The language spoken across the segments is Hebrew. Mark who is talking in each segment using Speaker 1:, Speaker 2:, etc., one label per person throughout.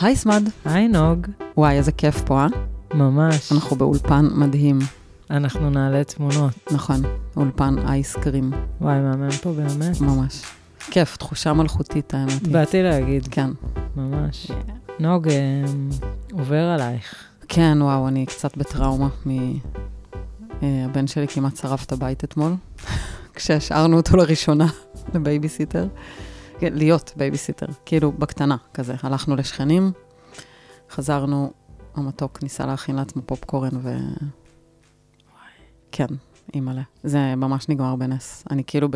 Speaker 1: היי סמד.
Speaker 2: היי נוג,
Speaker 1: וואי, איזה כיף פה, אה?
Speaker 2: ממש.
Speaker 1: אנחנו באולפן מדהים.
Speaker 2: אנחנו נעלה תמונות.
Speaker 1: נכון, אולפן אייסקרים,
Speaker 2: וואי, מהמם פה באמת.
Speaker 1: ממש. כיף, תחושה מלכותית, האמת היא.
Speaker 2: באתי להגיד,
Speaker 1: כן.
Speaker 2: ממש. נוג, אמ, עובר עלייך.
Speaker 1: כן, וואו, אני קצת בטראומה מ... אה, הבן שלי כמעט שרף את הבית אתמול, כשהשארנו אותו לראשונה לבייביסיטר. כן, להיות בייביסיטר, כאילו בקטנה כזה. הלכנו לשכנים, חזרנו, המתוק ניסה להכין לעצמו פופקורן ו... כן, אימא'לה. זה ממש נגמר בנס. אני כאילו ב...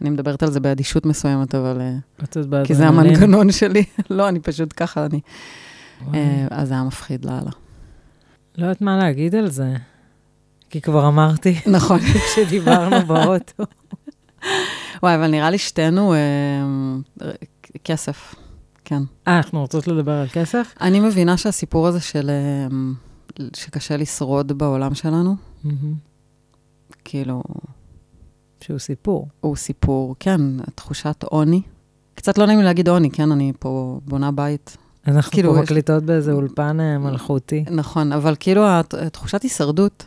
Speaker 1: אני מדברת על זה באדישות מסוימת, אבל... אה,
Speaker 2: את עוד באדרנלין.
Speaker 1: כי זה המנגנון שלי. לא, אני פשוט ככה, אני...
Speaker 2: וואי.
Speaker 1: אה, אז זה היה מפחיד לאללה.
Speaker 2: לא יודעת מה להגיד על זה. כי כבר אמרתי
Speaker 1: נכון.
Speaker 2: כשדיברנו באוטו.
Speaker 1: וואי, אבל נראה לי שתינו אה, כסף, כן.
Speaker 2: אה, אנחנו רוצות לדבר על כסף?
Speaker 1: אני מבינה שהסיפור הזה של... אה, שקשה לשרוד בעולם שלנו, כאילו,
Speaker 2: שהוא סיפור.
Speaker 1: הוא סיפור, כן, תחושת עוני. קצת לא נעים לי להגיד עוני, כן, אני פה בונה בית.
Speaker 2: אנחנו
Speaker 1: כאילו,
Speaker 2: פה
Speaker 1: יש-
Speaker 2: מקליטות באיזה אולפן אה, מלכותי.
Speaker 1: נכון, אבל כאילו, הת- תחושת הישרדות,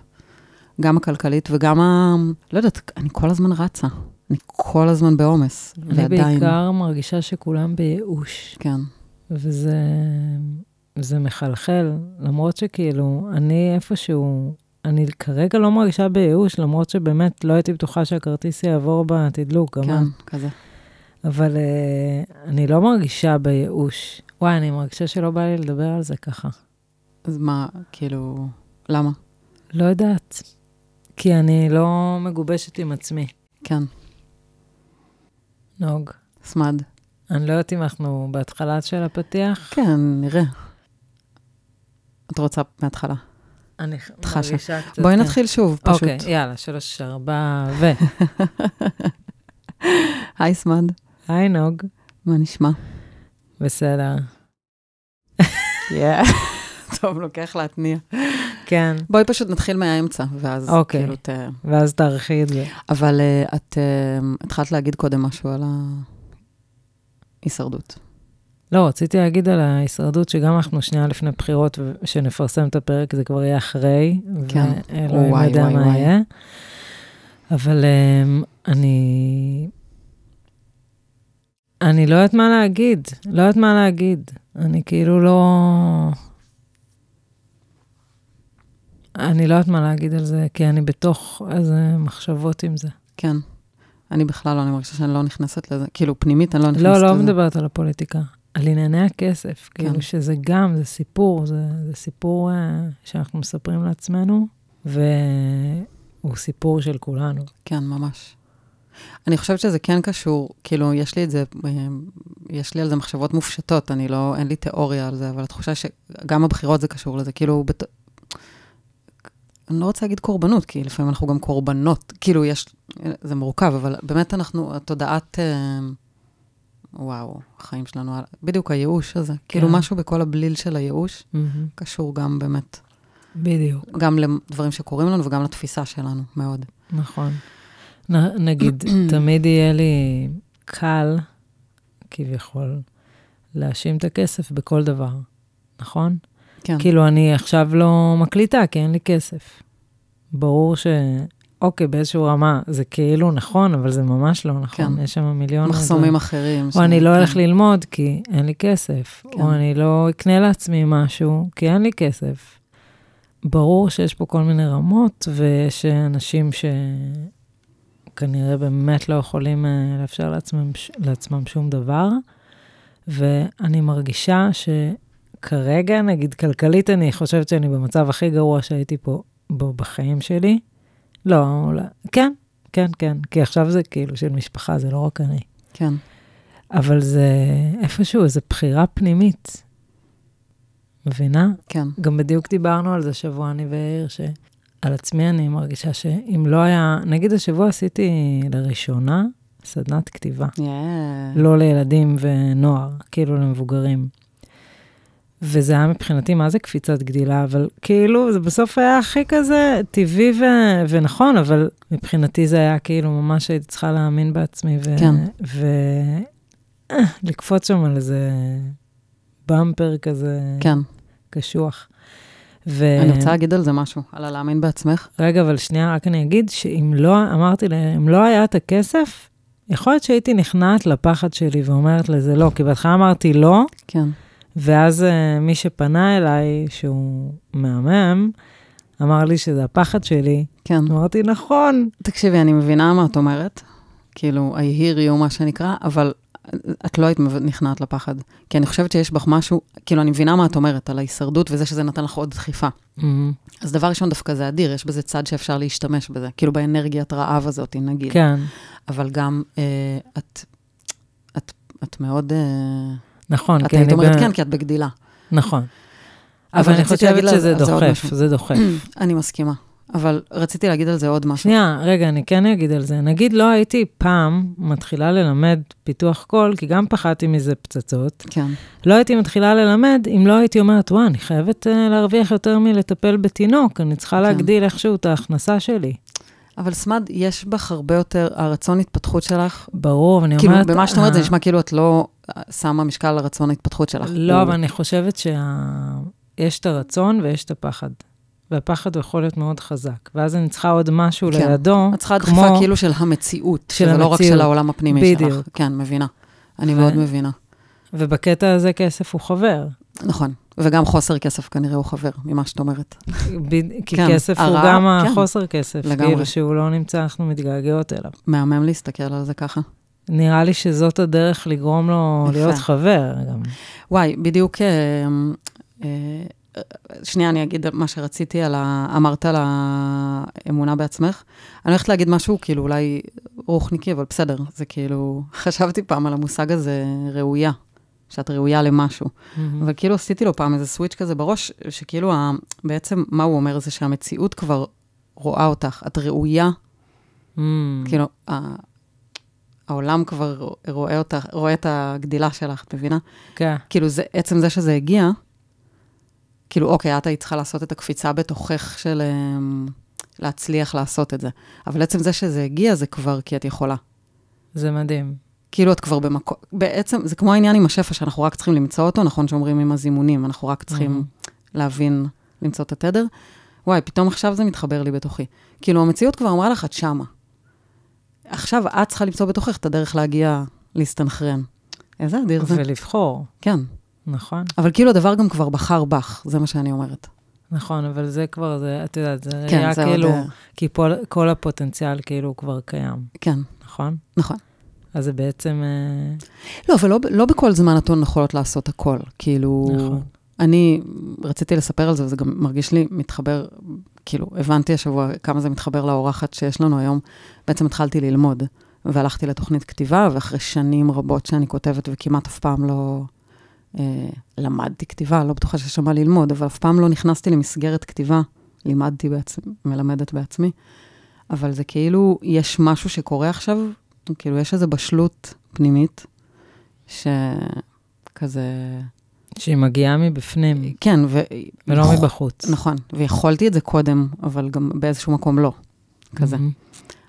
Speaker 1: גם הכלכלית וגם ה... לא יודעת, אני כל הזמן רצה. אני כל הזמן בעומס,
Speaker 2: אני
Speaker 1: ועדיין.
Speaker 2: בעיקר מרגישה שכולם בייאוש.
Speaker 1: כן,
Speaker 2: וזה זה מחלחל, למרות שכאילו, אני איפשהו, אני כרגע לא מרגישה בייאוש, למרות שבאמת לא הייתי בטוחה שהכרטיס יעבור בתדלוק, גם
Speaker 1: כן,
Speaker 2: את.
Speaker 1: כזה.
Speaker 2: אבל אה, אני לא מרגישה בייאוש. וואי, אני מרגישה שלא בא לי לדבר על זה ככה.
Speaker 1: אז מה, כאילו, למה?
Speaker 2: לא יודעת, כי אני לא מגובשת עם עצמי,
Speaker 1: כן,
Speaker 2: נוג.
Speaker 1: סמד.
Speaker 2: אני לא יודעת אם אנחנו בהתחלה של הפתיח.
Speaker 1: כן, נראה. את רוצה מההתחלה.
Speaker 2: אני
Speaker 1: חשה.
Speaker 2: מרגישה קצת...
Speaker 1: בואי
Speaker 2: כן.
Speaker 1: נתחיל שוב, פשוט.
Speaker 2: אוקיי, יאללה, שלוש, ארבע, ו...
Speaker 1: היי, סמד,
Speaker 2: היי, נוג.
Speaker 1: מה נשמע?
Speaker 2: בסדר.
Speaker 1: טוב, לוקח להתניע.
Speaker 2: כן,
Speaker 1: בואי פשוט נתחיל מהאמצע, ואז
Speaker 2: אוקיי.
Speaker 1: כאילו ת...
Speaker 2: ואז תערכי את זה.
Speaker 1: אבל אה, את אה, התחלת להגיד קודם משהו על ההישרדות.
Speaker 2: לא, רציתי להגיד על ההישרדות, שגם אנחנו שנייה לפני בחירות, ו- שנפרסם את הפרק, זה כבר יהיה אחרי.
Speaker 1: כן.
Speaker 2: ואלוהים
Speaker 1: וואי,
Speaker 2: יודע
Speaker 1: וואי,
Speaker 2: מה
Speaker 1: וואי.
Speaker 2: יהיה. אבל אמ, אני... אני לא יודעת מה להגיד. לא יודעת מה להגיד. אני כאילו לא... אני לא יודעת מה להגיד על זה, כי אני בתוך איזה מחשבות עם זה.
Speaker 1: כן. אני בכלל לא, אני מרגישה שאני לא נכנסת לזה. כאילו, פנימית אני לא נכנסת
Speaker 2: לא,
Speaker 1: לזה.
Speaker 2: לא מדברת על הפוליטיקה, על ענייני הכסף.
Speaker 1: כן.
Speaker 2: כאילו שזה גם, זה סיפור, זה, זה סיפור אה, שאנחנו מספרים לעצמנו, והוא סיפור של כולנו.
Speaker 1: כן, ממש. אני חושבת שזה כן קשור, כאילו, יש לי את זה, אה, יש לי על זה מחשבות מופשטות, אני לא, אין לי תיאוריה על זה, אבל התחושה שגם הבחירות זה קשור לזה, כאילו, בת... אני לא רוצה להגיד קורבנות, כי לפעמים אנחנו גם קורבנות, כאילו, יש, זה מורכב, אבל באמת אנחנו, התודעת, אה, וואו, החיים שלנו, על- בדיוק הייאוש הזה, כאילו, משהו בכל הבליל של הייאוש קשור גם באמת,
Speaker 2: בדיוק.
Speaker 1: גם לדברים שקורים לנו וגם לתפיסה שלנו, מאוד.
Speaker 2: נכון. נ, נגיד, תמיד יהיה לי קל, כביכול, להאשים את הכסף בכל דבר, נכון?
Speaker 1: כן,
Speaker 2: כאילו, אני עכשיו לא מקליטה, כי אין לי כסף. ברור ש... אוקיי, באיזשהו רמה, זה כאילו נכון, אבל זה ממש לא נכון.
Speaker 1: כן.
Speaker 2: כן. יש שם מיליון...
Speaker 1: מחסומים אחרים.
Speaker 2: או
Speaker 1: ש-
Speaker 2: אני לא
Speaker 1: כן.
Speaker 2: אלך ללמוד כי אין לי כסף,
Speaker 1: כן.
Speaker 2: או אני לא אקנה לעצמי משהו כי אין לי כסף. ברור שיש פה כל מיני רמות, ויש אה, אנשים שכנראה באמת לא יכולים אה, לאפשר לעצמם, ש- לעצמם שום דבר, ואני מרגישה שכרגע, נגיד כלכלית, אני חושבת שאני במצב הכי גרוע שהייתי פה בו בחיים שלי. לא, אולי, כן, כן, כן, כי עכשיו זה כאילו של משפחה, זה לא רק אני.
Speaker 1: כן,
Speaker 2: אבל זה איפשהו, איזו בחירה פנימית. מבינה?
Speaker 1: כן,
Speaker 2: גם בדיוק דיברנו על זה שבוע, אני ויאיר, שעל עצמי אני מרגישה שאם לא היה, נגיד השבוע עשיתי לראשונה סדנת כתיבה,
Speaker 1: yeah.
Speaker 2: לא לילדים ונוער, כאילו למבוגרים. וזה היה מבחינתי, מה זה קפיצת גדילה, אבל כאילו, זה בסוף היה הכי כזה טבעי ו... ונכון, אבל מבחינתי זה היה כאילו ממש הייתי צריכה להאמין בעצמי, ו...
Speaker 1: כן.
Speaker 2: ו... אה, לקפוץ שם על איזה במפר כזה
Speaker 1: כן.
Speaker 2: קשוח. ו-
Speaker 1: אני רוצה להגיד על זה משהו, על הלהאמין בעצמך.
Speaker 2: רגע, אבל שנייה, רק אני אגיד שאם לא, אמרתי להם, אם לא היה את הכסף, יכול להיות שהייתי נכנעת לפחד שלי ואומרת לזה לא, כי בהתחלה אמרתי לא,
Speaker 1: כן.
Speaker 2: ואז אה, מי שפנה אליי, שהוא מהמם, אמר לי שזה הפחד שלי.
Speaker 1: כן.
Speaker 2: אמרתי, נכון.
Speaker 1: תקשיבי, אני מבינה מה את אומרת, כאילו, I hear you, מה שנקרא, אבל את לא היית מב- נכנעת לפחד. כי אני חושבת שיש בך משהו, כאילו, אני מבינה מה את אומרת, על ההישרדות וזה שזה נתן לך עוד דחיפה. אז דבר ראשון, דווקא זה אדיר, יש בזה צד שאפשר להשתמש בזה, כאילו באנרגיית רעב הזאת, נגיד.
Speaker 2: כן,
Speaker 1: אבל גם אה, את, את, את מאוד, אה,
Speaker 2: נכון.
Speaker 1: את
Speaker 2: כי
Speaker 1: היית
Speaker 2: אני
Speaker 1: אומרת
Speaker 2: ב-
Speaker 1: כן, כי את בגדילה.
Speaker 2: נכון.
Speaker 1: אבל
Speaker 2: אבל אני
Speaker 1: רציתי להגיד
Speaker 2: חושבת
Speaker 1: לה-
Speaker 2: שזה
Speaker 1: זה עוד
Speaker 2: דוחף,
Speaker 1: משהו. Mm.
Speaker 2: זה דוחף.
Speaker 1: אני מסכימה, אבל רציתי להגיד על זה עוד משהו.
Speaker 2: שנייה, רגע, אני כן אגיד על זה. נגיד לא הייתי פעם מתחילה ללמד פיתוח קול, כי גם פחדתי מזה פצצות.
Speaker 1: כן,
Speaker 2: לא הייתי מתחילה ללמד אם לא הייתי אומרת, וואה, אני חייבת uh, להרוויח יותר מלטפל בתינוק, אני
Speaker 1: כן.
Speaker 2: צריכה להגדיל איכשהו את ההכנסה שלי.
Speaker 1: אבל סמד, יש בך הרבה יותר, הרצון התפתחות שלך,
Speaker 2: ברור, ואני
Speaker 1: כאילו,
Speaker 2: אומרת...
Speaker 1: במה שאת אומרת זה
Speaker 2: "אה,
Speaker 1: נשמע כאילו את לא אה, שמה משקל על הרצון ההתפתחות שלך.
Speaker 2: לא,
Speaker 1: הוא-
Speaker 2: אבל אני חושבת שיש את הרצון ויש את הפחד. והפחד יכול להיות מאוד חזק. ואז אני צריכה עוד משהו
Speaker 1: כן.
Speaker 2: לידו,
Speaker 1: את צריכה דחיפה
Speaker 2: כמו...
Speaker 1: כאילו של המציאות,
Speaker 2: של
Speaker 1: שזה לא רק
Speaker 2: המציאות.
Speaker 1: של העולם הפנימי שלך.
Speaker 2: בדיוק.
Speaker 1: כן, מבינה. אני
Speaker 2: ו-
Speaker 1: מאוד מבינה.
Speaker 2: ובקטע הזה כסף הוא חבר.
Speaker 1: נכון. וגם חוסר כסף כנראה הוא חבר, ממה שאת אומרת.
Speaker 2: ב- כי
Speaker 1: כן,
Speaker 2: כסף הוא
Speaker 1: הרעה,
Speaker 2: גם
Speaker 1: כן.
Speaker 2: החוסר כסף.
Speaker 1: לגמרי.
Speaker 2: כאילו שהוא לא נמצא, אנחנו מתגעגעות אליו.
Speaker 1: מהמם להסתכל על זה ככה.
Speaker 2: נראה לי שזאת הדרך לגרום לו
Speaker 1: יפה.
Speaker 2: להיות חבר גם.
Speaker 1: וואי, בדיוק, אה, אה, שנייה, אני אגיד מה שרציתי על ה... אמרת על האמונה בעצמך. אני הולכת להגיד משהו, כאילו, אולי רוחניקי, אבל בסדר, זה כאילו... חשבתי פעם על המושג הזה, ראויה, שאת ראויה למשהו. אבל כאילו עשיתי לו פעם איזה סוויץ' כזה בראש, שכאילו ה... בעצם מה הוא אומר זה שהמציאות כבר רואה אותך, את ראויה,
Speaker 2: אמ,
Speaker 1: כאילו, ה... העולם כבר רואה אותך, רואה את הגדילה שלך, את מבינה?
Speaker 2: כן.
Speaker 1: כאילו, זה, עצם זה שזה הגיע, כאילו, אוקיי, את היית צריכה לעשות את הקפיצה בתוכך של אמ, להצליח לעשות את זה. אבל עצם זה שזה הגיע, זה כבר כי את יכולה.
Speaker 2: זה מדהים.
Speaker 1: כאילו, את כבר במקום... בעצם, זה כמו העניין עם השפע, שאנחנו רק צריכים למצוא אותו, נכון שאומרים עם הזימונים, אנחנו רק צריכים להבין, למצוא את התדר. וואי, פתאום עכשיו זה מתחבר לי בתוכי. כאילו, המציאות כבר אמרה לך, את שמה. עכשיו את צריכה למצוא בתוכך את הדרך להגיע, להסתנכרן. איזה אדיר זה.
Speaker 2: ולבחור,
Speaker 1: כן.
Speaker 2: נכון?
Speaker 1: אבל כאילו הדבר גם כבר בחר בך, זה מה שאני אומרת.
Speaker 2: נכון, אבל זה כבר, זה, את יודעת, זה
Speaker 1: כן,
Speaker 2: ראייה
Speaker 1: זה עוד,
Speaker 2: כאילו,
Speaker 1: אה,
Speaker 2: כי כל, כל הפוטנציאל כאילו הוא כבר קיים,
Speaker 1: כן,
Speaker 2: נכון?
Speaker 1: נכון.
Speaker 2: אז זה בעצם, אה,
Speaker 1: לא, אבל לא, ב- לא בכל זמן נתון יכולות לעשות הכל. כאילו,
Speaker 2: נכון.
Speaker 1: אני רציתי לספר על זה, וזה גם מרגיש לי מתחבר, כאילו, הבנתי השבוע כמה זה מתחבר לאורחת שיש לנו היום. בעצם התחלתי ללמוד, והלכתי לתוכנית כתיבה, ואחרי שנים רבות שאני כותבת וכמעט אף פעם לא אה, למדתי כתיבה, לא בטוחה שיש שם מה ללמוד, אבל אף פעם לא נכנסתי למסגרת כתיבה, לימדתי בעצמי, מלמדת בעצמי. אבל זה כאילו, יש משהו שקורה עכשיו, כאילו, יש איזו בשלות פנימית, שכזה...
Speaker 2: שהיא מגיעה מבפנים
Speaker 1: כן, ו...
Speaker 2: ולא
Speaker 1: נכון,
Speaker 2: מבחוץ.
Speaker 1: נכון, ויכולתי את זה קודם, אבל גם באיזשהו מקום לא. כזה.
Speaker 2: מהמם.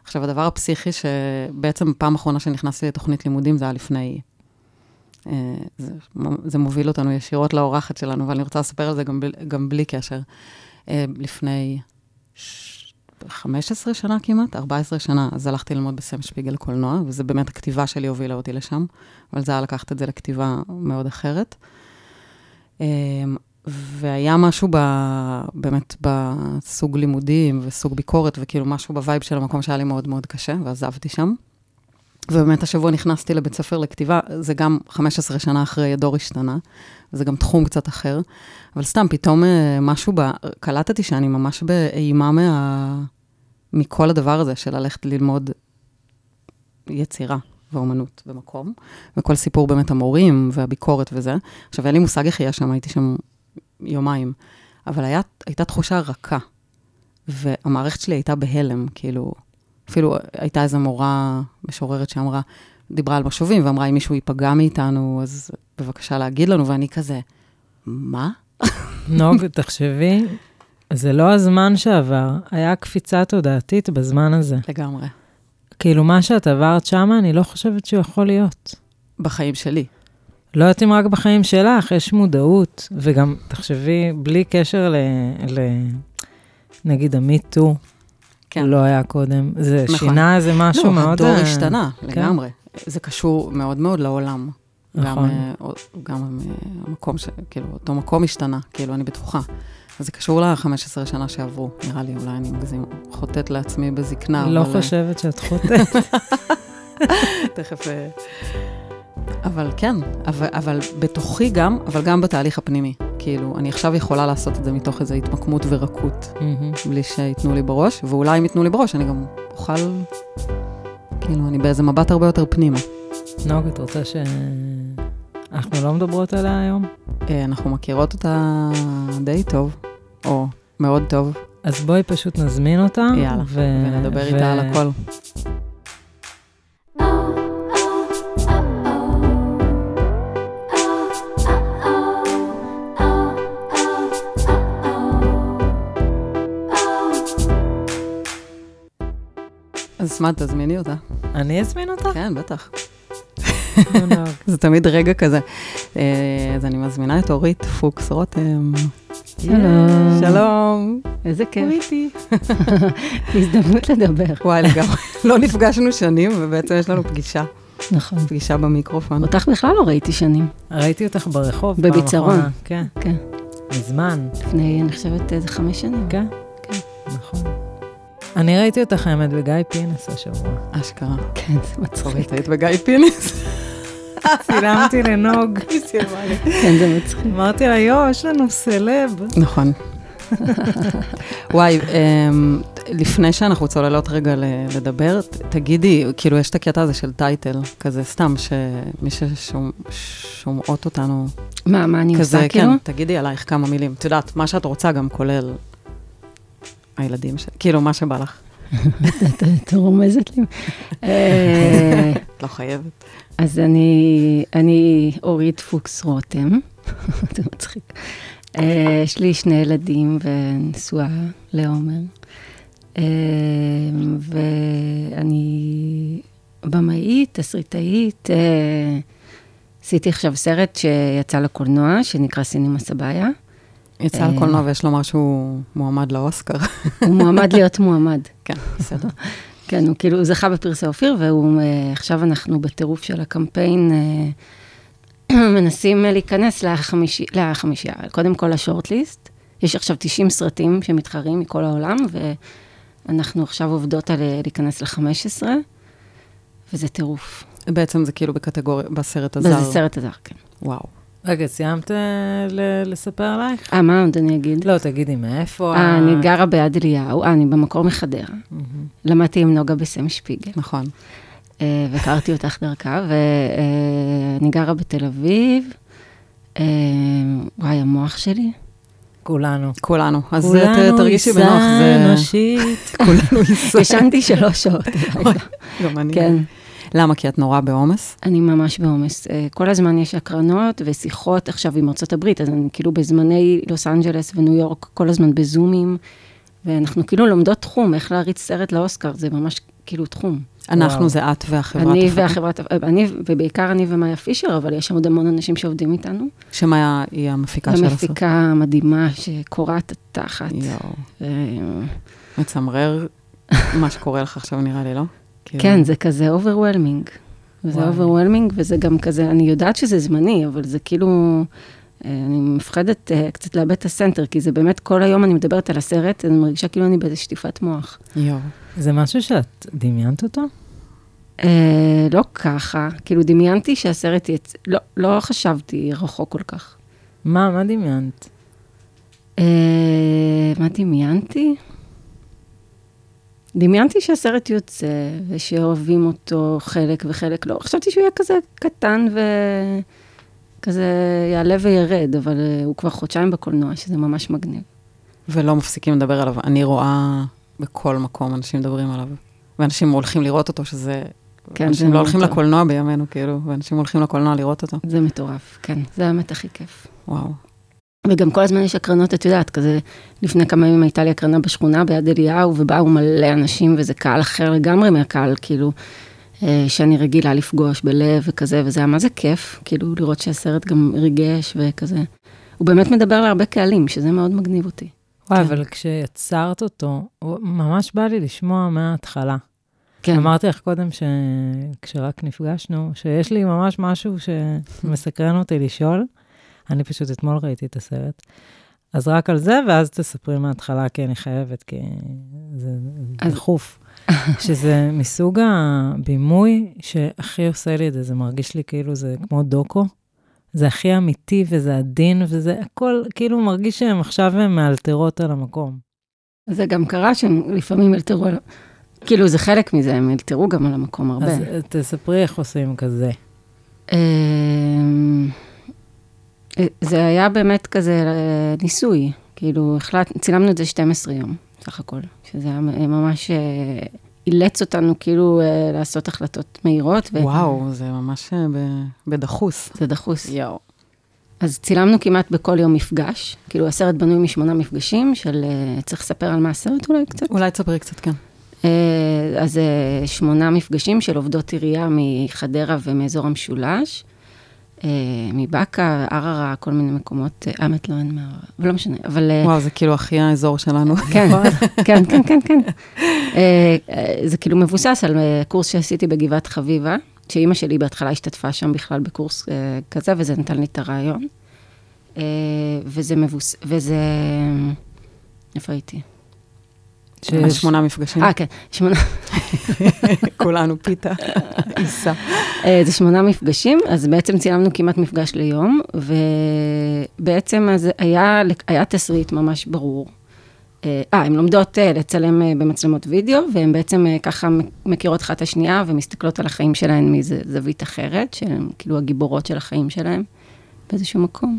Speaker 1: עכשיו, הדבר הפסיכי שבעצם פעם אחרונה שנכנסתי לתוכנית לימודים, זה היה לפני... אה, זה, זה מוביל אותנו ישירות לאורחת שלנו, אבל אני רוצה לספר על זה גם, בל- גם בלי קשר. אה, לפני ש- 15 שנה כמעט, 14 שנה, אז הלכתי ללמוד בסם שפיגל קולנוע, וזה באמת הכתיבה שלי הובילה אותי לשם, אבל זה היה לקחת את זה לכתיבה מאוד אחרת. אה, והיה משהו ב, באמת בסוג לימודים וסוג ביקורת, וכאילו משהו בווייב של המקום שהיה לי מאוד מאוד קשה, ועזבתי שם. ובאמת השבוע נכנסתי לבית ספר לכתיבה, זה גם 15 שנה אחרי הדור השתנה, זה גם תחום קצת אחר, אבל סתם פתאום אה, משהו, ב... קלטתי שאני ממש באימה מה... מכל הדבר הזה של ללכת ללמוד יצירה ואומנות במקום, וכל סיפור באמת המורים והביקורת וזה. עכשיו, אין לי מושג איך יהיה שם, הייתי שם יומיים, אבל היה, הייתה תחושה רכה, והמערכת שלי הייתה בהלם, כאילו, אפילו הייתה איזו מורה משוררת שאמרה, דיברה על משובים, ואמרה, אם מישהו ייפגע מאיתנו, אז בבקשה להגיד לנו, ואני כזה, מה?
Speaker 2: נוג, תחשבי, זה לא הזמן שעבר, היה קפיצה תודעתית בזמן הזה.
Speaker 1: לגמרי.
Speaker 2: כאילו, מה שאת עברת שמה, אני לא חושבת שהוא יכול להיות.
Speaker 1: בחיים שלי.
Speaker 2: לא יודעת אם רק בחיים שלך, יש מודעות, וגם, תחשבי, בלי קשר ל... ל... נגיד המיטו,
Speaker 1: כן.
Speaker 2: לא היה קודם. זה
Speaker 1: נכון.
Speaker 2: שינה איזה משהו
Speaker 1: לא,
Speaker 2: מאוד...
Speaker 1: הדור
Speaker 2: אה,
Speaker 1: השתנה
Speaker 2: כן.
Speaker 1: לגמרי. זה קשור מאוד מאוד לעולם. גם,
Speaker 2: נכון.
Speaker 1: אה, או- גם אה, המקום, ש- כאילו, אותו מקום השתנה, כאילו, אני בטוחה. אז זה קשור ל-15 שנה שעברו, נראה לי, אולי אני מגזים, חוטאת לעצמי בזקנה.
Speaker 2: לא
Speaker 1: אבל, אה,
Speaker 2: חושבת שאת חוטאת.
Speaker 1: תכף... אה, אבל כן, אבל, אבל בתוכי גם, אבל גם בתהליך הפנימי. כאילו, אני עכשיו יכולה לעשות את זה מתוך איזו התמקמות ורקות,
Speaker 2: מהמם.
Speaker 1: בלי שייתנו לי בראש, ואולי אם ייתנו לי בראש, אני גם אוכל... כאילו, אני באיזה מבט הרבה יותר פנימה.
Speaker 2: נוג, את רוצה ש... אנחנו לא מדברות עליה היום?
Speaker 1: אה, אנחנו מכירות אותה די טוב, או מאוד טוב,
Speaker 2: אז בואי פשוט נזמין אותה.
Speaker 1: יאללה,
Speaker 2: ו...
Speaker 1: ונדבר
Speaker 2: ו-
Speaker 1: איתה על הכל. אז מה, תזמיני אותה.
Speaker 2: אני אזמין אותך?
Speaker 1: כן, בטח.
Speaker 2: נוג.
Speaker 1: זה תמיד רגע כזה. אה, אז אני מזמינה את אורית פוקס רותם.
Speaker 3: שלום.
Speaker 1: שלום.
Speaker 3: איזה כיף,
Speaker 1: אוריתי.
Speaker 3: הזדמנות לדבר.
Speaker 1: וואי, לגמרי. לא נפגשנו שנים, ובעצם יש לנו פגישה.
Speaker 3: נכון.
Speaker 1: פגישה במיקרופון.
Speaker 3: אותך בכלל לא ראיתי שנים,
Speaker 2: ראיתי אותך ברחוב פעם
Speaker 3: בביצרון.
Speaker 2: אחרונה. כן,
Speaker 3: כן.
Speaker 2: מזמן.
Speaker 3: לפני, אני חושבת, איזה חמש שנים.
Speaker 2: כן?
Speaker 3: כן.
Speaker 2: נכון. אני ראיתי אותך, האמת, בגיא פינס השבוע.
Speaker 1: אשכרה.
Speaker 3: כן, זה מצחיק.
Speaker 1: אורית, היית בגיא פינס?
Speaker 2: צילמתי לנוג.
Speaker 1: היא סיימה לי.
Speaker 3: כן, זה מצחיק.
Speaker 2: אמרתי לה, יואו, יש לנו סלב.
Speaker 1: נכון. וואי, אמ, לפני שאנחנו צוללות רגע ל- לדבר, ת- תגידי, כאילו, יש את הקטע הזה של טייטל, כזה סתם, שמי ששומעות אותנו,
Speaker 3: מה, מה אני
Speaker 1: כזה,
Speaker 3: עושה, כאילו?
Speaker 1: כן, תגידי עלייך כמה מילים. את יודעת, מה שאת רוצה גם כולל הילדים ש... כאילו, מה שבא לך.
Speaker 3: את רומזת לי. אה,
Speaker 1: את לא חייבת.
Speaker 3: אז אני, אני אורית פוקס רותם, זה מצחיק. אה, יש לי שני ילדים ונשואה לעומר, אה, ואני במאית, תסריטאית, אה, עשיתי עכשיו סרט שיצא לקולנוע, שנקרא סינימה סבאיה.
Speaker 1: יצא
Speaker 3: אה.
Speaker 1: לקולנוע ויש לומר שהוא מועמד לאוסקר.
Speaker 3: הוא מועמד להיות מועמד.
Speaker 1: כן, בסדר.
Speaker 3: כן, הוא כאילו, הוא זכה בפרסי אופיר, ועכשיו אנחנו בטירוף של הקמפיין, אה, מנסים אה, להיכנס לחמישי, לחמישייה, קודם כל לשורטליסט. יש עכשיו 90 סרטים שמתחרים מכל העולם, ואנחנו עכשיו עובדות על אה, להיכנס ל-15, וזה טירוף.
Speaker 1: בעצם זה כאילו בקטגוריה, בסרט הזר.
Speaker 3: וזה סרט הזר, כן.
Speaker 1: וואו.
Speaker 2: רגע, סיימת אה, ל- לספר עלייך?
Speaker 3: אה, מה עוד אני אגיד?
Speaker 2: לא, תגידי, מאיפה?
Speaker 3: אה,
Speaker 2: ה-
Speaker 3: אני גרה ביד אליהו, אה, אני במקור מחדרה.
Speaker 2: מהמם.
Speaker 3: למדתי עם נוגה בסם שפיגל.
Speaker 1: נכון.
Speaker 3: אה, והכרתי אותך דרכה, ואני גרה בתל אביב. אה, וואי, המוח שלי.
Speaker 2: כולנו.
Speaker 1: כולנו. אז ת-
Speaker 2: כולנו
Speaker 1: תרגישי בנוח.
Speaker 2: עיסה
Speaker 1: זה- כן.
Speaker 2: אנושית.
Speaker 1: כולנו עיסה.
Speaker 3: ישנתי שלוש שעות. הלילה.
Speaker 1: גם אני.
Speaker 3: כן,
Speaker 1: למה? כי את נורא בעומס?
Speaker 3: אני ממש בעומס. אה, כל הזמן יש הקרנות ושיחות עכשיו עם ארצות הברית, אז אני כאילו בזמני לוס אנג'לס וניו יורק, כל הזמן בזומים, ואנחנו כאילו לומדות תחום, איך להריץ סרט לאוסקר, זה ממש כאילו תחום.
Speaker 1: אנחנו
Speaker 2: וואו.
Speaker 1: זה את והחברת
Speaker 3: אני
Speaker 1: הפקה.
Speaker 3: והחברת, אה, אני, ובעיקר אני ומאיה פישר, אבל יש שם עוד המון אנשים שעובדים איתנו.
Speaker 1: שמה היא המפיקה של הסרט.
Speaker 3: המפיקה המדהימה שקורעת תחת.
Speaker 1: יואו.
Speaker 3: אה,
Speaker 1: מצמרר מה שקורה לך עכשיו, נראה לי, לא? כאילו,
Speaker 3: כן, זה כזה אוברוולמינג. זה
Speaker 2: וואי.
Speaker 3: אוברוולמינג, וזה גם כזה, אני יודעת שזה זמני, אבל זה כאילו, אה, אני מפחדת אה, קצת לאבד את הסנטר, כי זה באמת, כל היום אני מדברת על הסרט, אני מרגישה כאילו אני באיזה שטיפת מוח.
Speaker 1: יואו.
Speaker 2: זה משהו שאת דמיינת אותו?
Speaker 3: אה, לא ככה, כאילו דמיינתי שהסרט יצא, לא, לא חשבתי רחוק כל כך.
Speaker 2: מה, מה דמיינת?
Speaker 3: אה, מה דמיינתי? דמיינתי שהסרט יוצא, ושאוהבים אותו חלק וחלק לא. חשבתי שהוא יהיה כזה קטן וכזה יעלה וירד, אבל אה, הוא כבר חודשיים בקולנוע, שזה ממש מגניב.
Speaker 1: ולא מפסיקים לדבר עליו. אני רואה בכל מקום אנשים מדברים עליו. ואנשים הולכים לראות אותו, שזה...
Speaker 3: כן,
Speaker 1: אנשים לא הולכים
Speaker 3: מטורף.
Speaker 1: לקולנוע בימינו, כאילו, ואנשים הולכים לקולנוע לראות אותו.
Speaker 3: זה מטורף, כן, זה האמת הכי כיף.
Speaker 1: וואו.
Speaker 3: וגם כל הזמן יש הקרנות, את יודעת, כזה, לפני כמה ימים הייתה לי הקרנה בשכונה ביד אליהו, ובאו מלא אנשים, וזה קהל אחר לגמרי מהקהל, כאילו, אה, שאני רגילה לפגוש בלב וכזה, וזה היה מה זה כיף, כאילו לראות שהסרט גם ריגש וכזה. הוא באמת מדבר להרבה קהלים, שזה מאוד מגניב אותי.
Speaker 2: וואי,
Speaker 1: כן.
Speaker 2: אבל כשיצרת אותו, הוא- ממש בא לי לשמוע מההתחלה.
Speaker 3: כן.
Speaker 2: אמרתי לך קודם, ש... כשרק נפגשנו, שיש לי ממש משהו שמסקרן אותי לשאול. אני פשוט אתמול ראיתי את הסרט. אז רק על זה, ואז תספרי מההתחלה, כי אני חייבת, כי זה
Speaker 3: אז-
Speaker 2: דחוף. שזה מסוג הבימוי שהכי עושה לי את זה, זה מרגיש לי כאילו זה כמו דוקו. זה הכי אמיתי וזה עדין וזה הכל, כאילו מרגיש שהם עכשיו הם מאלתרות על המקום.
Speaker 3: זה גם קרה שהם לפעמים אלתרו על... כאילו, זה חלק מזה, הם אלתרו גם על המקום הרבה.
Speaker 2: אז אה, תספרי איך עושים כזה.
Speaker 3: אמ, אה, זה היה באמת כזה אה, ניסוי, כאילו החלט, צילמנו את זה 12 יום, סך הכל, שזה היה מ- ממש אה, אילץ אותנו כאילו אה, לעשות החלטות מהירות,
Speaker 1: וואו, זה ממש אה, ב- בדחוס.
Speaker 3: וזה דחוס.
Speaker 1: יואו.
Speaker 3: אז צילמנו כמעט בכל יום מפגש, כאילו הסרט בנוי משמונה מפגשים של, אה, צריך לספר על מה הסרט אולי קצת?
Speaker 1: אולי תספרי קצת, כן.
Speaker 3: אה, אז אה, שמונה מפגשים של עובדות עירייה מחדרה ומאזור המשולש, אה, מבאקה, ערערה, כל מיני מקומות, אה, האמת לא אין מערערה, אבל לא משנה, אבל אה,
Speaker 1: וואו, זה כאילו הכי האזור שלנו.
Speaker 3: כן, כן, כן, כן, כן. אה, אה, זה כאילו מבוסס על אה, קורס שעשיתי בגבעת חביבה, שאימא שלי בהתחלה השתתפה שם בכלל בקורס אה, כזה, וזה נתן לי את הרעיון. אה, וזה מבוס... וזה... איפה הייתי?
Speaker 2: שיש-
Speaker 1: שמונה מפגשים,
Speaker 3: אה, כן, שמונה...
Speaker 1: כולנו פיתה, עיסה.
Speaker 3: אה, זה שמונה מפגשים, אז בעצם צילמנו כמעט מפגש ליום, ובעצם אז היה, היה תסריט ממש ברור. אה, אה, הן לומדות אה, לצלם אה, במצלמות וידאו, והן בעצם אה, ככה מכירות אחת את השנייה ומסתכלות על החיים שלהן מזווית אחרת, שהן כאילו הגיבורות של החיים שלהן באיזשהו מקום.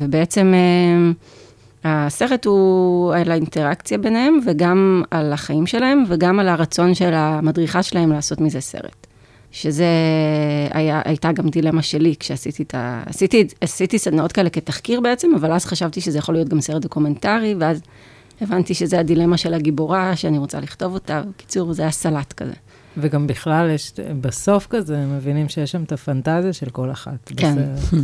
Speaker 3: ובעצם אה, הסרט הוא על האינטראקציה ביניהם, וגם על החיים שלהם, וגם על הרצון של המדריכה שלהם לעשות מזה סרט. שזה היה, הייתה גם דילמה שלי כשעשיתי את ה... עשיתי, עשיתי סדנאות כאלה כתחקיר בעצם, אבל אז חשבתי שזה יכול להיות גם סרט דוקומנטרי, ואז הבנתי שזה הדילמה של הגיבורה, שאני רוצה לכתוב אותה. בקיצור, זה היה סלט כזה.
Speaker 2: וגם בכלל, יש, בסוף כזה, הם מבינים שיש שם את הפנטזיה של כל אחת.
Speaker 3: כן.
Speaker 2: בסרט.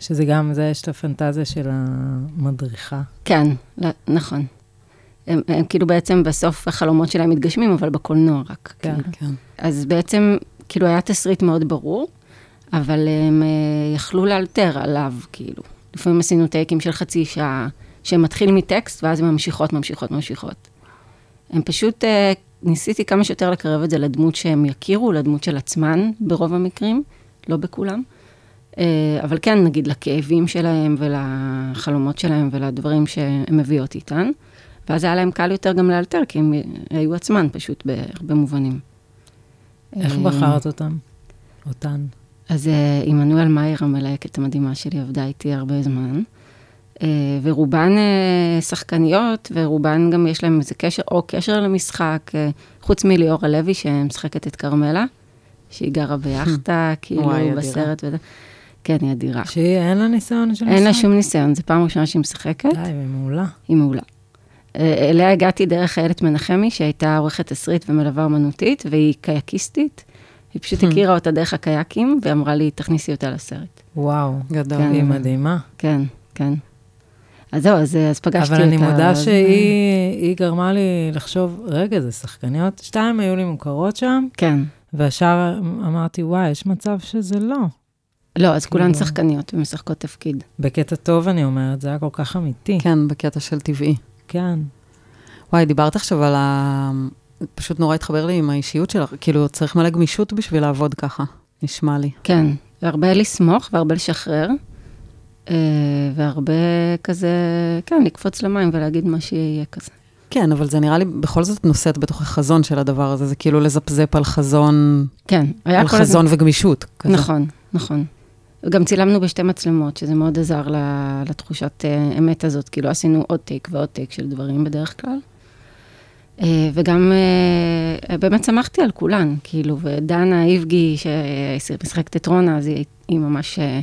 Speaker 2: שזה גם זה, יש את הפנטזיה של המדריכה.
Speaker 3: כן, לא, נכון. הם, הם כאילו בעצם בסוף החלומות שלהם מתגשמים, אבל בקולנוע רק.
Speaker 2: כן.
Speaker 3: כאילו.
Speaker 1: כן.
Speaker 3: אז בעצם, כאילו, היה תסריט מאוד ברור, אבל הם אה, יכלו לאלתר עליו, כאילו. לפעמים עשינו טייקים של חצי שעה, שמתחיל מטקסט, ואז הם ממשיכות, ממשיכות, ממשיכות. הם פשוט, אה, ניסיתי כמה שיותר לקרב את זה לדמות שהם יכירו, לדמות של עצמן, ברוב המקרים, לא בכולם. אה, אבל כן, נגיד, לכאבים שלהם ולחלומות שלהם ולדברים שהן מביאות איתן. ואז היה להם קל יותר גם לאלתר, כי הם היו עצמן פשוט בהרבה מובנים.
Speaker 2: איך
Speaker 3: אה,
Speaker 2: בחרת אותם? אותן.
Speaker 3: אז אה, עמנואל מאייר, המלהקת המדהימה שלי, עבדה איתי הרבה זמן. אה, ורובן אה, שחקניות, ורובן גם יש להם איזה קשר, או קשר למשחק, אה, חוץ מליאורה לוי, שמשחקת את כרמלה, שהיא גרה ביאכטה, כאילו,
Speaker 1: וואי, אדירה.
Speaker 3: בסרט וזה. כן, היא אדירה.
Speaker 2: שהיא, אין לה ניסיון של
Speaker 3: אין לה
Speaker 2: משחק? לא.
Speaker 3: שום ניסיון, זו פעם ראשונה שהיא משחקת.
Speaker 2: די, היא מעולה.
Speaker 3: היא מעולה. אה, אליה הגעתי דרך איילת מנחמי, שהייתה עורכת תסריט ומלווה אומנותית, והיא קייקיסטית. היא פשוט הכירה אותה דרך הקייקים, ואמרה לי, תכניסי אותה לסרט.
Speaker 2: וואו,
Speaker 1: גדול.
Speaker 3: כן.
Speaker 2: היא מדהימה.
Speaker 3: כן, כן. אז זהו, אז, אז פגשתי
Speaker 2: אבל
Speaker 3: אותה.
Speaker 2: אני מודה
Speaker 3: אז-
Speaker 2: שהיא היא גרמה לי לחשוב, רגע, זה שחקניות? שתיים היו לי מוכרות שם,
Speaker 3: כן.
Speaker 2: והשאר אמרתי, וואי, יש מצב שזה לא.
Speaker 3: לא, אז כולן
Speaker 2: כאילו-
Speaker 3: שחקניות ומשחקות תפקיד.
Speaker 2: בקטע טוב, אני אומרת, זה היה כל כך אמיתי.
Speaker 1: כן, בקטע של טבעי.
Speaker 2: כן.
Speaker 1: וואי, דיברת עכשיו על ה... פשוט נורא התחבר לי עם האישיות שלך, כאילו, צריך מלא גמישות בשביל לעבוד ככה, נשמע לי.
Speaker 3: כן, והרבה לסמוך והרבה לשחרר, אה, והרבה כזה, כן, לקפוץ למים ולהגיד מה שיהיה כזה.
Speaker 1: כן, אבל זה נראה לי בכל זאת נושאת בתוך החזון של הדבר הזה, זה כאילו לזפזפ על חזון,
Speaker 3: כן, היה
Speaker 1: על
Speaker 3: כל הזמן...
Speaker 1: חזון וגמישות. כזה.
Speaker 3: נכון, נכון. גם צילמנו בשתי מצלמות, שזה מאוד עזר ל- לתחושת אה, אמת הזאת, כאילו עשינו עוד טייק ועוד טייק של דברים בדרך כלל. אה, וגם אה, באמת שמחתי על כולן, כאילו, ודנה איבגי, שמשחקת את רונה, אז היא, היא ממש אה,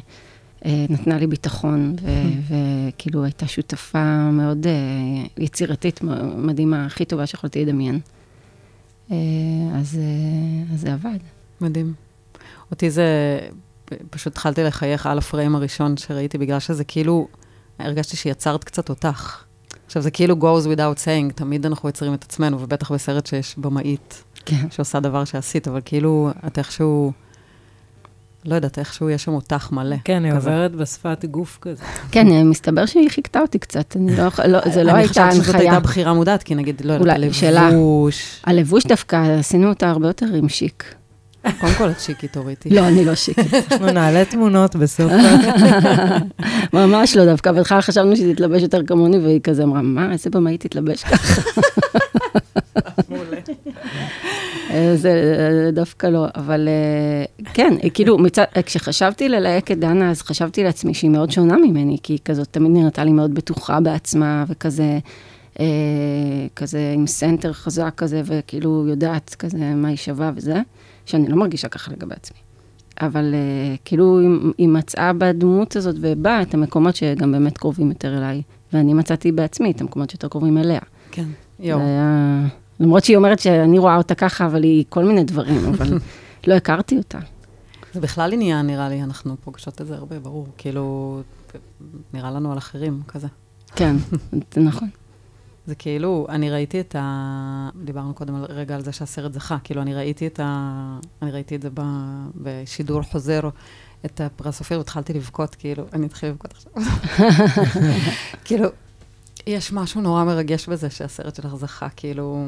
Speaker 3: אה, נתנה לי ביטחון, ו- וכאילו הייתה שותפה מאוד אה, יצירתית, מ- מדהימה, הכי טובה שיכולתי לדמיין. אה, אז, אה, אז זה עבד.
Speaker 1: מדהים. אותי זה, פשוט התחלתי לחייך על הפריים הראשון שראיתי, בגלל שזה כאילו, הרגשתי שיצרת קצת אותך. עכשיו, זה כאילו goes without saying, תמיד אנחנו יוצרים את עצמנו, ובטח בסרט שיש במאית
Speaker 3: כן.
Speaker 1: שעושה דבר שעשית, אבל כאילו, את איכשהו, לא יודעת, איכשהו יש שם אותך מלא.
Speaker 2: כן, היא
Speaker 1: כזה.
Speaker 2: עוברת בשפת גוף כזה.
Speaker 3: כן, אה, מסתבר שהיא חיכתה אותי קצת, אני לא, יכול- לא, זה לא
Speaker 1: אני
Speaker 3: הייתה
Speaker 1: חושבת שזאת
Speaker 3: הנחיה.
Speaker 1: הייתה בחירה מודעת, כי נגיד, לא יודעת,
Speaker 3: אולי, שאלה.
Speaker 1: הלבוש.
Speaker 3: הלבוש דווקא, עשינו אותה הרבה יותר עם שיק.
Speaker 1: קודם כל, את שיקית אוריתי.
Speaker 3: לא, אני לא שיק.
Speaker 2: אנחנו נעלה תמונות בסוף.
Speaker 3: ממש לא דווקא, בהתחלה חשבנו שהיא תתלבש יותר כמוני, והיא כזה אמרה, מה, איזה במאי תתלבש ככה? אה, זה אה, דווקא לא, אבל אה, כן, אה, כאילו, מצד, אה, כשחשבתי ללהק את דנה, אז חשבתי לעצמי שהיא מאוד שונה ממני, כי היא כזאת תמיד נראתה לי מאוד בטוחה בעצמה, וכזה, אה, כזה עם סנטר חזק כזה, וכאילו יודעת כזה מה היא שווה וזה, שאני לא מרגישה ככה לגבי עצמי. אבל אה, כאילו היא, היא מצאה בדמות הזאת ובאה את המקומות שגם באמת קרובים יותר אליי, ואני מצאתי בעצמי את המקומות שיותר קרובים אליה.
Speaker 1: כן.
Speaker 3: זה
Speaker 1: יואו.
Speaker 3: היה... למרות שהיא אומרת שאני רואה אותה ככה, אבל היא כל מיני דברים, אבל לא הכרתי אותה.
Speaker 1: זה בכלל עניין, נראה לי, אנחנו פוגשות את זה הרבה, ברור. כאילו, נראה לנו על אחרים, כזה.
Speaker 3: כן, זה נכון.
Speaker 1: זה כאילו, אני ראיתי את ה... דיברנו קודם על- רגע על זה שהסרט זכה. כאילו, אני ראיתי את ה... אני ראיתי את זה ב... בשידור חוזר, את הפרס אופיר, והתחלתי לבכות, כאילו, אני אתחיל לבכות עכשיו. כאילו, יש משהו נורא מרגש בזה שהסרט שלך זכה, כאילו...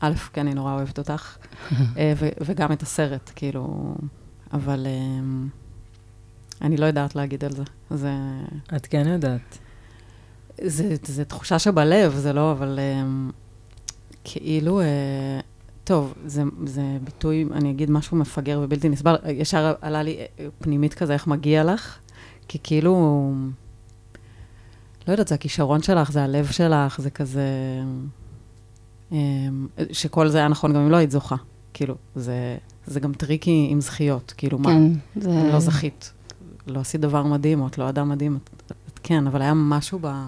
Speaker 1: א', כי אני נורא אוהבת אותך, אה, ו- וגם את הסרט, כאילו... אבל אמ, אני לא יודעת להגיד על זה. זה...
Speaker 2: את כן יודעת.
Speaker 1: זה, זה תחושה שבלב, זה לא, אבל um, כאילו, uh, טוב, זה, זה ביטוי, אני אגיד משהו מפגר ובלתי נסבל, ישר עלה לי אה, פנימית כזה, איך מגיע לך? כי כאילו, לא יודעת, זה הכישרון שלך, זה הלב שלך, זה כזה... Um, שכל זה היה נכון גם אם לא היית זוכה. כאילו, זה, זה גם טריקי עם זכיות, כאילו, מה?
Speaker 3: כן, זה...
Speaker 1: לא זכית. לא עשית דבר מדהים, או את לא אדם מדהים, את, את כן, אבל היה משהו ב...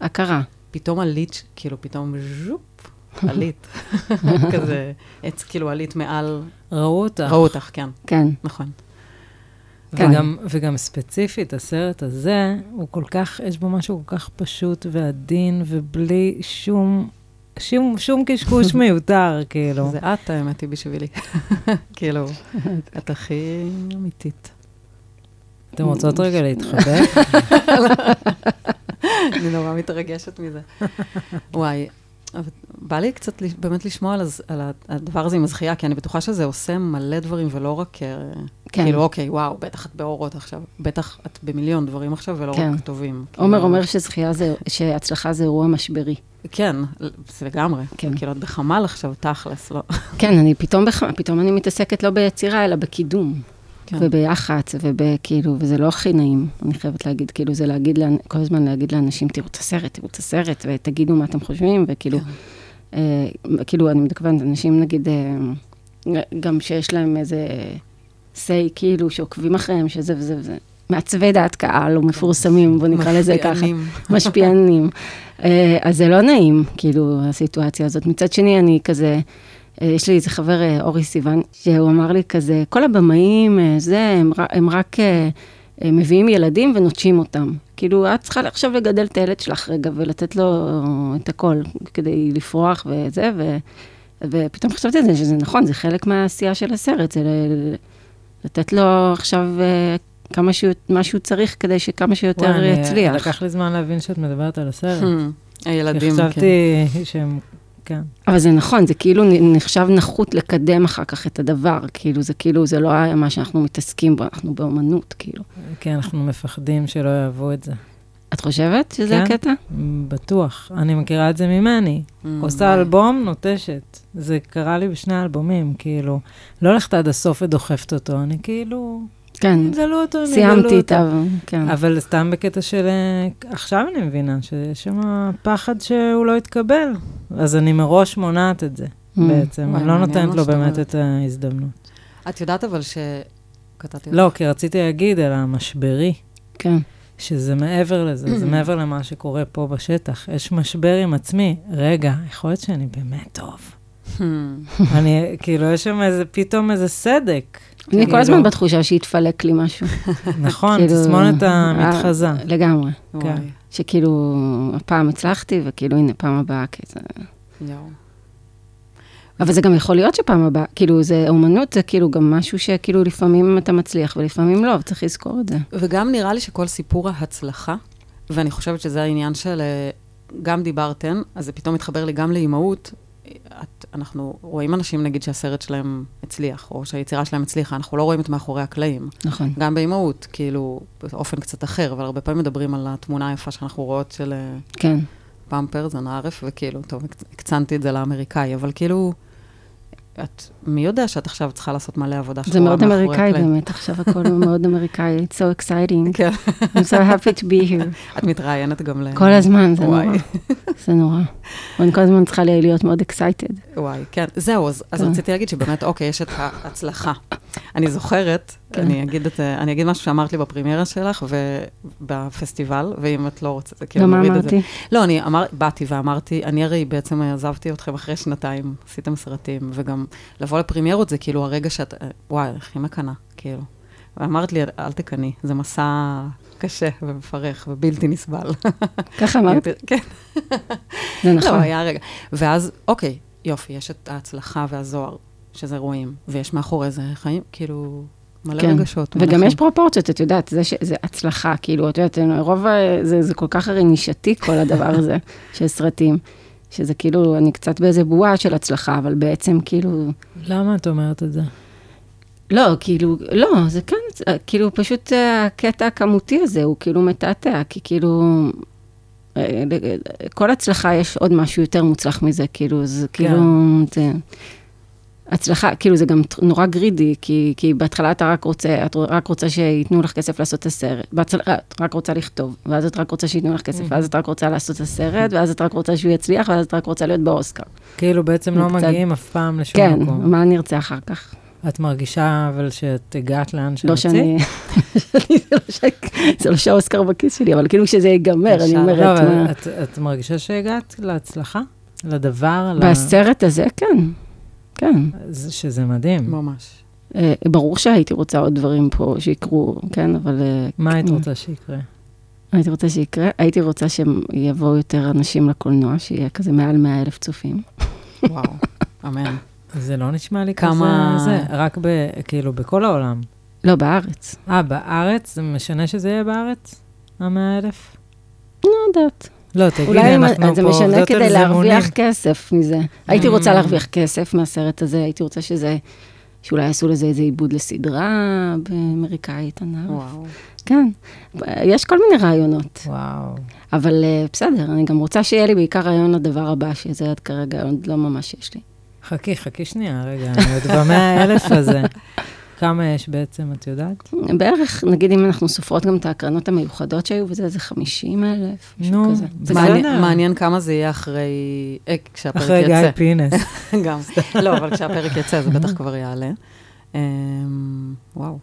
Speaker 3: הכרה.
Speaker 1: פתאום עלית, כאילו, פתאום ז'ופ, עלית. כזה, עץ, כאילו, עלית מעל...
Speaker 2: ראו אותך.
Speaker 1: ראו אותך, כן,
Speaker 3: כן,
Speaker 1: נכון.
Speaker 3: כן.
Speaker 2: וגם, וגם ספציפית, הסרט הזה, הוא כל כך, יש בו משהו כל כך פשוט ועדין, ובלי שום, שום, שום קשקוש מיותר,
Speaker 3: לא.
Speaker 2: כאילו.
Speaker 1: זה את, האמת היא בשבילי. כאילו, את הכי אמיתית.
Speaker 2: אתם רוצות רגע להתחבק?
Speaker 1: אני נורא מתרגשת מזה. וואי, אבל בא לי קצת לש- באמת לשמוע על הז- על הדבר הזה עם הזכייה, כי אני בטוחה שזה עושה מלא דברים, ולא רק... אה,
Speaker 3: כן.
Speaker 1: כאילו, אוקיי, וואו, בטח את באורות עכשיו, בטח את במיליון דברים עכשיו, ולא
Speaker 3: כן.
Speaker 1: רק טובים.
Speaker 3: עומר
Speaker 1: כאילו-
Speaker 3: אומר שזכייה זה, שהצלחה זה אירוע משברי.
Speaker 1: כן, זה לגמרי.
Speaker 3: כן.
Speaker 1: כאילו, את בחמ"ל עכשיו, תכלס, לא.
Speaker 3: כן, אני פתאום, בח... פתאום אני מתעסקת לא ביצירה, אלא בקידום. כן. וביח"צ, ובכאילו, וזה לא הכי נעים, אני חייבת להגיד, כאילו, זה להגיד, לאנ- כל הזמן להגיד לאנשים, תראו את הסרט, תראו את הסרט, ותגידו מה אתם חושבים,
Speaker 2: כאילו,
Speaker 1: כן.
Speaker 3: וכאילו, אה, כאילו, אני מתכוונת, אנשים, נגיד, אה, גם שיש להם איזה say, כאילו, שעוקבים אחריהם, שזה וזה וזה, מעצבי דעת קהל, או מפורסמים, בוא נקרא לזה ככה.
Speaker 1: משפיענים.
Speaker 3: משפיענים. אה, אז זה לא נעים, כאילו, הסיטואציה הזאת. מצד שני, אני כזה, אה, יש לי איזה חבר, אה, אורי סיוון, שהוא אמר לי כזה, כל הבמאים, אה, זה, הם, ר- הם רק אה, אה, מביאים ילדים ונוטשים אותם. כאילו, את צריכה עכשיו לגדל את הילד שלך רגע ולתת לו את הכל כדי לפרוח וזה, ו... ופתאום חשבתי על זה, שזה נכון, זה חלק מהעשייה של הסרט, זה ל- לתת לו עכשיו אה, כמה שהוא, מה שהוא צריך כדי שכמה שיותר
Speaker 2: וואי, אני-
Speaker 3: יצליח.
Speaker 2: לקח לי זמן להבין שאת מדברת על הסרט. כי
Speaker 1: הילדים, כן.
Speaker 2: חשבתי שהם, כן.
Speaker 3: אבל זה נכון, זה כאילו נ- נחשב נחות לקדם אחר כך את הדבר, כאילו, זה כאילו, זה לא היה מה שאנחנו מתעסקים בו, אנחנו באומנות, כאילו.
Speaker 2: כי כן, אנחנו מפחדים שלא יאהבו את זה.
Speaker 3: את חושבת שזה
Speaker 2: כן.
Speaker 3: הקטע?
Speaker 2: בטוח. אני מכירה את זה ממני.
Speaker 1: כן. Hmm.
Speaker 2: עושה אלבום, נוטשת. זה קרה לי בשני אלבומים, כאילו. לא הולכת עד הסוף ודוחפת אותו, אני כאילו...
Speaker 3: כן,
Speaker 2: יגלו אותו, הם יגלו
Speaker 3: סיימתי את
Speaker 2: אותו.
Speaker 3: ה... כן.
Speaker 2: אבל סתם בקטע של... אה, עכשיו אני מבינה שיש שם פחד שהוא לא יתקבל. אז אני מראש מונעת את זה,
Speaker 3: Mm.
Speaker 2: בעצם.
Speaker 1: וואי,
Speaker 2: אני לא
Speaker 1: מעניין
Speaker 2: נותנת
Speaker 1: מה
Speaker 2: לו
Speaker 1: שאת
Speaker 2: באמת
Speaker 1: אומרת.
Speaker 2: את ההזדמנות.
Speaker 1: את יודעת אבל ש... קטעתי אותך.
Speaker 2: לא, כי רציתי להגיד על המשברי.
Speaker 3: כן,
Speaker 2: שזה מעבר לזה, זה מעבר למה שקורה פה בשטח. יש משבר עם עצמי. רגע, יכול להיות שאני באמת טוב.
Speaker 1: Hmm.
Speaker 2: אני, כאילו, יש שם איזה, פתאום איזה סדק.
Speaker 3: אני לא- כל
Speaker 2: כאילו,
Speaker 3: הזמן בתחושה שהתפלק לי משהו.
Speaker 2: נכון,
Speaker 3: כאילו,
Speaker 2: תסמונת
Speaker 3: אה,
Speaker 2: המתחזה.
Speaker 3: לגמרי.
Speaker 1: וואי,
Speaker 2: כן.
Speaker 3: שכאילו, הפעם הצלחתי, וכאילו, הנה, פעם הבאה. כזה.
Speaker 1: יואו.
Speaker 3: אבל זה גם יכול להיות שפעם הבאה, כאילו, זה אומנות, זה כאילו גם משהו שכאילו לפעמים אתה מצליח ולפעמים לא, וצריך לזכור את זה.
Speaker 1: וגם נראה לי שכל סיפור ההצלחה, ואני חושבת שזה העניין של, אה, גם דיברתן, אז זה פתאום מתחבר לי גם לאימהות. את, אנחנו רואים אנשים, נגיד, שהסרט שלהם הצליח, או שהיצירה שלהם הצליחה, אנחנו לא רואים את מאחורי הקלעים.
Speaker 3: נכון.
Speaker 1: גם באימהות, כאילו, באופן קצת אחר, אבל הרבה פעמים מדברים על התמונה היפה שאנחנו רואות של אה,
Speaker 3: כן.
Speaker 1: פמפרס, הנערף, וכאילו, טוב, הקצ- הקצנתי את זה לאמריקאי, אבל כאילו, את, מי יודע שאת עכשיו צריכה לעשות מלא עבודה
Speaker 3: זה
Speaker 1: שחורה
Speaker 3: מאוד
Speaker 1: מאחורי
Speaker 3: אמריקאי
Speaker 1: הקלעים.
Speaker 3: באמת, עכשיו הכל מאוד אמריקאי. It's so exciting.
Speaker 1: כן,
Speaker 3: I'm so happy to be here.
Speaker 1: את מתראיינת גם ל...
Speaker 3: כל הזמן, זה נורא.
Speaker 1: וואי.
Speaker 3: זה נורא. אני כל הזמן צריכה להיות מאוד excited.
Speaker 1: וואי, כן. זהו, אז, אז
Speaker 3: כן.
Speaker 1: רציתי להגיד שבאמת, אוקיי, יש את ההצלחה. אני זוכרת,
Speaker 3: כן.
Speaker 1: אני, אגיד את, אני אגיד משהו שאמרת לי בפרימיירה שלך ובפסטיבל, ואם את לא רוצה, זה כאילו
Speaker 3: לא, מה
Speaker 1: נוריד את זה.
Speaker 3: אמרתי?
Speaker 1: לא, אני אמר, באתי ואמרתי, אני הרי בעצם עזבתי אתכם אחרי שנתיים, עשיתם סרטים, וגם לבוא לפרימיירות זה כאילו הרגע שאת, וואי, הכי מקנאה, כאילו. ואמרת לי, אל תקנאי, זה מסע קשה ומפרך ובלתי נסבל.
Speaker 3: ככה אמרת?
Speaker 1: כן,
Speaker 3: זה נכון.
Speaker 1: לא, היה רגע. ואז, אוקיי, יופי, יש את ההצלחה והזוהר, שזה רואים, ויש מאחורי זה חיים, כאילו, מלא
Speaker 3: כן.
Speaker 1: רגשות.
Speaker 3: וגם
Speaker 1: מנחים.
Speaker 3: יש פרופורציות, את יודעת, זה, ש... זה הצלחה, כאילו, את יודעת, רוב, ה- זה, זה כל כך הרי נישתי, כל הדבר הזה, של סרטים, שזה כאילו, אני קצת באיזה בועה של הצלחה, אבל בעצם כאילו,
Speaker 2: למה את אומרת את זה?
Speaker 3: לא, כאילו, לא, זה כן, זה- כאילו, פשוט אה, הקטע הכמותי הזה, הוא כאילו מתעתע, כי כאילו, אה, ל- כל הצלחה יש עוד משהו יותר מוצלח מזה, כאילו, זה
Speaker 2: כן.
Speaker 3: כאילו, זה... הצלחה, כאילו זה גם ת- נורא גרידי, כי, כי בהתחלה אתה רק רוצה, את רק רוצה שייתנו לך כסף לעשות את הסרט, בהתחלה אה, את רק רוצה לכתוב, ואז את רק רוצה שייתנו לך
Speaker 2: כן.
Speaker 3: כסף, ואז את רק רוצה לעשות את הסרט, ואז את רק רוצה שהוא יצליח, ואז את רק רוצה להיות באוסקר.
Speaker 2: כאילו, בעצם לא
Speaker 3: קצת-
Speaker 2: מגיעים אף פעם לשום
Speaker 3: כן,
Speaker 2: מקום.
Speaker 3: מה אני ארצה אחר כך?
Speaker 2: את מרגישה אבל שאת הגעת לאן שרצית?
Speaker 3: לא שאני, שאני- זה לא ש- זה לא שהאוסקר בכיס שלי, אבל כאילו כשזה ייגמר, אני
Speaker 1: ישר.
Speaker 3: אומרת,
Speaker 2: לא, אבל
Speaker 3: מה-
Speaker 2: את- את מרגישה שהגעת להצלחה? לדבר? ל-
Speaker 3: בסרט הזה, כן, כן.
Speaker 2: זה- שזה מדהים.
Speaker 1: ממש.
Speaker 3: אה, ברור שהייתי רוצה עוד דברים פה שיקרו, כן, אבל אה,
Speaker 2: מה היית
Speaker 3: כן.
Speaker 2: רוצה שיקרה?
Speaker 3: הייתי רוצה שיקרה, הייתי רוצה שיבואו יותר אנשים לקולנוע, שיהיה כזה מעל 100 אלף צופים.
Speaker 1: וואו, אמן.
Speaker 2: זה לא נשמע לי
Speaker 1: כמה-
Speaker 2: כזה, זה, רק ב, כאילו בכל העולם.
Speaker 3: לא, בארץ.
Speaker 2: אה, בארץ? זה משנה שזה יהיה בארץ? המאה אלף?
Speaker 3: לא יודעת.
Speaker 2: לא, תגידי,
Speaker 3: אולי אם-
Speaker 2: אנחנו פה
Speaker 3: זה משנה
Speaker 2: עובדות על
Speaker 3: כדי
Speaker 2: זה Mm. מונים.
Speaker 3: להרוויח כסף מזה. הייתי רוצה להרוויח כסף מהסרט הזה, הייתי רוצה שזה, שאולי יעשו לזה איזה עיבוד לסדרה באמריקאית, ענף.
Speaker 1: וואו.
Speaker 3: כן, יש כל מיני רעיונות,
Speaker 2: וואו.
Speaker 3: אבל אה, בסדר, אני גם רוצה שיהיה לי בעיקר רעיון לדבר הבא, שזה עד כרגע עוד לא ממש יש לי.
Speaker 2: חכי, חכי שנייה, רגע, אני עוד במאה אלף הזה. כמה יש בעצם, את יודעת?
Speaker 3: בערך, נגיד אם אנחנו סופרות גם את ההקרנות המיוחדות שהיו וזה, איזה 50 אלף, משהו
Speaker 2: נו,
Speaker 3: כזה.
Speaker 2: זה
Speaker 1: מעניין-
Speaker 2: בסדר.
Speaker 1: מעניין כמה זה יהיה אחרי, אה, כשהפרק יצא.
Speaker 2: אחרי גיא פינס.
Speaker 1: גם. לא, אבל כשהפרק יצא זה בטח כבר יעלה. אמ, וואו.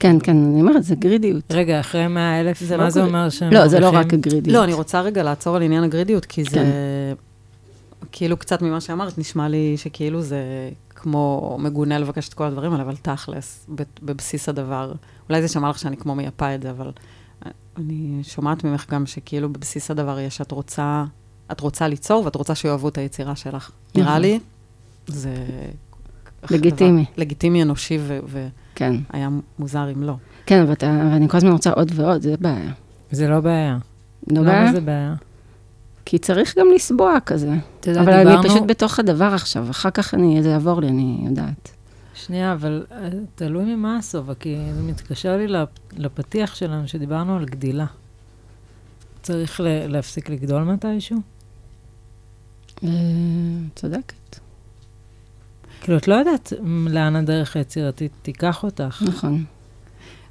Speaker 3: כן, כן, אני אומרת, זה גרידיות.
Speaker 2: רגע, אחרי מאה אלף,
Speaker 1: זה לא
Speaker 2: מה זה
Speaker 1: כזה-
Speaker 2: אומר שהם
Speaker 3: לא, זה לא רק
Speaker 2: מרוויחים?
Speaker 3: הגרידיות.
Speaker 1: לא, אני רוצה רגע לעצור על עניין הגרידיות, כי זה...
Speaker 3: כן.
Speaker 1: כאילו קצת ממה שאמרת, נשמע לי שכאילו זה כמו מגונה לבקש את כל הדברים האלה, אבל תכלס, ב- בבסיס הדבר. אולי זה שמע לך שאני כמו מייפה את זה, אבל אני שומעת ממך גם שכאילו בבסיס הדבר יש שאת רוצה, את רוצה ליצור ואת רוצה שיאהבו את היצירה שלך. נראה לי, זה...
Speaker 3: נכון. לגיטימי.
Speaker 1: דבר- לגיטימי אנושי, ו-
Speaker 3: כן,
Speaker 1: והיה מוזר אם לא.
Speaker 3: כן, אבל אתה- אבל אני כל הזמן רוצה עוד ועוד, זה בעיה.
Speaker 2: זה לא בעיה.
Speaker 3: לא בעיה?
Speaker 2: למה זה בעיה?
Speaker 3: כי צריך גם לסבוע כזה.
Speaker 2: אתה יודע,
Speaker 3: אבל אני
Speaker 2: לא, דיברנו-
Speaker 3: פשוט בתוך הדבר עכשיו, אחר כך אני- זה יעבור לי, אני יודעת.
Speaker 2: שנייה, אבל אה, תלוי ממה הסובה, כי זה מתקשר לי לפ- לפתיח שלנו, שדיברנו על גדילה. צריך ל- להפסיק לגדול מתישהו?
Speaker 3: אה, צודקת.
Speaker 2: כאילו, את לא יודעת מ, לאן הדרך היצירתית תיקח אותך.
Speaker 3: נכון.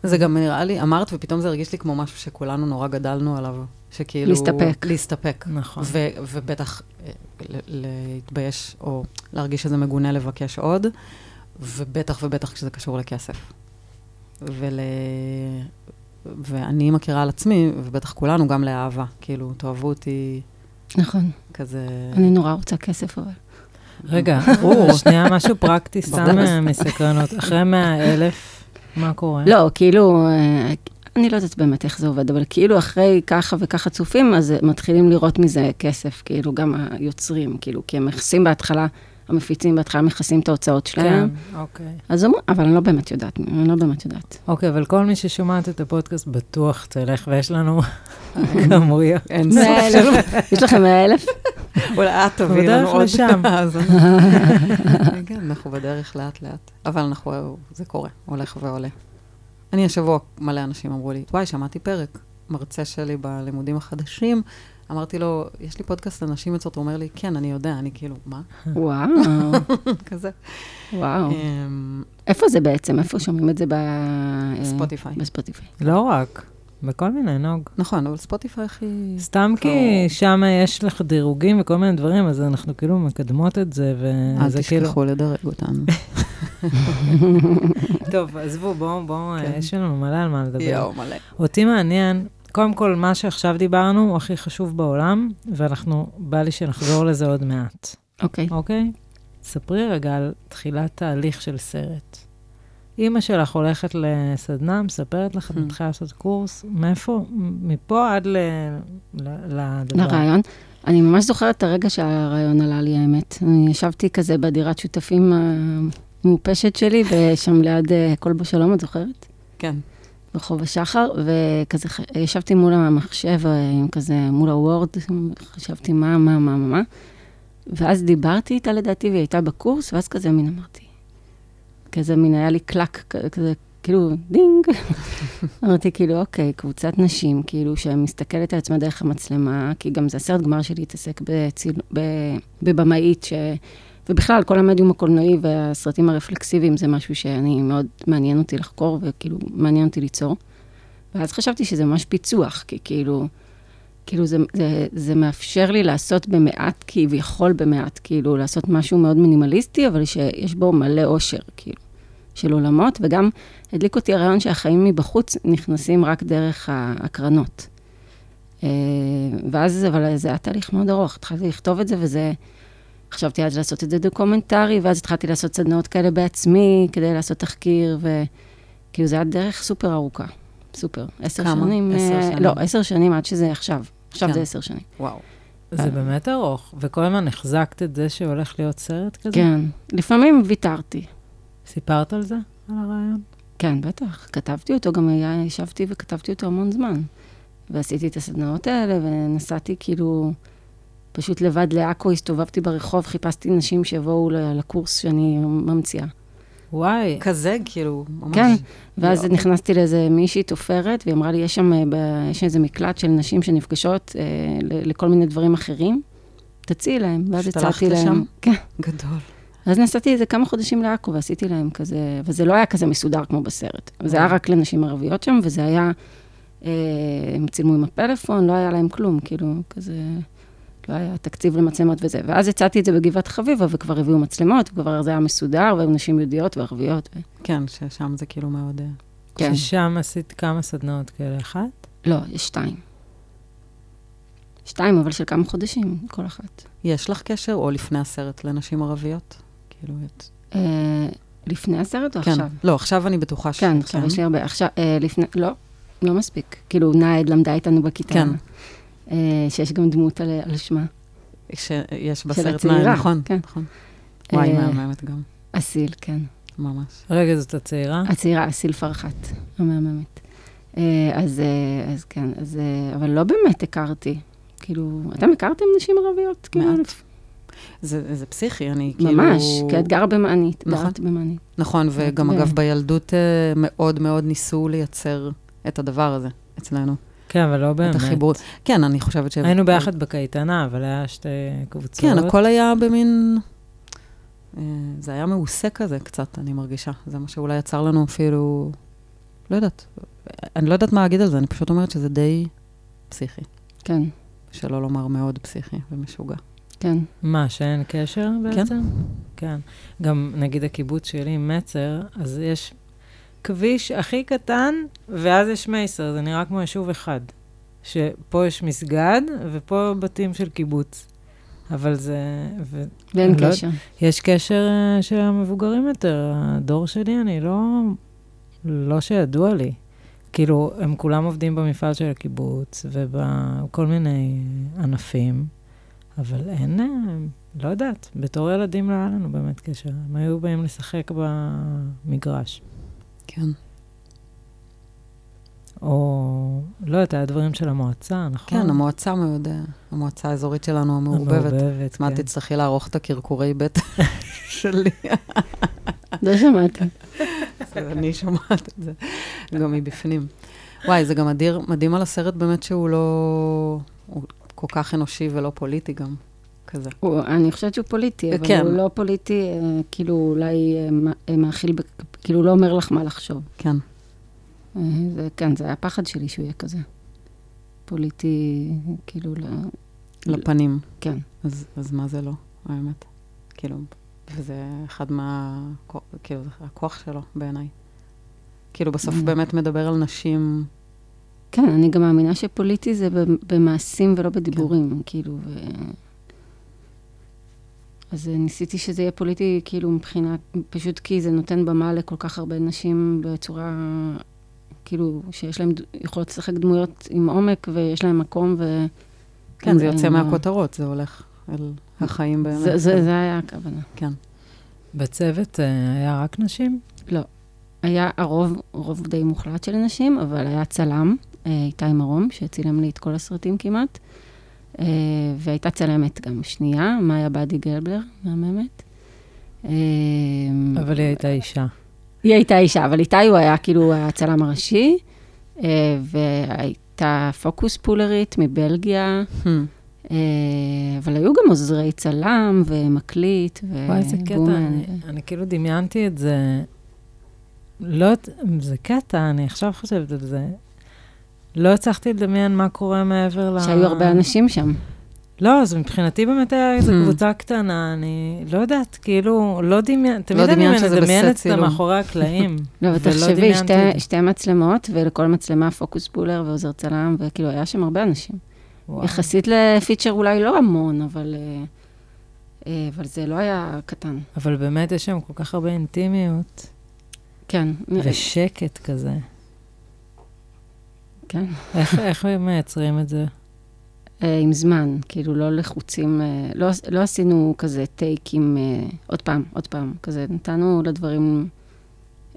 Speaker 1: זה גם נראה לי, אמרת, ופתאום זה הרגיש לי כמו משהו שכולנו נורא גדלנו עליו. שכאילו...
Speaker 3: להסתפק.
Speaker 1: להסתפק.
Speaker 2: נכון.
Speaker 1: ו- ובטח אה, ל- להתבייש או להרגיש שזה מגונה לבקש עוד, ובטח ובטח כשזה קשור לכסף. ול... ואני מכירה על עצמי, ובטח כולנו, גם לאהבה. כאילו, תאהבו אותי
Speaker 3: נכון.
Speaker 1: כזה...
Speaker 3: אני נורא רוצה כסף, אבל.
Speaker 2: רגע, ברור, שנייה, משהו פרקטי, סתם אה, מסקרנות. אחרי 100 אלף, מה קורה?
Speaker 3: לא, כאילו, אה, אני לא יודעת באמת איך זה עובד, אבל כאילו אחרי ככה וככה צופים, אז מתחילים לראות מזה כסף, כאילו גם היוצרים, כאילו, כי הם מכסים בהתחלה, המפיצים בהתחלה מכסים את ההוצאות
Speaker 2: כן,
Speaker 3: שלהם.
Speaker 1: אה?
Speaker 2: אוקיי.
Speaker 3: אז אמרו, אבל אני לא באמת יודעת, אני לא באמת יודעת.
Speaker 2: אוקיי, אבל כל מי ששומעת את הפודקאסט בטוח תלך, ויש לנו
Speaker 1: אה.
Speaker 2: כמויות.
Speaker 1: אין
Speaker 3: מאה אלף. יש לכם מאה אלף?
Speaker 1: אולי את תביאי
Speaker 2: בדרך
Speaker 1: לנו עוד
Speaker 2: לשם.
Speaker 1: האזנה. כן, אנחנו בדרך לאט-לאט, אבל אנחנו, זה קורה, הולך ועולה. אני השבוע, מלא אנשים אמרו לי, וואי, שמעתי פרק, מרצה שלי בלימודים החדשים. אמרתי לו, יש לי פודקאסט לנשים יוצאות, הוא אומר לי, כן, אני יודע, אני כאילו, מה?
Speaker 3: וואו,
Speaker 1: כזה.
Speaker 3: וואו.
Speaker 1: אמ,
Speaker 3: איפה זה בעצם? איפה שומעים את זה? ב... אה,
Speaker 1: ספוטיפיי.
Speaker 3: בספוטיפיי.
Speaker 2: לא רק, בכל מיני, נוג.
Speaker 1: נכון, אבל ספוטיפיי הכי...
Speaker 2: סתם כי
Speaker 1: ברור.
Speaker 2: שם יש לך דירוגים וכל מיני דברים, אז אנחנו כאילו מקדמות את זה,
Speaker 1: אל
Speaker 2: וזה כאילו...
Speaker 1: תשכחו לדרג אותנו.
Speaker 2: טוב, עזבו, בואו, בואו, אה,
Speaker 1: כן.
Speaker 2: יש לנו מלא על מה לדבר.
Speaker 1: יואו, מלא.
Speaker 2: אותי מעניין, קודם כל, מה שעכשיו דיברנו הוא הכי חשוב בעולם, ואנחנו, בא לי שנחזור לזה עוד מעט,
Speaker 3: אוקיי.
Speaker 2: אוקיי? ספרי רגע על תחילת תהליך של סרט. אימא שלך הולכת לסדנה, מספרת לך, את
Speaker 1: Hmm.
Speaker 2: מתחילה לעשות קורס, מאיפה? מפה עד ל... ל- לדבר.
Speaker 3: לרעיון. אני ממש זוכרת את הרגע שהרעיון עלה לי, האמת. אני ישבתי כזה בדירת שותפים המעופשת שלי, ושם ליד אה, כלבו שלום, את זוכרת?
Speaker 1: כן.
Speaker 3: ברחוב השחר, וכזה ח- ישבתי מול המחשב, אה, עם כזה, מול הוורד, חשבתי מה, מה, מה, מה, מה. ואז דיברתי איתה לדעתי, והיא הייתה בקורס, ואז כזה מין אמרתי, כזה מין היה לי קלק, כ- כזה, כאילו, דינג. אמרתי, כאילו, אוקיי, קבוצת נשים, כאילו, שמסתכלת על עצמה דרך המצלמה, כי גם זה הסרט גמר שלי התעסק בציל... ב... בבמאית, ש... ובכלל, כל המדיום הקולנועי והסרטים הרפלקסיביים זה משהו שאני מאוד מעניין אותי לחקור, וכאילו, מעניין אותי ליצור. ואז חשבתי שזה ממש פיצוח, כי כאילו, כאילו זה, זה, זה מאפשר לי לעשות במעט, כביכול במעט, כאילו, לעשות משהו מאוד מינימליסטי, אבל שיש בו מלא אושר, כאילו, של עולמות, וגם הדליק אותי הרעיון שהחיים מבחוץ נכנסים רק דרך ההקרנות. אה, ואז, אבל זה היה תהליך מאוד ארוך, התחלתי לכתוב את זה, וזה... חשבתי אז לעשות את זה דוקומנטרי, ואז התחלתי לעשות סדנאות כאלה בעצמי, כדי לעשות תחקיר, וכאילו זה היה דרך סופר ארוכה, סופר. עשר
Speaker 1: כמה?
Speaker 3: שנים?
Speaker 1: עשר
Speaker 3: אה,
Speaker 1: שנים.
Speaker 3: לא, עשר שנים עד שזה עכשיו. עכשיו
Speaker 1: כן.
Speaker 3: זה עשר שנים.
Speaker 1: וואו.
Speaker 2: זה באמת ארוך, וכל הזמן החזקת את זה שהולך להיות סרט כזה?
Speaker 3: כן. לפעמים ויתרתי.
Speaker 2: סיפרת על זה? על הרעיון?
Speaker 3: כן, בטח. כתבתי אותו, גם היה, ישבתי וכתבתי אותו המון זמן. ועשיתי את הסדנאות האלה, ונסעתי כאילו פשוט לבד לעכו, הסתובבתי ברחוב, חיפשתי נשים שיבואו ל- לקורס שאני ממציאה.
Speaker 2: וואי,
Speaker 1: כזה, כאילו, ממש...
Speaker 3: כן, ואז
Speaker 1: יואו.
Speaker 3: נכנסתי לאיזה מישהי תופרת, והיא אמרה לי, יש שם, אה, ב- יש איזה מקלט של נשים שנפגשות אה, ל- לכל מיני דברים אחרים, תציעי להם. ואז
Speaker 1: פשוט הלכת
Speaker 3: הצעתי להם.
Speaker 1: לשם?
Speaker 3: כן.
Speaker 1: גדול.
Speaker 3: אז נסעתי איזה כמה חודשים לעכו ועשיתי להם כזה, וזה לא היה כזה מסודר כמו בסרט. זה היה רק לנשים ערביות שם, וזה היה, אה, הם צילמו עם הפלאפון, לא היה להם כלום, כאילו, כזה, לא היה תקציב למצלמות וזה. ואז הצעתי את זה בגבעת חביבה, וכבר הביאו מצלמות, וכבר זה היה מסודר, והיו נשים יהודיות וערביות. ו...
Speaker 1: כן, ששם זה כאילו מאוד... אה,
Speaker 3: כן.
Speaker 2: ששם עשית כמה סדנאות כאלה, אחת?
Speaker 3: לא, יש שתיים. שתיים, אבל של כמה חודשים, כל אחת.
Speaker 1: יש לך קשר, או לפני הסרט, לנשים ערביות? כאילו, את...
Speaker 3: אה, לפני הסרט או
Speaker 1: כן.
Speaker 3: עכשיו?
Speaker 1: לא, עכשיו אני בטוחה ש...
Speaker 3: כן, עכשיו יש לי הרבה. עכשיו, אה, לפני, לא, לא מספיק. כאילו, נאיד למדה איתנו בכיתה.
Speaker 1: כן.
Speaker 3: אה, שיש גם דמות על, על שמה.
Speaker 1: שיש
Speaker 3: של
Speaker 1: בסרט
Speaker 3: הצעירה,
Speaker 1: נעים, נכון,
Speaker 3: כן.
Speaker 1: נכון. וואי,
Speaker 3: אה,
Speaker 1: מהממת גם,
Speaker 3: אסיל, כן.
Speaker 1: ממש.
Speaker 2: רגע, זאת הצעירה?
Speaker 1: אה.
Speaker 3: הצעירה, אסיל פרחת, המהממת. אה, אז, אה, אז כן, אז... אה, אבל לא באמת הכרתי. כאילו, אתם הכרתם נשים ערביות? כאילו,
Speaker 1: מעט.
Speaker 3: לפ-
Speaker 1: זה זה פסיכי, אני כאילו...
Speaker 3: ממש, כי את כן. גרה במענית,
Speaker 1: נכון.
Speaker 3: גרת במענית.
Speaker 1: נכון, וגם
Speaker 3: ו-
Speaker 1: אגב, בילדות אה, מאוד מאוד ניסו לייצר את הדבר הזה אצלנו.
Speaker 2: כן, אבל לא באמת.
Speaker 1: את החיבור. כן, אני חושבת ש...
Speaker 2: היינו ביחד בקייטנה, אבל היה שתי קבוצות.
Speaker 1: כן, הכל היה במין... אה, זה היה מעושה כזה קצת, אני מרגישה. זה מה שאולי יצר לנו אפילו... לא יודעת. אני לא יודעת מה להגיד על זה, אני פשוט אומרת שזה די פסיכי.
Speaker 3: כן,
Speaker 1: שלא לומר מאוד פסיכי ומשוגע.
Speaker 3: כן.
Speaker 2: מה, שאין קשר בעצם? כן. גם נגיד הקיבוץ שלי עם מצר, אז יש כביש הכי קטן, ואז יש מייסר, זה נראה כמו יישוב אחד. שפה יש מסגד, ופה בתים של קיבוץ. אבל זה... ו...
Speaker 3: ואין
Speaker 2: אני לא-
Speaker 3: קשר.
Speaker 2: יש קשר אה, של המבוגרים יותר. הדור שלי, אני לא... לא שידוע לי. כאילו, הם כולם עובדים במפעל של הקיבוץ ובכל מיני ענפים, אבל אין, אה, לא יודעת, בתור ילדים לא היה לנו באמת קשר. הם היו באים לשחק במגרש,
Speaker 1: כן.
Speaker 2: או לא יודעת, היה דברים של המועצה, נכון?
Speaker 1: כן, המועצה מאוד, אה, המועצה האזורית שלנו המעורבבת.
Speaker 2: המעורבבת,
Speaker 1: מה,
Speaker 2: כן.
Speaker 1: תצטרכי לערוך את הקרקורי בטן שלי.
Speaker 3: לא שמעתי.
Speaker 1: אז אני שומעת את זה גם מבפנים. וואי, זה גם אדיר, מדהים על הסרט באמת שהוא לא... הוא כל כך אנושי ולא פוליטי גם, כזה.
Speaker 3: הוא- אני חושבת שהוא פוליטי, אבל
Speaker 1: כן.
Speaker 3: הוא לא פוליטי, אה, כאילו אולי אה, מה- אה, מאכיל, בק- כאילו הוא לא אומר לך מה לחשוב.
Speaker 1: כן.
Speaker 3: אה, זה, כן, זה היה הפחד שלי שהוא יהיה כזה. פוליטי, כאילו, לא,
Speaker 1: לפנים.
Speaker 3: כן.
Speaker 1: אז, אז מה זה לא, האמת? כאילו, וזה אחד מה... כאילו, זה הכוח שלו בעיניי. כאילו, בסוף
Speaker 3: Mm.
Speaker 1: באמת מדבר על נשים...
Speaker 3: כן, אני גם מאמינה שפוליטי זה ב- במעשים ולא בדיבורים, כן. כאילו, ו... אז אה, ניסיתי שזה יהיה פוליטי, כאילו, מבחינת, פשוט כי זה נותן במה לכל כך הרבה נשים בצורה, כאילו, שיש להן, ד- יכולות לשחק דמויות עם עומק ויש להן מקום, ו...
Speaker 1: כן, זה יוצא
Speaker 3: אה,
Speaker 1: מהכותרות, זה הולך אל החיים באמת.
Speaker 3: זה, זה, זה היה הכוונה.
Speaker 2: בצוות אה, היה רק נשים?
Speaker 3: היה הרוב, רוב די מוחלט של נשים, אבל היה צלם, אה, איתי מרום, שצילם לי את כל הסרטים כמעט, אה, והייתה צלמת גם שנייה, מאיה באדי גלבלר, מהממת. אה,
Speaker 2: אבל היא הייתה אישה.
Speaker 3: היא הייתה אישה, אבל איתי הוא היה כאילו הצלם הראשי, אה, והייתה פוקוס פולרית מבלגיה,
Speaker 1: Hmm.
Speaker 3: אה, אבל היו גם עוזרי צלם ומקליט
Speaker 1: אה,
Speaker 2: וואי, איזה קטע,
Speaker 3: ובומן.
Speaker 2: אני, אני כאילו דמיינתי את זה. לא, יודעת- זה קטע, אני עכשיו חושבת על זה. לא הצלחתי לדמיין מה קורה מעבר ל...
Speaker 3: שהיו הרבה אנשים שם.
Speaker 2: לא, אז מבחינתי באמת היה איזו
Speaker 1: Hmm.
Speaker 2: קבוצה קטנה, אני לא יודעת, כאילו, לא דמיין, תמיד
Speaker 1: לא
Speaker 2: אני
Speaker 1: דמיינת שזה
Speaker 2: מדמיינת את
Speaker 1: בסט כאילו.
Speaker 2: זה
Speaker 1: צילום.
Speaker 2: מאחורי הקלעים.
Speaker 3: לא,
Speaker 2: ולא
Speaker 3: ותחשבי,
Speaker 2: דמיינתי את
Speaker 3: שתי,
Speaker 2: זה.
Speaker 3: שתי מצלמות, ולכל מצלמה פוקוס בולר ועוזר צלם, וכאילו, היה שם הרבה אנשים.
Speaker 2: וואו.
Speaker 3: וואו. יחסית לפיצ'ר אולי לא המון, אבל, אה, אה, אבל זה לא היה קטן.
Speaker 2: אבל באמת יש שם כל כך הרבה אינטימיות
Speaker 3: כן, נראה-
Speaker 2: ושקט כזה.
Speaker 3: כן.
Speaker 2: איך- איך מייצרים את זה?
Speaker 3: אה, עם זמן, כאילו, לא לחוצים, אה, לא, לא עשינו כזה טייקים, אה, עוד פעם, עוד פעם, כזה, נתנו לדברים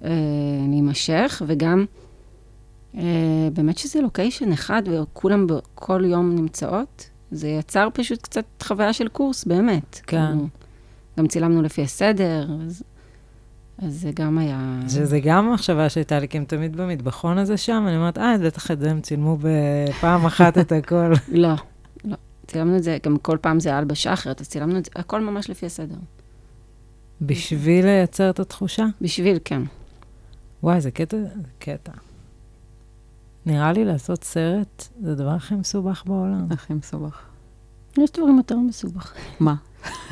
Speaker 3: אה, להימשך, וגם, אה, באמת שזה לוקיישן אחד, וכולם ב- כל יום נמצאות, זה יצר פשוט קצת חוויה של קורס, באמת.
Speaker 2: כן.
Speaker 3: כאילו, גם צילמנו לפי הסדר, אז, אז זה גם היה...
Speaker 2: שזה גם מחשבה שהייתה לי, כי הם תמיד במטבחון הזה שם, אני אומרת, אה, בטח את זה הם צילמו בפעם אחת את הכל.
Speaker 3: לא, לא. צילמנו את זה, גם כל פעם זה היה הלבשה אחרת, אז צילמנו את זה, הכל ממש לפי הסדר.
Speaker 2: בשביל לייצר את התחושה?
Speaker 3: בשביל, כן.
Speaker 2: וואי, זה קטע, זה קטע. נראה לי לעשות סרט, זה הדבר הכי מסובך בעולם.
Speaker 1: הכי מסובך.
Speaker 3: יש דברים יותר מסובך.
Speaker 1: מה?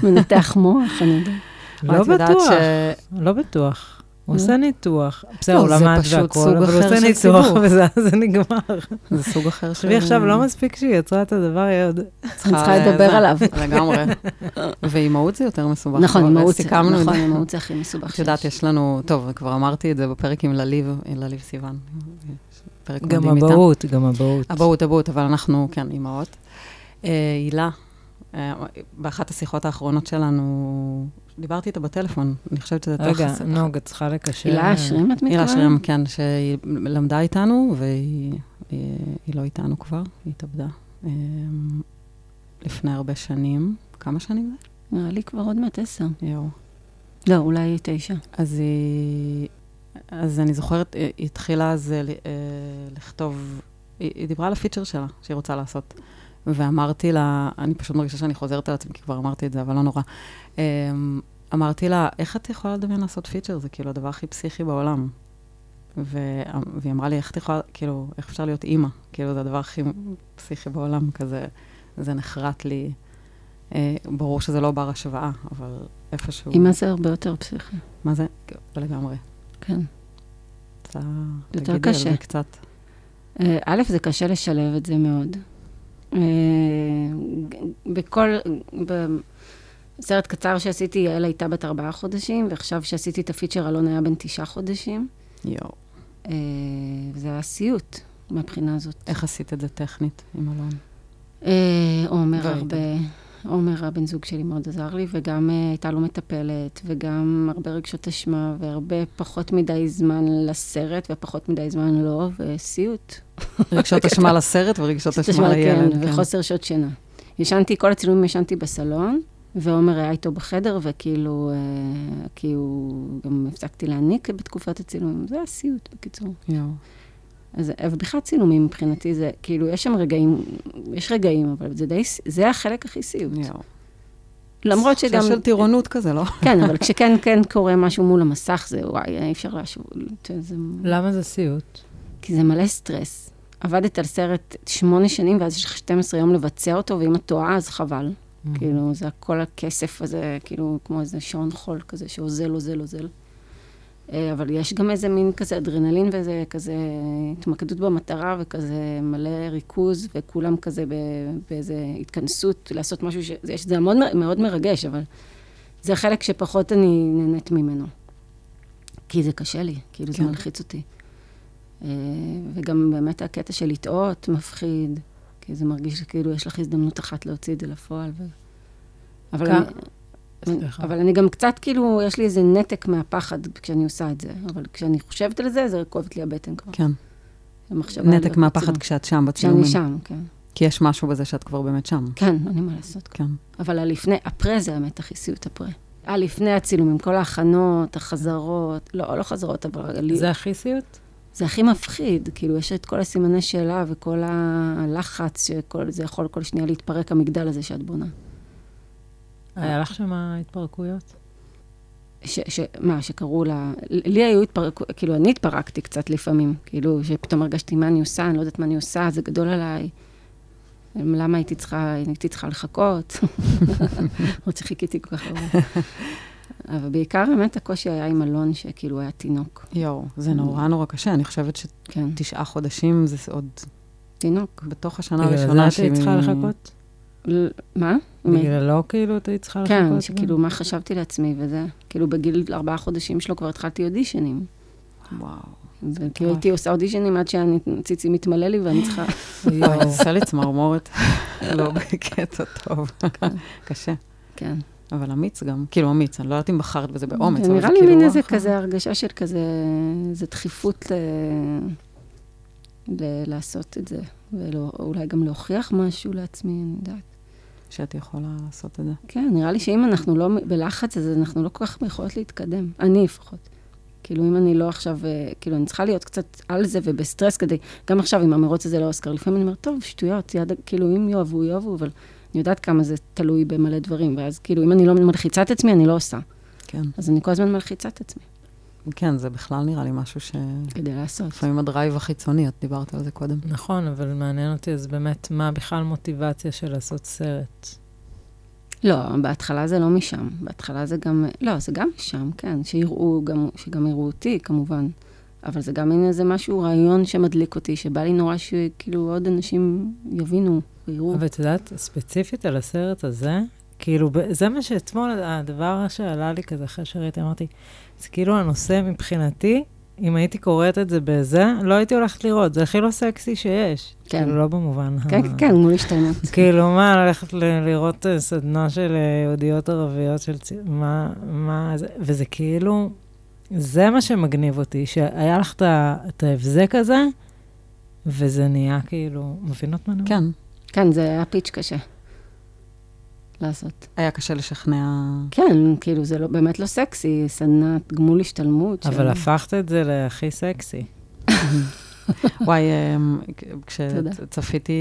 Speaker 3: מנתח מוח, אני יודעת.
Speaker 2: לא
Speaker 1: את יודעת
Speaker 2: בטוח,
Speaker 1: ש-
Speaker 2: לא בטוח. הוא
Speaker 3: לא.
Speaker 2: עושה ניתוח, בסדר,
Speaker 1: לא,
Speaker 2: הוא
Speaker 1: זה
Speaker 2: למד
Speaker 1: פשוט סוג
Speaker 2: והכול, אבל הוא
Speaker 1: אחר
Speaker 2: עושה
Speaker 1: של
Speaker 2: ניתוח,
Speaker 1: סיבוך.
Speaker 2: וזה זה נגמר.
Speaker 1: זה סוג אחר של...
Speaker 2: תחשבי עכשיו, לא מספיק שהיא יצרה את הדבר, היא עוד...
Speaker 3: אני צריכה
Speaker 1: זה-
Speaker 3: לדבר
Speaker 1: זה-
Speaker 3: עליו.
Speaker 1: לגמרי. ואימהות זה יותר מסובך.
Speaker 3: נכון,
Speaker 1: אבל
Speaker 3: אימהות זה,
Speaker 1: סיכמנו את
Speaker 3: נכון,
Speaker 1: זה.
Speaker 3: אימהות זה הכי מסובך
Speaker 1: את יודעת,
Speaker 3: שיש.
Speaker 1: יש לנו, טוב, כבר אמרתי את זה בפרק עם לליב, עם לליב סיוון. יש פרק
Speaker 2: גם
Speaker 1: מדהים איתה.
Speaker 2: אבהות, גם אבהות.
Speaker 1: אבהות, אבהות, אבל אנחנו, כן, אימהות. אה, הילה, אה, באחת השיחות האחרונות שלנו, דיברתי איתה בטלפון, אני חושבת שזה
Speaker 2: רגע,
Speaker 1: תוך-
Speaker 2: נוג, את צריכה לקשר.
Speaker 3: אה,
Speaker 2: אה,
Speaker 3: הילה
Speaker 1: אה?
Speaker 3: אשרים את מתכוונת?
Speaker 1: הילה שרם, כן, שהיא למדה איתנו, והיא היא- היא לא איתנו כבר, היא התאבדה. אה, לפני הרבה שנים, כמה שנים
Speaker 3: נראה לי כבר עוד מעט עשר.
Speaker 1: זה? יואו.
Speaker 3: לא, אולי תשע.
Speaker 1: אז היא... אז אני זוכרת, היא היא התחילה אז אה, ל- אה, לכתוב, היא, היא דיברה על הפיצ'ר שלה, שהיא רוצה לעשות. ואמרתי לה, אני פשוט מרגישה שאני חוזרת על עצמי, כי כבר אמרתי את זה, אבל לא נורא. אה, אמרתי לה, איך את יכולה לדמיין לעשות פיצ'ר? זה כאילו הדבר הכי פסיכי בעולם. ו- והיא אמרה לי, איך את יכולה, כאילו, איך אפשר להיות אימא? כאילו, זה הדבר הכי פסיכי בעולם, כזה, זה נחרט לי. אה, ברור שזה לא בר השוואה, אבל איפשהו...
Speaker 3: אימא זה הרבה יותר פסיכי,
Speaker 1: מה זה? לגמרי.
Speaker 3: כן.
Speaker 1: אתה
Speaker 3: יותר
Speaker 1: תגידי על
Speaker 3: קשה.
Speaker 1: זה קצת.
Speaker 3: אה, א', זה קשה לשלב את זה מאוד. אה, ג- בכל, בסרט קצר שעשיתי, יעל הייתה בת ארבעה חודשים, ועכשיו שעשיתי את הפיצ'ר, אלון היה בן תשעה חודשים.
Speaker 1: יואו.
Speaker 3: אה, וזה היה סיוט מהבחינה הזאת.
Speaker 1: איך עשית את זה טכנית עם אלון?
Speaker 3: אה, עומר
Speaker 1: והיית.
Speaker 3: הרבה, עומר הבן זוג שלי מאוד עזר לי, וגם אה, הייתה לו מטפלת, וגם הרבה רגשות אשמה, והרבה פחות מדי זמן לסרט, ופחות מדי זמן לא, וסיוט.
Speaker 1: רגשות אשמה לסרט ורגשות אשמה לילד.
Speaker 3: כן, וחוסר שעות שינה. ישנתי, כל הצילומים ישנתי בסלון, ועומר היה איתו בחדר, וכאילו, אה, כי הוא, גם הפסקתי להניק בתקופת הצילומים. זה הסיוט, בקיצור.
Speaker 1: כן. יואו.
Speaker 3: אז אה, ובכלל צילומים מבחינתי זה, כאילו, יש שם רגעים, יש רגעים, אבל זה די, ס- זה החלק הכי סיוט.
Speaker 1: יואו.
Speaker 3: למרות שגם...
Speaker 1: של טירונות כזה, לא?
Speaker 3: כן, אבל כשכן, כן קורה משהו מול המסך, זה וואי, אי אפשר להשוות, אתה יודע, זה-
Speaker 2: למה זה סיוט?
Speaker 3: כי זה מלא סטרס. עבדת על סרט שמונה שנים, ואז יש לך 12 יום לבצע אותו, ואם את טועה, אז חבל.
Speaker 2: Mm-hmm.
Speaker 3: כאילו, זה כל הכסף הזה, כאילו, כמו איזה שעון חול כזה, שאוזל, אוזל, אוזל. אה, אבל יש גם איזה מין כזה אדרנלין ואיזה כזה התמקדות במטרה, וכזה מלא ריכוז, וכולם כזה ב- באיזה התכנסות, לעשות משהו ש... זה, זה מאוד, מ- מאוד מרגש, אבל זה חלק שפחות אני נהנית ממנו. כי זה קשה לי, כאילו,
Speaker 1: כן.
Speaker 3: זה מלחיץ אותי. אה, וגם באמת הקטע של לטעות מפחיד, כי זה מרגיש שכאילו יש לך הזדמנות אחת להוציא את זה לפועל. ו... אבל,
Speaker 2: כמה-
Speaker 3: אני,
Speaker 1: אוקיי.
Speaker 2: סליחה.
Speaker 3: אבל אני גם קצת כאילו, יש לי איזה נתק מהפחד כשאני עושה את זה, אבל כשאני חושבת על זה, זה כואבת לי הבטן כבר.
Speaker 1: כן.
Speaker 3: המחשבה על
Speaker 1: נתק מהפחד
Speaker 3: הצילום.
Speaker 1: כשאת שם
Speaker 3: כשאני
Speaker 1: בצילומים.
Speaker 3: לא שם, כן.
Speaker 1: כי יש משהו בזה שאת כבר באמת שם.
Speaker 3: כן, אין לי מה לעשות.
Speaker 1: כן.
Speaker 3: אבל הלפני, הפרה זה האמת הכי סיוט הפרה. הלפני הצילומים, כל ההכנות, החזרות, לא, לא חזרות, אבל... לי-
Speaker 2: זה הכי סיוט?
Speaker 3: זה הכי מפחיד, כאילו, יש את כל הסימני שאלה וכל הלחץ, שזה יכול כל שנייה להתפרק, המגדל הזה שאת בונה. אה.
Speaker 2: היה לך שם התפרקויות?
Speaker 3: ש, ש, מה, שקראו לה... לי היו התפרקו, כאילו, אני התפרקתי קצת לפעמים, כאילו, שפתאום הרגשתי מה אני עושה, אני לא יודעת מה אני עושה, זה גדול עליי. למה הייתי צריכה, הייתי צריכה לחכות? למרות שחיכיתי כל כך הרבה. אבל בעיקר, באמת, הקושי היה עם אלון, שכאילו היה תינוק.
Speaker 1: יואו, זה נורא נורא קשה. אני חושבת
Speaker 3: כן,
Speaker 1: שתשעה חודשים זה עוד
Speaker 3: תינוק.
Speaker 1: בתוך השנה
Speaker 2: בגלל
Speaker 1: הראשונה
Speaker 2: זה את היית צריכה לחכות?
Speaker 3: ל- מה?
Speaker 2: בגללו כאילו את היית צריכה לחכות?
Speaker 3: כן,
Speaker 2: גם?
Speaker 3: שכאילו, מה חשבתי לעצמי וזה. כאילו, בגיל ארבעה חודשים שלו כבר התחלתי אודישנים.
Speaker 1: וואו.
Speaker 3: וכאילו, הייתי עושה אודישנים עד שהציצי מתמלא לי ואני צריכה...
Speaker 1: וואי, עושה לי צמרמורת. לא בקטע טוב. קשה.
Speaker 3: כן.
Speaker 1: אבל אמיץ גם. כאילו אמיץ, אני לא יודעת אם בחרת בזה באומץ, אבל
Speaker 3: זה
Speaker 1: זה
Speaker 3: כן, נראה
Speaker 1: כאילו...
Speaker 3: לי מין איזה
Speaker 1: וואו,
Speaker 3: כזה הרגשה של כזה, איזה דחיפות ל... ל... לעשות את זה, ואולי גם להוכיח משהו לעצמי, אני יודעת.
Speaker 1: שאת יכולה לעשות את זה.
Speaker 3: כן, נראה לי שאם אנחנו לא מ- בלחץ, אז אנחנו לא כל כך יכולות להתקדם. אני לפחות. כאילו, אם אני לא עכשיו, אה, כאילו, אני צריכה להיות קצת על זה ובסטרס כדי, גם עכשיו עם המרוץ הזה לאוסקר, לפעמים אני אומרת, טוב, שטויות, יד, כאילו, אם יאהבו, יאהבו, אבל אני יודעת כמה זה תלוי במלא דברים, ואז כאילו, אם אני לא מלחיצה את עצמי, אני לא עושה.
Speaker 1: כן.
Speaker 3: אז אני כל הזמן מלחיצה את עצמי
Speaker 1: כן, זה בכלל נראה לי משהו שלפעמים
Speaker 3: כדי לעשות.
Speaker 1: הדרייב החיצוני, את דיברת על זה קודם.
Speaker 2: נכון, אבל מעניין אותי אז באמת מה בכלל מוטיבציה של לעשות סרט.
Speaker 3: לא, בהתחלה זה לא משם. בהתחלה זה גם, לא, זה גם משם, כן. שיראו, גם, שגם יראו אותי, כמובן. אבל זה גם מין איזה משהו, רעיון שמדליק אותי, שבא לי נורא שכאילו עוד אנשים יבינו ויראו.
Speaker 2: ואת יודעת, ספציפית על הסרט הזה, כאילו, ב- זה מה שאתמול, הדבר שעלה לי כזה אחרי שראיתי, אמרתי, זה כאילו הנושא מבחינתי, אם הייתי קוראת את זה בזה, לא הייתי הולכת לראות, זה הכי לא סקסי שיש.
Speaker 3: כן.
Speaker 2: כאילו, לא במובן ה...
Speaker 3: כן, כן, כן, מול השתלמות.
Speaker 2: כאילו, מה, ללכת ל- לראות אה, סדנה של אה, יהודיות ערביות, של צי... מה, מה זה, וזה כאילו, זה מה שמגניב אותי, שהיה לך את ה- את ההבזק הזה, וזה נהיה כאילו, מבינות מה אני אומרת?
Speaker 1: כן,
Speaker 3: כן, זה היה פיץ' קשה לעשות.
Speaker 1: היה קשה לשכנע...
Speaker 3: כן, כאילו, זה לא, באמת לא סקסי, סדנת גמול השתלמות.
Speaker 2: אבל הפכת את זה להכי סקסי.
Speaker 1: וואי, אמ,
Speaker 3: כן. תודה.
Speaker 1: כשצפיתי,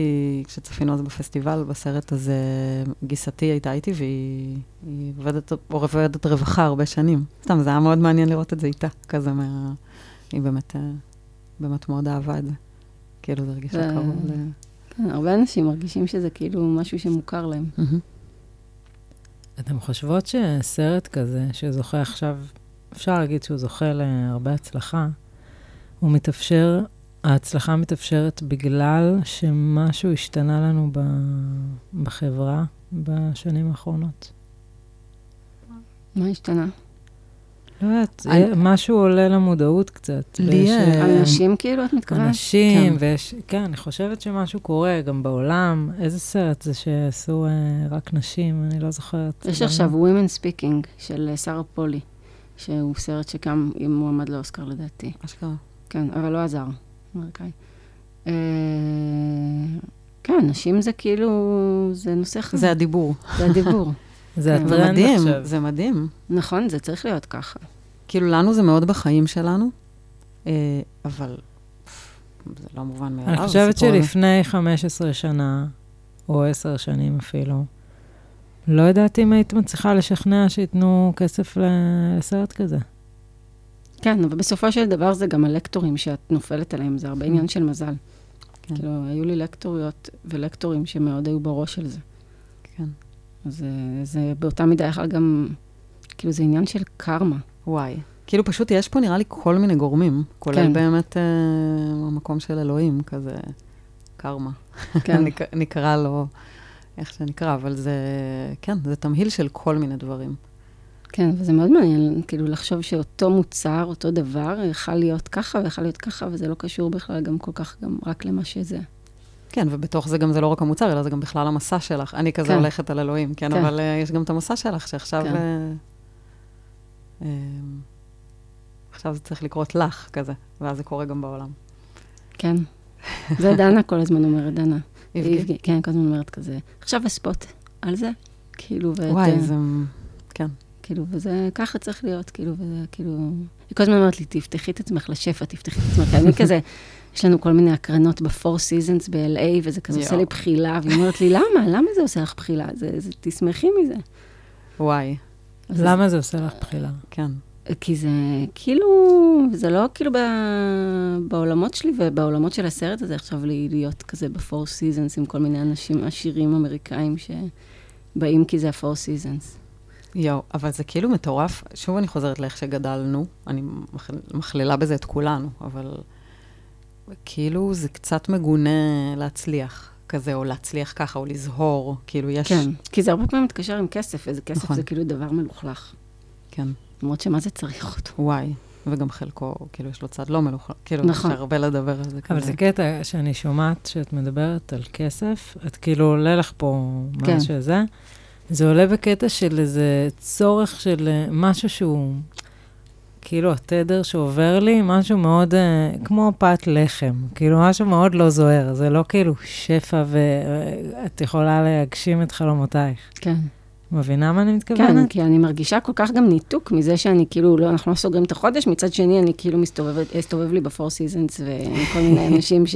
Speaker 1: כשצפינו אז בפסטיבל, בסרט, אז אמ, גיסתי הייתה איתי, והיא היא עובדת, עובדת רווחה הרבה שנים. סתם, זה היה מאוד מעניין לראות את זה איתה, כזה מה... היא באמת, אה, באמת מאוד אהבה את זה. כאילו, זה הרגיש
Speaker 3: זה-
Speaker 1: לה קרוב ל...
Speaker 3: כן, הרבה אנשים מרגישים שזה כאילו משהו שמוכר להם.
Speaker 1: מהמם.
Speaker 2: אתם חושבות שסרט כזה, שזוכה עכשיו, אפשר להגיד שהוא זוכה להרבה הצלחה, הוא מתאפשר, ההצלחה מתאפשרת בגלל שמשהו השתנה לנו ב, בחברה, בשנים האחרונות?
Speaker 3: מה השתנה?
Speaker 2: לא יודעת,
Speaker 1: אני-
Speaker 2: אה, משהו עולה למודעות קצת.
Speaker 1: לי
Speaker 2: ויש,
Speaker 1: אה,
Speaker 2: אה,
Speaker 3: אנשים כאילו, את מתכוונת?
Speaker 2: אנשים,
Speaker 1: כן.
Speaker 2: ויש... כן, אני חושבת שמשהו קורה גם בעולם. איזה סרט זה שעשו אה, רק נשים? אני לא זוכרת.
Speaker 3: יש
Speaker 2: אבל-
Speaker 3: עכשיו Women Speaking של אה, שרה פולי, שהוא סרט שגם הוא מועמד לאוסקר לדעתי.
Speaker 1: אשכרה.
Speaker 3: כן, אבל לא עזר, אמריקאי. אה, כן, נשים זה כאילו, זה נושא אחר,
Speaker 1: זה הדיבור.
Speaker 3: זה הדיבור.
Speaker 2: זה
Speaker 3: כן.
Speaker 1: זה
Speaker 2: הטרנד
Speaker 1: מדהים,
Speaker 2: עכשיו.
Speaker 1: זה מדהים.
Speaker 3: נכון, זה צריך להיות ככה.
Speaker 1: כאילו, לנו זה מאוד בחיים שלנו, אה, אבל פף, זה לא מובן מאליו.
Speaker 2: אני חושבת
Speaker 1: הסיפור הזה.
Speaker 2: שלפני 15 שנה, או 10 שנים אפילו, לא יודעת אם היית מצליחה לשכנע שייתנו כסף ל- לסרט כזה.
Speaker 3: כן, אבל בסופו של דבר זה גם הלקטורים שאת נופלת עליהם, זה הרבה עניין של מזל.
Speaker 1: כן.
Speaker 3: כאילו, היו לי לקטוריות ולקטורים שמאוד היו בראש של זה.
Speaker 1: כן.
Speaker 3: אז אה, זה באותה מידה יכול גם, כאילו, זה עניין של קרמה.
Speaker 1: וואי. כאילו, פשוט יש פה, נראה לי, כל מיני גורמים, כולל
Speaker 3: כן.
Speaker 1: באמת אה, המקום של אלוהים, כזה קרמה.
Speaker 3: כן.
Speaker 1: נק- נקרא לו, איך שנקרא, אבל זה, כן, זה תמהיל של כל מיני דברים.
Speaker 3: כן, וזה מאוד מעניין, כאילו, לחשוב שאותו מוצר, אותו דבר, יכל להיות ככה ויכל להיות ככה, וזה לא קשור בכלל גם כל כך, גם רק למה שזה.
Speaker 1: כן, ובתוך זה גם זה לא רק המוצר, אלא זה גם בכלל המסע שלך. אני כזה
Speaker 3: כן.
Speaker 1: הולכת על אלוהים, כן,
Speaker 3: כן.
Speaker 1: אבל אה, יש גם את המסע שלך, שעכשיו...
Speaker 3: כן.
Speaker 1: אה, אה, עכשיו זה צריך לקרות לך, כזה, ואז זה קורה גם בעולם.
Speaker 3: כן. זה דנה כל הזמן אומרת, דנה.
Speaker 1: איבגי.
Speaker 3: איבגי, כן, כל הזמן אומרת כזה. עכשיו הספוט על זה, כאילו, ואת...
Speaker 1: וואי,
Speaker 3: אה,
Speaker 1: זה...
Speaker 3: כאילו, וזה ככה צריך להיות, כאילו, וזה כאילו... היא כל הזמן אומרת לי, תפתחי את עצמך לשפע, תפתחי את עצמך. אני כזה, יש לנו כל מיני הקרנות ב-Four Seasons ב-LA, וזה כזה עושה לי
Speaker 1: יואו.
Speaker 3: בחילה, והיא אומרת לי, למה? למה זה עושה לך בחילה? זה, זה, תשמחי מזה.
Speaker 1: וואי,
Speaker 3: אז-
Speaker 2: למה זה עושה לך בחילה?
Speaker 1: כן.
Speaker 3: כי זה כאילו, זה לא כאילו ב, בעולמות שלי ובעולמות של הסרט הזה עכשיו לי- להיות כזה ב-Four Seasons עם כל מיני אנשים עשירים אמריקאים שבאים כי זה ה-Four Seasons.
Speaker 1: יואו, אבל זה כאילו מטורף. שוב אני חוזרת לאיך שגדלנו, אני מח- מכלילה בזה את כולנו, אבל כאילו זה קצת מגונה להצליח כזה, או להצליח ככה, או לזהור, כאילו יש...
Speaker 3: כן, כי זה הרבה פעמים מתקשר עם כסף, וזה כסף
Speaker 1: נכון.
Speaker 3: זה כאילו דבר מלוכלך.
Speaker 1: כן,
Speaker 3: למרות שמה זה צריך אותו.
Speaker 1: וואי. וגם חלקו, כאילו, יש לו צד לא מלוכה, כאילו,
Speaker 3: נכון.
Speaker 1: יש הרבה לדבר על זה כזה.
Speaker 2: אבל זה קטע שאני שומעת שאת מדברת על כסף, את כאילו עולה לך פה
Speaker 3: כן.
Speaker 2: מה שזה, זה עולה בקטע של איזה צורך של אה, משהו שהוא, כאילו התדר שעובר לי, משהו מאוד, אה, כמו פת לחם, כאילו משהו מאוד לא זוהר, זה לא כאילו שפע ואת יכולה להגשים את חלומותייך.
Speaker 3: כן.
Speaker 2: מבינה מה אני
Speaker 3: כן,
Speaker 2: מתכוונת?
Speaker 3: כי אני מרגישה כל כך גם ניתוק מזה שאני כאילו, לא, אנחנו לא סוגרים את החודש, מצד שני אני כאילו מסתובבת, הסתובב לי בפור סיזנס וכל מיני אנשים ש...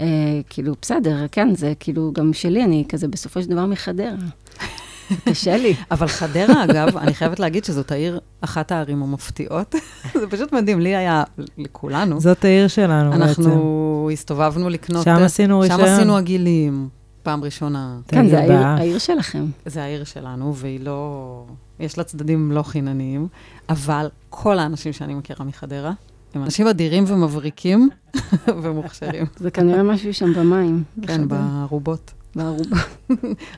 Speaker 3: אה, כאילו, בסדר, כן, זה כאילו גם שלי, אני כזה בסופו של דבר מחדרה. זה קשה לי.
Speaker 1: אבל חדרה, אגב, אני חייבת להגיד שזאת העיר, אחת הערים המפתיעות. זה פשוט מדהים, לי היה, לכולנו.
Speaker 2: זאת העיר שלנו בעצם.
Speaker 1: אנחנו הסתובבנו לקנות...
Speaker 2: שם
Speaker 1: אה,
Speaker 2: עשינו רישיון.
Speaker 1: לא שם עשינו עגילים, פעם ראשונה.
Speaker 3: כן, זה
Speaker 2: תגיד
Speaker 3: העיר-
Speaker 2: באף.
Speaker 3: העיר שלכם.
Speaker 1: זה העיר שלנו, והיא לא... יש לה צדדים לא חינניים, אבל כל האנשים שאני מכירה מחדרה הם אנשים אדירים ומבריקים ומוכשרים.
Speaker 3: זה כנראה משהו שם במים.
Speaker 1: כן,
Speaker 3: בחדר,
Speaker 1: בארובות.
Speaker 3: בארובה.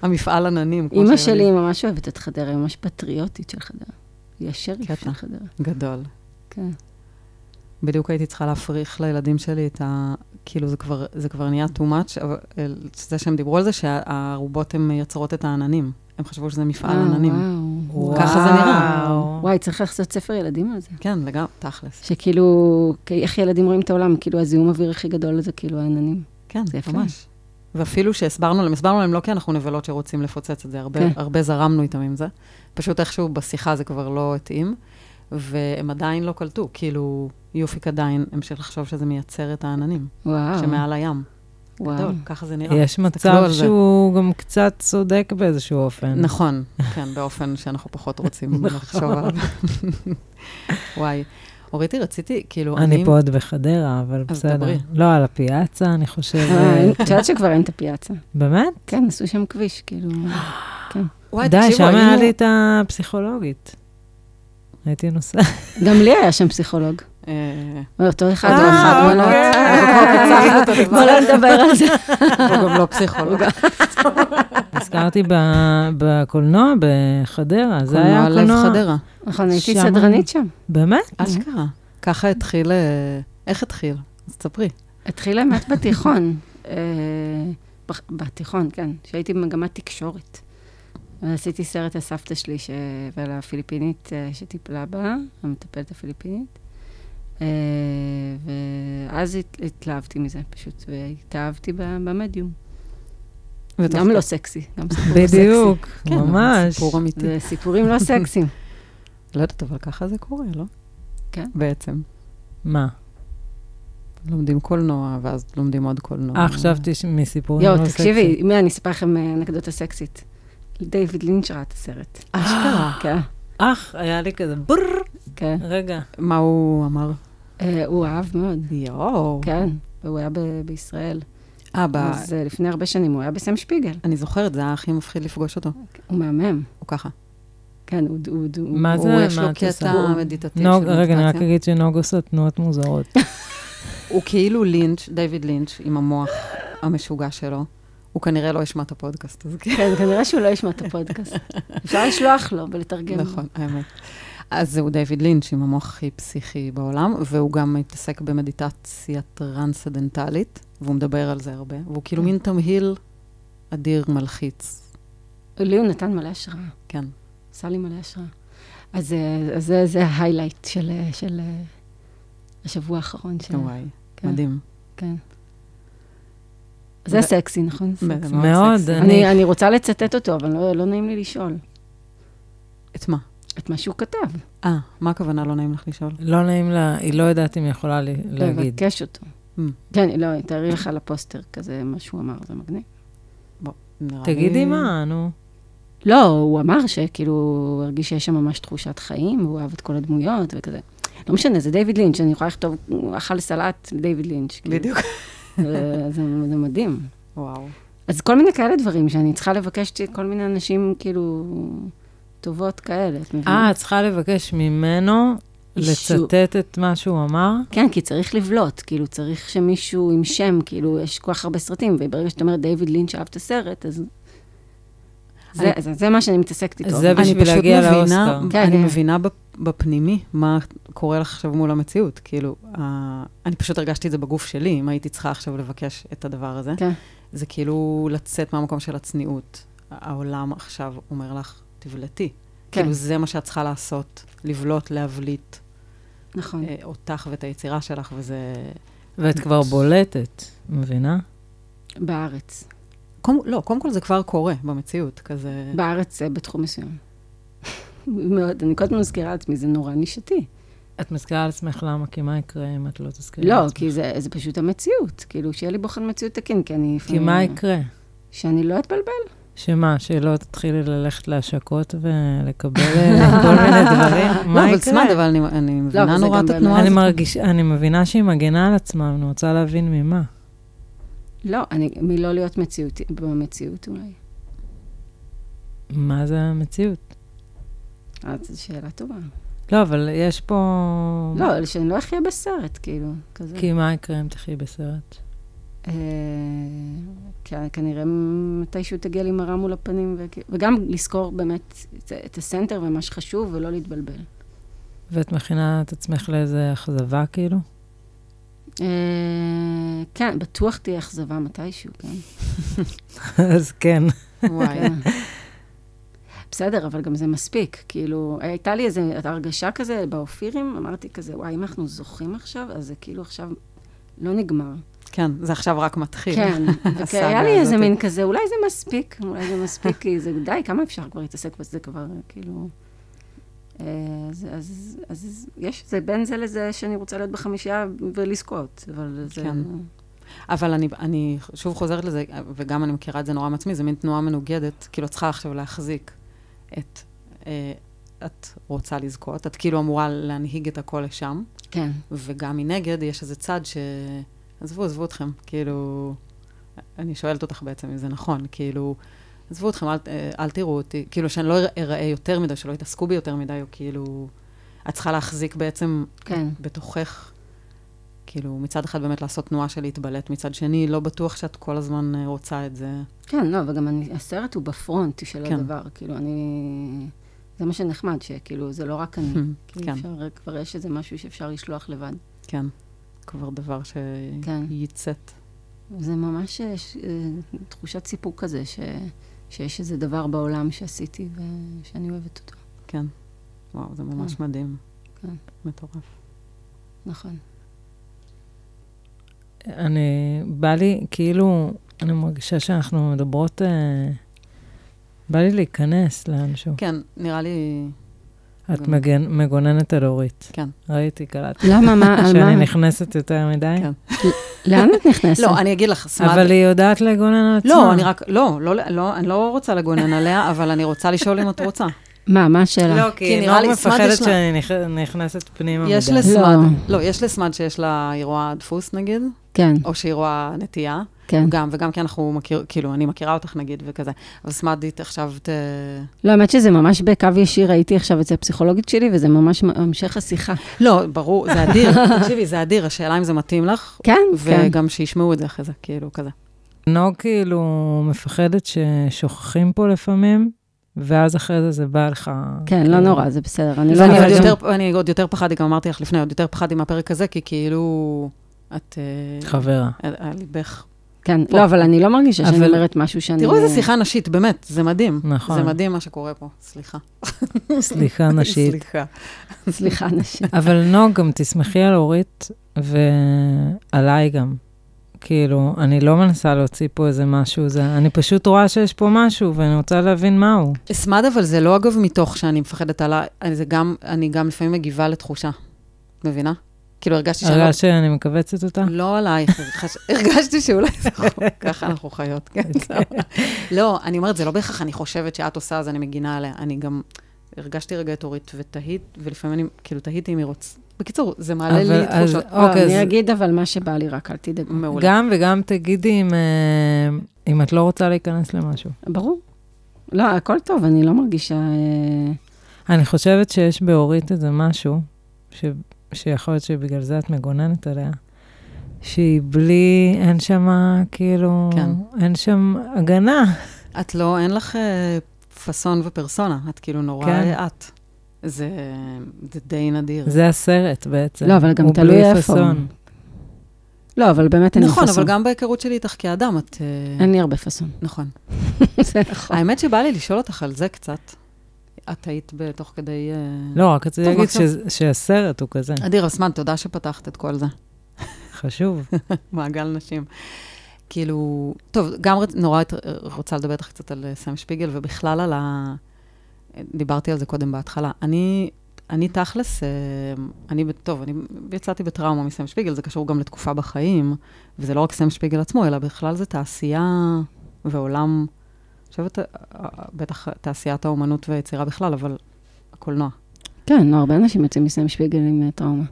Speaker 1: המפעל עננים, כמו
Speaker 3: אימא
Speaker 1: שהיו לי.
Speaker 3: שלי ממש אוהבת את חדרה, היא ממש פטריוטית של חדרה. היא השריף
Speaker 1: קטע.
Speaker 3: של חדרה.
Speaker 1: גדול.
Speaker 3: כן.
Speaker 1: בדיוק הייתי צריכה להפריך לילדים שלי את ה... כאילו, זה כבר, זה כבר נהיה too much, אבל אה, זה שהם דיברו על זה, שהארובות הן מייצרות את העננים. הם חשבו שזה מפעל
Speaker 3: אה, וואו,
Speaker 1: עננים.
Speaker 3: וואו.
Speaker 1: ככה זה
Speaker 2: נראה.
Speaker 3: וואי, צריך לעשות ספר ילדים על זה.
Speaker 1: כן, לגמרי, תכלס.
Speaker 3: שכאילו, כ- איך ילדים רואים את העולם, כאילו הזיהום אוויר הכי גדול זה כאילו העננים.
Speaker 1: כן,
Speaker 3: זה יפה.
Speaker 1: ממש. ואפילו שהסברנו להם, הסברנו להם לא כי אנחנו נבלות שרוצים לפוצץ את זה, הרבה,
Speaker 3: כן.
Speaker 1: כן. הרבה זרמנו איתם עם זה. פשוט איכשהו בשיחה זה כבר לא התאים, והם עדיין לא קלטו, כאילו, יופיק עדיין המשיך לחשוב שזה מייצר את העננים,
Speaker 3: וואו.
Speaker 1: שמעל הים.
Speaker 3: אה. וואו.
Speaker 1: גדול, ככה זה נראה.
Speaker 2: יש
Speaker 1: תסתכלו
Speaker 2: מצב
Speaker 1: על זה.
Speaker 2: שהוא גם קצת צודק באיזשהו אופן.
Speaker 1: נכון, כן, באופן שאנחנו פחות
Speaker 2: נכון.
Speaker 1: רוצים לחשוב עליו. וואי. אוריתי, רציתי, כאילו,
Speaker 2: אני פה עוד בחדרה, אבל
Speaker 1: אז
Speaker 2: בסדר.
Speaker 1: דברי.
Speaker 2: לא על הפיאצה, אני
Speaker 3: אה, אין-
Speaker 2: חושבת.
Speaker 3: את יודעת שכבר אין את הפיאצה.
Speaker 2: באמת?
Speaker 3: כן, עשו שם כביש, כאילו.
Speaker 1: וואי,
Speaker 2: די,
Speaker 1: תקשיבו,
Speaker 2: שם היה
Speaker 1: היינו-
Speaker 2: לי את הפסיכולוגית. הייתי נוסעת.
Speaker 3: גם לי היה שם פסיכולוג.
Speaker 1: אה,
Speaker 3: אותו אחד
Speaker 2: אה,
Speaker 3: או אחת
Speaker 2: אוקיי.
Speaker 3: בנות.
Speaker 1: אנחנו כבר קצרנו את הדבר
Speaker 3: בוא לא נדבר על זה.
Speaker 1: הוא גם לא פסיכולוג.
Speaker 2: נזכרתי ב- בקולנוע בחדרה, זה היה
Speaker 1: קולנוע לב
Speaker 2: הקולנוע.
Speaker 1: חדרה.
Speaker 3: נכון, הייתי
Speaker 2: שם-
Speaker 3: סדרנית שם.
Speaker 2: באמת?
Speaker 1: אשכרה. ככה התחיל, אה, איך התחיל? אז תספרי.
Speaker 3: התחיל האמת בתיכון. אה, בח- בתיכון, כן, שהייתי במגמת תקשורת. ועשיתי סרט על סבתא שלי ש... ועל הפיליפינית אה, שטיפלה בה, המטפלת הפיליפינית. אה, ואז הת... התלהבתי מזה פשוט, והתאהבתי ב- במדיום. גם לא סקסי, גם סיפור לא סקסי.
Speaker 2: בדיוק,
Speaker 1: כן, אבל
Speaker 2: ממש.
Speaker 1: סיפור אמיתי.
Speaker 3: זה סיפורים לא סקסיים.
Speaker 1: לא יודעת, אבל ככה זה קורה, לא?
Speaker 3: כן.
Speaker 1: בעצם.
Speaker 2: מה?
Speaker 1: לומדים קולנוע, ואז לומדים עוד קולנוע.
Speaker 2: אה, חשבתי ש- מסיפורים
Speaker 3: יואו,
Speaker 2: לא סקסיים.
Speaker 3: תקשיבי, מה, אני אספר לכם אה, אנקדוטה סקסית. דיוויד לינץ' ראה את הסרט.
Speaker 1: אשכרה.
Speaker 3: כן,
Speaker 2: אך, היה לי כזה בר.
Speaker 3: כן.
Speaker 2: רגע.
Speaker 1: מה הוא אמר?
Speaker 3: אה, הוא אהב מאוד.
Speaker 1: יואו.
Speaker 3: כן, והוא היה ב- בישראל.
Speaker 1: אה, ב-
Speaker 3: אז אה, לפני הרבה שנים הוא היה בסם שפיגל.
Speaker 1: אני זוכרת, זה היה הכי מפחיד לפגוש אותו.
Speaker 3: הוא מהמם.
Speaker 1: הוא ככה.
Speaker 3: כן, הוא... הוא- הוא-
Speaker 2: מה זה?
Speaker 1: הוא, יש לו
Speaker 2: מה את
Speaker 1: קטע
Speaker 2: עושה?
Speaker 1: מדיטטיבי.
Speaker 2: נוג,
Speaker 1: של
Speaker 2: רגע, אני רק
Speaker 1: מדיטציה.
Speaker 2: אגיד שנוגו עושה תנועות מוזרות.
Speaker 1: הוא כאילו לינץ', דיוויד לינץ', עם המוח המשוגע שלו. הוא כנראה לא ישמע את הפודקאסט, אז
Speaker 3: כן, כנראה שהוא לא ישמע את הפודקאסט. אפשר לשלוח לו
Speaker 2: כן.
Speaker 3: ולתרגם. לו.
Speaker 1: נכון, האמת. אז זהו דיוויד לינץ' עם המוח הכי פסיכי בעולם, והוא גם מתעסק במדיטציה טרנסדנטלית, והוא מדבר על זה הרבה, והוא כאילו
Speaker 2: כן.
Speaker 1: מין תמהיל אדיר מלחיץ.
Speaker 3: לי הוא נתן מלא השראה.
Speaker 1: כן.
Speaker 3: עשה לי מלא השראה. אז אה, אז זה- זה ההיילייט של אה, של, אה, השבוע האחרון שלו.
Speaker 1: וואי,
Speaker 3: כן,
Speaker 1: מדהים.
Speaker 3: כן. זה
Speaker 1: ו-
Speaker 3: סקסי, נכון?
Speaker 1: זה מאוד
Speaker 2: מאוד,
Speaker 1: סקסי.
Speaker 2: אני-
Speaker 3: אני אני רוצה לצטט אותו, אבל לא- לא נעים לי לשאול
Speaker 1: את מה?
Speaker 3: את מה שהוא כתב.
Speaker 1: אה, מה הכוונה לא נעים לך לשאול?
Speaker 2: לא נעים לה, היא לא יודעת אם היא יכולה לי- להגיד.
Speaker 3: לבקש אותו.
Speaker 1: Mm.
Speaker 3: כן, לא, תארי לך על הפוסטר כזה, מה שהוא אמר, זה מגניב.
Speaker 1: נראה
Speaker 2: תגידי
Speaker 1: לי-
Speaker 2: מה, נו.
Speaker 3: לא, הוא אמר שכאילו, הוא הרגיש שיש שם ממש תחושת חיים, הוא אהב את כל הדמויות וכזה. לא משנה, זה דיוויד לינץ', אני יכולה לכתוב, הוא אכל סלט דיוויד לינץ'. כאילו.
Speaker 1: בדיוק.
Speaker 3: זה, זה- זה מדהים.
Speaker 1: וואו.
Speaker 3: אז כל מיני כאלה דברים שאני צריכה לבקש כל מיני אנשים, כאילו, טובות כאלה, את מבינה?
Speaker 2: אה, את צריכה לבקש ממנו
Speaker 3: אישור.
Speaker 2: לצטט את מה שהוא אמר?
Speaker 3: כן, כי צריך לבלוט, כאילו, צריך שמישהו עם שם, כאילו, יש כל כך הרבה סרטים, וברגע שאת אומרת, דיוויד לינץ' אהב את הסרט, אז... זה,
Speaker 1: אני-
Speaker 3: זה, זה מה שאני מתעסקת איתו.
Speaker 2: זה
Speaker 3: אבל-
Speaker 1: אני
Speaker 2: בשביל
Speaker 1: פשוט
Speaker 2: להגיע
Speaker 1: מבינה,
Speaker 2: לאוסקר.
Speaker 3: כן,
Speaker 1: אני
Speaker 3: כן.
Speaker 1: מבינה בפ- בפנימי מה קורה לך עכשיו מול המציאות. כאילו, ה- אני פשוט הרגשתי את זה בגוף שלי, אם הייתי צריכה עכשיו לבקש את הדבר הזה.
Speaker 3: כן.
Speaker 1: זה כאילו לצאת מהמקום של הצניעות. העולם עכשיו אומר לך, תבלטי.
Speaker 3: כן.
Speaker 1: כאילו, זה מה שאת צריכה לעשות, לבלוט, להבליט
Speaker 3: נכון.
Speaker 1: אה, אותך ואת היצירה שלך, וזה...
Speaker 2: ואת כבר בולטת, מבינה?
Speaker 3: בארץ.
Speaker 1: קודם, לא, קודם כל זה כבר קורה במציאות, כזה...
Speaker 3: בארץ זה בתחום מסוים. מאוד, אני כל הזמן מזכירה לעצמי, זה נורא נישתי.
Speaker 2: את מזכירה על עצמך למה, כי מה יקרה אם את לא תזכירי
Speaker 3: לא,
Speaker 2: על עצמך?
Speaker 3: כי זה, זה פשוט המציאות. כאילו, שיהיה לי בוחן מציאות תקין, כי אני...
Speaker 2: כי מה יקרה?
Speaker 3: שאני לא אתבלבל.
Speaker 2: שמה, שלא תתחילי ללכת להשקות ולקבל אה, כל מיני דברים?
Speaker 1: לא,
Speaker 2: מה
Speaker 1: אבל
Speaker 2: יקרה?
Speaker 1: סמד, לא, אבל אני, אני
Speaker 3: אבל
Speaker 1: מבינה
Speaker 3: זה
Speaker 1: נורא
Speaker 3: גם
Speaker 1: את
Speaker 3: באמת-
Speaker 1: התנועה
Speaker 2: אני
Speaker 1: הזאת.
Speaker 2: מרגיש- אני מבינה שהיא מגנה על עצמה, אני רוצה להבין ממה.
Speaker 3: לא, אני, מלא להיות מציאותי, במציאות אולי.
Speaker 2: מה זה המציאות?
Speaker 3: אז זו שאלה טובה. לא,
Speaker 2: לא, אבל יש פה...
Speaker 3: לא, שאני לא אחיה בסרט, כאילו, כזה.
Speaker 2: כי מה יקרה אם תחי בסרט?
Speaker 3: אה, כן, כנראה מתישהו תגיע לי מראה מול הפנים, וכי- וגם לזכור באמת את- את הסנטר ומה שחשוב, ולא להתבלבל.
Speaker 2: ואת מכינה את עצמך לאיזה אכזבה, כאילו?
Speaker 3: אה, כן, בטוח תהיה אכזבה מתישהו, כן.
Speaker 2: אז כן.
Speaker 1: וואי,
Speaker 3: כן. בסדר, אבל גם זה מספיק. כאילו, הייתה לי איזו הרגשה כזה באופירים, אמרתי כזה, וואי, אם אנחנו זוכים עכשיו, אז זה כאילו עכשיו לא נגמר.
Speaker 1: כן, זה עכשיו רק מתחיל.
Speaker 3: כן,
Speaker 1: הסאגה
Speaker 3: היה לי איזה
Speaker 1: הזאת.
Speaker 3: מין כזה, אולי זה מספיק, אולי זה מספיק, כי זה די, כמה אפשר כבר להתעסק בזה כבר, כאילו... אה, אז, אז, אז יש, זה בין זה לזה שאני רוצה להיות בחמישייה ולזכות, אבל זה...
Speaker 1: כן. אבל אני, אני שוב חוזרת לזה, וגם אני מכירה את זה נורא מעצמי, זה מין תנועה מנוגדת, כאילו את צריכה עכשיו להחזיק את, אה, את רוצה לזכות, את כאילו אמורה להנהיג את הכל לשם,
Speaker 3: כן.
Speaker 1: וגם מנגד יש איזה צד ש... עזבו, עזבו אתכם, כאילו... אני שואלת אותך בעצם אם זה נכון, כאילו, עזבו אתכם, אל, אה, אל תראו אותי, כאילו שאני לא אראה יותר מדי, שלא יתעסקו בי יותר מדי, או כאילו... את צריכה להחזיק בעצם
Speaker 3: כן.
Speaker 1: בתוכך כאילו, מצד אחד באמת לעשות תנועה של להתבלט, מצד שני, לא בטוח שאת כל הזמן אה, רוצה את זה.
Speaker 3: כן, לא, וגם אני, הסרט הוא בפרונט של
Speaker 1: כן.
Speaker 3: הדבר, כאילו, אני... זה מה שנחמד, שכאילו, זה לא רק אני. כאילו,
Speaker 1: כן.
Speaker 3: אפשר, כבר יש איזה משהו שאפשר לשלוח לבד.
Speaker 1: כן, כבר דבר
Speaker 3: כן.
Speaker 1: שייצאת.
Speaker 3: זה ממש אה, ש- אה, תחושת סיפוק כזה, ש... שיש איזה דבר בעולם שעשיתי ושאני אוהבת אותו.
Speaker 1: כן. וואו, זה ממש
Speaker 3: כן.
Speaker 1: מדהים.
Speaker 3: כן.
Speaker 1: מטורף.
Speaker 3: נכון.
Speaker 2: אני, בא לי, כאילו, אני מרגישה שאנחנו מדברות, אה, בא לי להיכנס לאנשהו.
Speaker 1: כן, נראה לי...
Speaker 2: את מגן, מגוננת על אורית.
Speaker 1: כן.
Speaker 2: ראיתי, קלטתי.
Speaker 3: למה, מה, על
Speaker 2: שאני
Speaker 3: מה?
Speaker 2: נכנסת יותר מדי.
Speaker 1: כן.
Speaker 3: לאן את נכנסת?
Speaker 1: לא, אני אגיד לך, סמד...
Speaker 2: אבל היא יודעת לגונן על עצמה.
Speaker 1: לא, אני רק... לא, לא, לא, אני לא רוצה לגונן עליה, אבל אני רוצה לשאול אם את רוצה.
Speaker 3: מה, מה השאלה?
Speaker 2: לא, כי היא
Speaker 1: נראה
Speaker 2: נורא
Speaker 1: לי סמד
Speaker 2: מפחדת
Speaker 1: יש לה-
Speaker 2: שאני נכ- נכנסת פנימה מדי.
Speaker 1: יש לסמד...
Speaker 3: לא.
Speaker 1: לא, יש לסמד שיש לה... היא רואה דפוס, נגיד,
Speaker 3: כן,
Speaker 1: או שהיא רואה נטייה.
Speaker 3: כן.
Speaker 1: גם, וגם כי אנחנו מכיר... כאילו, אני מכירה אותך, נגיד, וכזה. אבל סמד, היא עכשיו ת...
Speaker 3: לא, האמת שזה ממש בקו ישיר, הייתי עכשיו אצל הפסיכולוגית שלי, וזה ממש המשך השיחה.
Speaker 1: לא, ברור, זה אדיר. תקשיבי, זה אדיר. השאלה אם זה מתאים לך,
Speaker 3: כן, כן.
Speaker 1: וגם שישמעו את זה אחרי זה, כאילו, כזה.
Speaker 2: נוג כאילו מפחדת ששוכחים פה לפעמים, ואז אחרי זה זה בא לך... כאילו
Speaker 3: כן, לא נורא, זה בסדר. אני לא
Speaker 1: ואני
Speaker 3: נראית
Speaker 1: עוד
Speaker 3: שם.
Speaker 1: יותר, אני עוד יותר פחדתי, גם אמרתי לך לפני, עוד יותר פחדתי מהפרק הזה, כי כאילו, את... אה,
Speaker 2: חברה.
Speaker 1: על על ליבך.
Speaker 3: כן,
Speaker 1: פה.
Speaker 3: לא, אבל אני לא מרגישה שאני
Speaker 2: אבל-
Speaker 3: אומרת משהו שאני...
Speaker 1: תראו איזה שיחה נשית, באמת, זה מדהים.
Speaker 2: נכון.
Speaker 1: זה מדהים מה שקורה פה, סליחה.
Speaker 2: סליחה נשית.
Speaker 1: סליחה.
Speaker 3: סליחה, נשים.
Speaker 2: אבל נוג, גם תסמכי על אורית, ועליי גם. כאילו, אני לא מנסה להוציא פה איזה משהו, זה, אני פשוט רואה שיש פה משהו, ואני רוצה להבין מהו.
Speaker 1: אסמד, אבל זה לא, אגב, מתוך שאני מפחדת עלה, אני- זה גם, אני גם לפעמים מגיבה לתחושה. מבינה? כאילו, הרגשתי שאני...
Speaker 2: הרגשת שאני מכווצת אותה?
Speaker 1: לא- לא עלייך, הרגש- הרגשתי שאולי זה חוק, ככה אנחנו חיות, כן.
Speaker 2: אוקיי.
Speaker 1: סבבה. לא, אני אומרת, זה לא בהכרח אני חושבת שאת עושה, אז אני מגינה עליה. אני גם הרגשתי רגע את אורית ותהית, ולפעמים אני, כאילו, תהיתי אם היא רוצה. בקיצור, זה מעלה
Speaker 2: אבל-
Speaker 1: לי
Speaker 2: אז-
Speaker 1: תחושות.
Speaker 3: לא,
Speaker 2: אוקיי,
Speaker 3: אני
Speaker 2: אז-
Speaker 3: אגיד אבל מה שבא לי, רק אל תדאגו.
Speaker 1: מעולה.
Speaker 2: גם וגם תגידי אם, אה, אם את לא רוצה להיכנס למשהו.
Speaker 3: ברור. לא, הכל טוב, אני לא מרגישה... אה,
Speaker 2: אני חושבת שיש באורית איזה משהו, ש... שיכול להיות שבגלל זה את מגוננת עליה, שהיא בלי, אין שמה, כאילו,
Speaker 1: כן.
Speaker 2: אין שם הגנה.
Speaker 1: את לא, אין לך אה, פאסון ופרסונה, את כאילו נורא
Speaker 2: כן.
Speaker 1: אה, את. זה זה די נדיר.
Speaker 2: זה הסרט בעצם.
Speaker 3: לא, אבל גם
Speaker 2: הוא
Speaker 3: תלוי
Speaker 2: בלי
Speaker 3: איפה.
Speaker 2: פאסון.
Speaker 3: לא, אבל באמת אין לי
Speaker 1: נכון,
Speaker 3: פאסון.
Speaker 1: אבל גם בהיכרות שלי איתך כאדם, את... אה,
Speaker 3: אין לי הרבה פאסון.
Speaker 1: נכון.
Speaker 3: זה נכון.
Speaker 1: האמת שבא לי לשאול אותך על זה קצת. את היית בתוך כדי... אה,
Speaker 2: לא, רק רציתי
Speaker 1: טוב,
Speaker 2: להגיד
Speaker 1: עכשיו-
Speaker 2: שזה- שהסרט הוא כזה
Speaker 1: אדיר אסמן, תודה שפתחת את כל זה.
Speaker 2: חשוב.
Speaker 1: מעגל נשים. כאילו, טוב, גם רצ- נורא את- רוצה לדבר איתך קצת על אה, סם שפיגל, ובכלל על ה... דיברתי על זה קודם בהתחלה. אני, אני תכלס, אה, אני, ב- טוב, אני יצאתי בטראומה מסם שפיגל, זה קשור גם לתקופה בחיים, וזה לא רק סם שפיגל עצמו, אלא בכלל זה תעשייה ועולם, אני חושבת, אה, אה, בטח תעשיית האומנות והיצירה בכלל, אבל הקולנוע.
Speaker 3: כן, לא, הרבה אנשים יוצאים מסיים שפיגל עם אה, טראומה.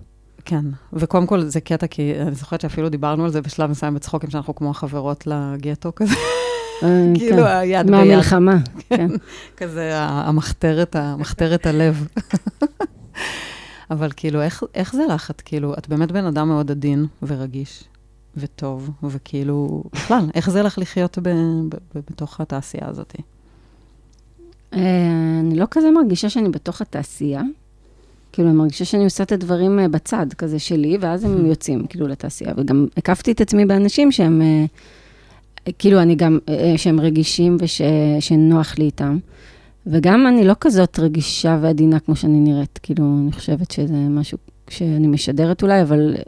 Speaker 1: כן, וקודם כל זה קטע, כי אני זוכרת שאפילו דיברנו על זה בשלב מסוים בצחוקים, שאנחנו כמו החברות לגטו כזה,
Speaker 3: אה, כן.
Speaker 1: כאילו היד ביד,
Speaker 3: מהמלחמה. כן.
Speaker 1: כזה ה- המחתרת, ה- מחתרת הלב. אבל כאילו, איך, איך זה לך? את כאילו, את באמת בן אדם מאוד עדין ורגיש וטוב, וכאילו, בכלל, איך זה לך לחיות ב, ב, ב, בתוך התעשייה הזאת?
Speaker 3: אה, אני לא כזה מרגישה שאני בתוך התעשייה. כאילו, אני מרגישה שאני עושה את הדברים אה, בצד, כזה שלי, ואז הם יוצאים, כאילו, לתעשייה. וגם הקפתי את עצמי באנשים שהם, אה, כאילו, אני גם, אה, שהם רגישים ושנוח לי איתם. וגם אני לא כזאת רגישה ועדינה כמו שאני נראית, כאילו, אני חושבת שזה משהו שאני משדרת אולי, אבל... אה,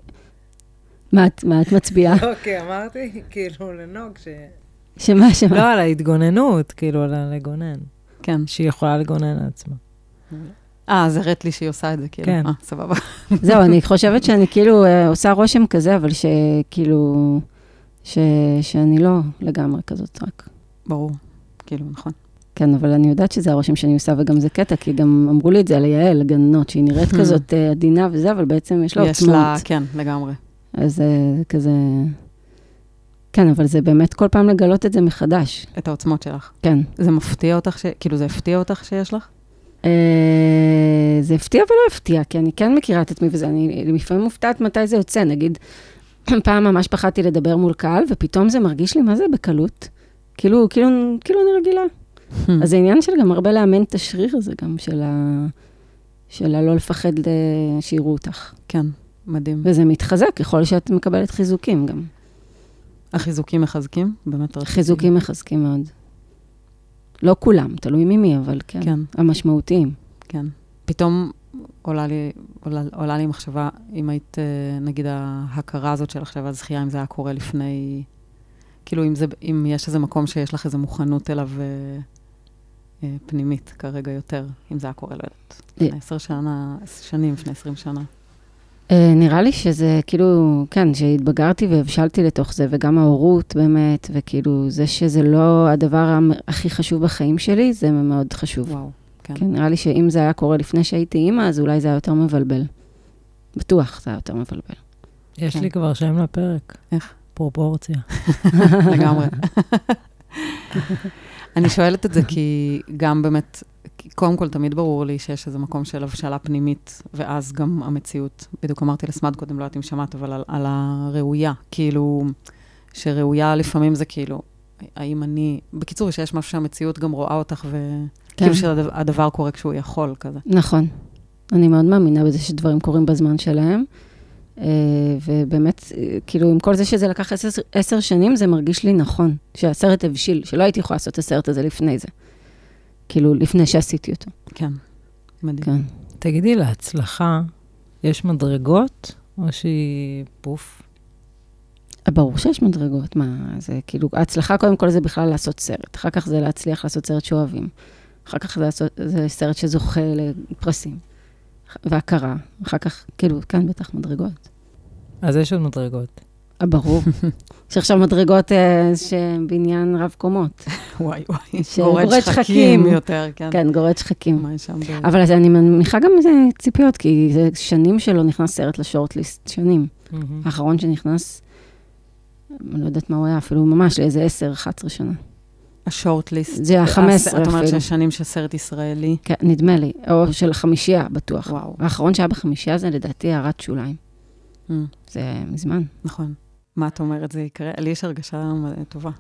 Speaker 3: מה את, מה את מצביעה?
Speaker 2: אוקיי, אמרתי, כאילו, לנוג ש...
Speaker 3: שמה, שמה?
Speaker 2: לא, על ההתגוננות, כאילו, על הלגונן.
Speaker 1: כן.
Speaker 2: שהיא יכולה לגונן על עצמה.
Speaker 1: אה, אז הראת לי שהיא עושה את זה, כאילו.
Speaker 2: כן.
Speaker 1: אה, סבבה.
Speaker 3: זהו, אני חושבת שאני כאילו אה, עושה רושם כזה, אבל שכאילו, ש, שאני לא לגמרי כזאת רק.
Speaker 1: ברור. כאילו, נכון.
Speaker 3: כן, אבל אני יודעת שזה הרושם שאני עושה, וגם זה קטע, כי גם אמרו לי את זה על יעל, הגננות, שהיא נראית כזאת אה, עדינה וזה, אבל בעצם יש לה
Speaker 1: יש לה,
Speaker 3: עוצמות.
Speaker 1: כן, לגמרי.
Speaker 3: אז אה, זה כזה... כן, אבל זה באמת כל פעם לגלות את זה מחדש.
Speaker 1: את העוצמות שלך.
Speaker 3: כן.
Speaker 1: זה מפתיע אותך, ש... כאילו זה הפתיע אותך שיש לך?
Speaker 3: אה, זה הפתיע ולא הפתיע, כי אני כן מכירה את עצמי וזה, אני לפעמים מופתעת מתי זה יוצא, נגיד, פעם ממש פחדתי לדבר מול קהל, ופתאום זה מרגיש לי, מה זה בקלות? כאילו, כאילו, כאילו אני רגילה. אז זה עניין של גם הרבה לאמן את השריר הזה, גם של, ה... של הלא לפחד ל- שיראו אותך.
Speaker 1: כן, מדהים.
Speaker 3: וזה מתחזק ככל שאת מקבלת חיזוקים גם.
Speaker 1: החיזוקים מחזקים? באמת רציתי.
Speaker 3: חיזוקים מחזקים מאוד. לא כולם, תלוי ממי, אבל כן.
Speaker 1: כן,
Speaker 3: המשמעותיים.
Speaker 1: כן. פתאום עולה לי, עולה, עולה לי מחשבה, אם היית, אה, נגיד, ההכרה הזאת של עכשיו הזכייה, אם זה היה קורה לפני... כאילו, אם, זה, אם יש איזה מקום שיש לך איזו מוכנות אליו אה, אה, פנימית כרגע יותר, אם זה היה קורה, לא יודעת, לפני עשר שנה, שנים, לפני עשרים שנה.
Speaker 3: אה, נראה לי שזה כאילו, כן, שהתבגרתי והבשלתי לתוך זה, וגם ההורות באמת, וכאילו, זה שזה לא הדבר המ- הכי חשוב בחיים שלי, זה מאוד חשוב.
Speaker 1: וואו, כן.
Speaker 3: כן, נראה לי שאם זה היה קורה לפני שהייתי אימא, אז אולי זה היה יותר מבלבל. בטוח זה היה יותר מבלבל.
Speaker 2: יש
Speaker 1: כן.
Speaker 2: לי כבר שם לפרק.
Speaker 1: איך?
Speaker 2: פרופורציה.
Speaker 1: לגמרי. אני שואלת את זה כי גם באמת, כי קודם כל תמיד ברור לי שיש איזה מקום של הבשלה פנימית, ואז גם המציאות. בדיוק אמרתי לסמד קודם, לא יודעת אם שמעת, אבל על, על הראויה, כאילו, שראויה לפעמים זה כאילו, האם אני, בקיצור, שיש משהו שהמציאות גם רואה אותך, וכאילו
Speaker 3: כן,
Speaker 1: שהדבר קורה כשהוא יכול, כזה.
Speaker 3: נכון. אני מאוד מאמינה בזה שדברים קורים בזמן שלהם, אה, ובאמת, אה, כאילו, עם כל זה שזה לקח עשר, עשר שנים, זה מרגיש לי נכון, שהסרט הבשיל, שלא הייתי יכולה לעשות את הסרט הזה לפני זה. כאילו, לפני שעשיתי אותו.
Speaker 1: כן, מדהים.
Speaker 3: כן.
Speaker 2: תגידי, להצלחה יש מדרגות, או שהיא פוף?
Speaker 3: אה, ברור שיש מדרגות, מה, זה כאילו, ההצלחה קודם כל זה בכלל לעשות סרט, אחר כך זה להצליח לעשות סרט שאוהבים, אחר כך זה, לעשות, זה סרט שזוכה לפרסים והכרה, אחר כך, כאילו, כאן בטח מדרגות.
Speaker 2: אז יש עוד מדרגות.
Speaker 3: אה, ברור. יש עכשיו מדרגות אה, שהן בניין רב קומות,
Speaker 1: וואי וואי,
Speaker 3: של
Speaker 1: גורד
Speaker 3: גורד
Speaker 1: שחקים
Speaker 3: כן. שחקים.
Speaker 1: יותר, כן.
Speaker 3: כן, גורד שחקים.
Speaker 1: מה יש שם? ב-
Speaker 3: אבל אז אני מניחה גם איזה ציפיות, כי זה שנים שלא נכנס סרט לשורטליסט, שנים.
Speaker 1: Mm.
Speaker 3: האחרון שנכנס, אני לא יודעת מה הוא היה, אפילו ממש לאיזה 10-11 שנה.
Speaker 1: השורטליסט.
Speaker 3: זה ה-15
Speaker 1: אה, את אומרת
Speaker 3: אפילו.
Speaker 1: שיש שנים של סרט ישראלי.
Speaker 3: כן, נדמה לי, או של חמישייה, בטוח.
Speaker 1: וואו.
Speaker 3: האחרון שהיה בחמישייה זה לדעתי הערת שוליים.
Speaker 1: Mm,
Speaker 3: זה מזמן.
Speaker 1: נכון. מה את אומרת, זה יקרה? לי יש הרגשה מ- טובה.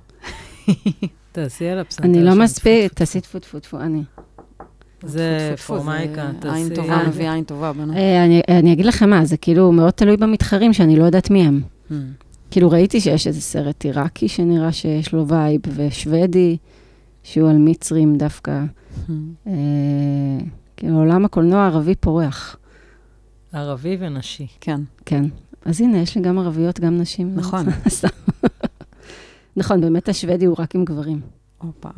Speaker 2: תעשי על הפסנתר.
Speaker 3: אני
Speaker 2: שם,
Speaker 3: לא
Speaker 2: טפו,
Speaker 3: מספיק, תעשי טפו טפו טפו, אני.
Speaker 2: טפו. זה
Speaker 1: טפו, טפו, טפו,
Speaker 2: פורמייקה,
Speaker 1: זה
Speaker 2: תעשי.
Speaker 1: עין טובה,
Speaker 3: אה.
Speaker 1: מביאה עין טובה, בנו.
Speaker 3: אה, אני- אני אגיד לכם מה, זה כאילו מאוד תלוי במתחרים שאני לא יודעת מי הם.
Speaker 1: Mm,
Speaker 2: אה.
Speaker 3: כאילו ראיתי שיש איזה סרט עיראקי שנראה שיש לו וייב, ושוודי, שהוא על מצרים דווקא.
Speaker 1: mm.
Speaker 3: אה, כאילו עולם הקולנוע הערבי פורח.
Speaker 2: ערבי ונשי.
Speaker 1: כן,
Speaker 3: כן. אז הנה, יש לי גם ערביות, גם נשים.
Speaker 1: נכון.
Speaker 3: נכון, באמת השוודי הוא רק עם גברים.
Speaker 1: הופה.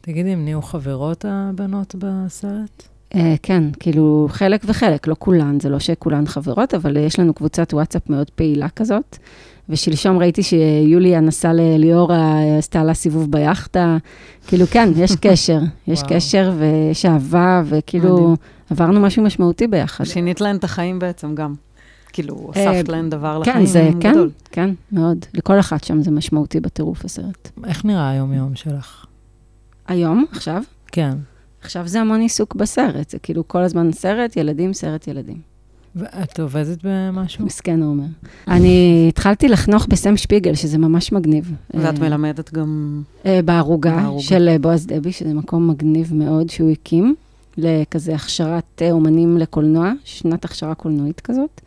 Speaker 2: תגידי, הם נהיו חברות הבנות בסרט?
Speaker 3: אה, כן, כאילו חלק וחלק, לא כולן, זה לא שכולן חברות, אבל אה, יש לנו קבוצת וואטסאפ מאוד פעילה כזאת. ושלשום ראיתי שיוליה נסעה לליאורה, אה, עשתה לה סיבוב ביאכטה. כאילו, כן, יש קשר, יש
Speaker 2: וואו.
Speaker 3: קשר ויש אהבה,
Speaker 1: מדהים.
Speaker 3: וכאילו, עברנו משהו משמעותי ביחד.
Speaker 1: שינית להן את החיים בעצם גם. כאילו,
Speaker 3: אה,
Speaker 1: הוספת להן דבר
Speaker 3: כן, זה,
Speaker 1: לחיים
Speaker 3: כן,
Speaker 1: גדול.
Speaker 3: כן, מאוד. לכל אחת שם זה משמעותי בטירוף הסרט.
Speaker 2: איך נראה היום-יום שלך?
Speaker 3: היום, עכשיו,
Speaker 2: כן.
Speaker 3: עכשיו זה המון עיסוק בסרט, זה כאילו כל הזמן סרט, ילדים, סרט, ילדים.
Speaker 2: ואת עובדת במשהו?
Speaker 3: מסכן, הוא אומר. אני התחלתי לחנוך בסם שפיגל, שזה ממש מגניב.
Speaker 1: ואת
Speaker 3: אה,
Speaker 1: מלמדת גם...
Speaker 3: אה, בערוגה
Speaker 1: בערוגה.
Speaker 3: של אה, בועז דבי, שזה מקום מגניב מאוד שהוא הקים, לכזה הכשרת אה, אומנים לקולנוע, שנת הכשרה קולנועית כזאת.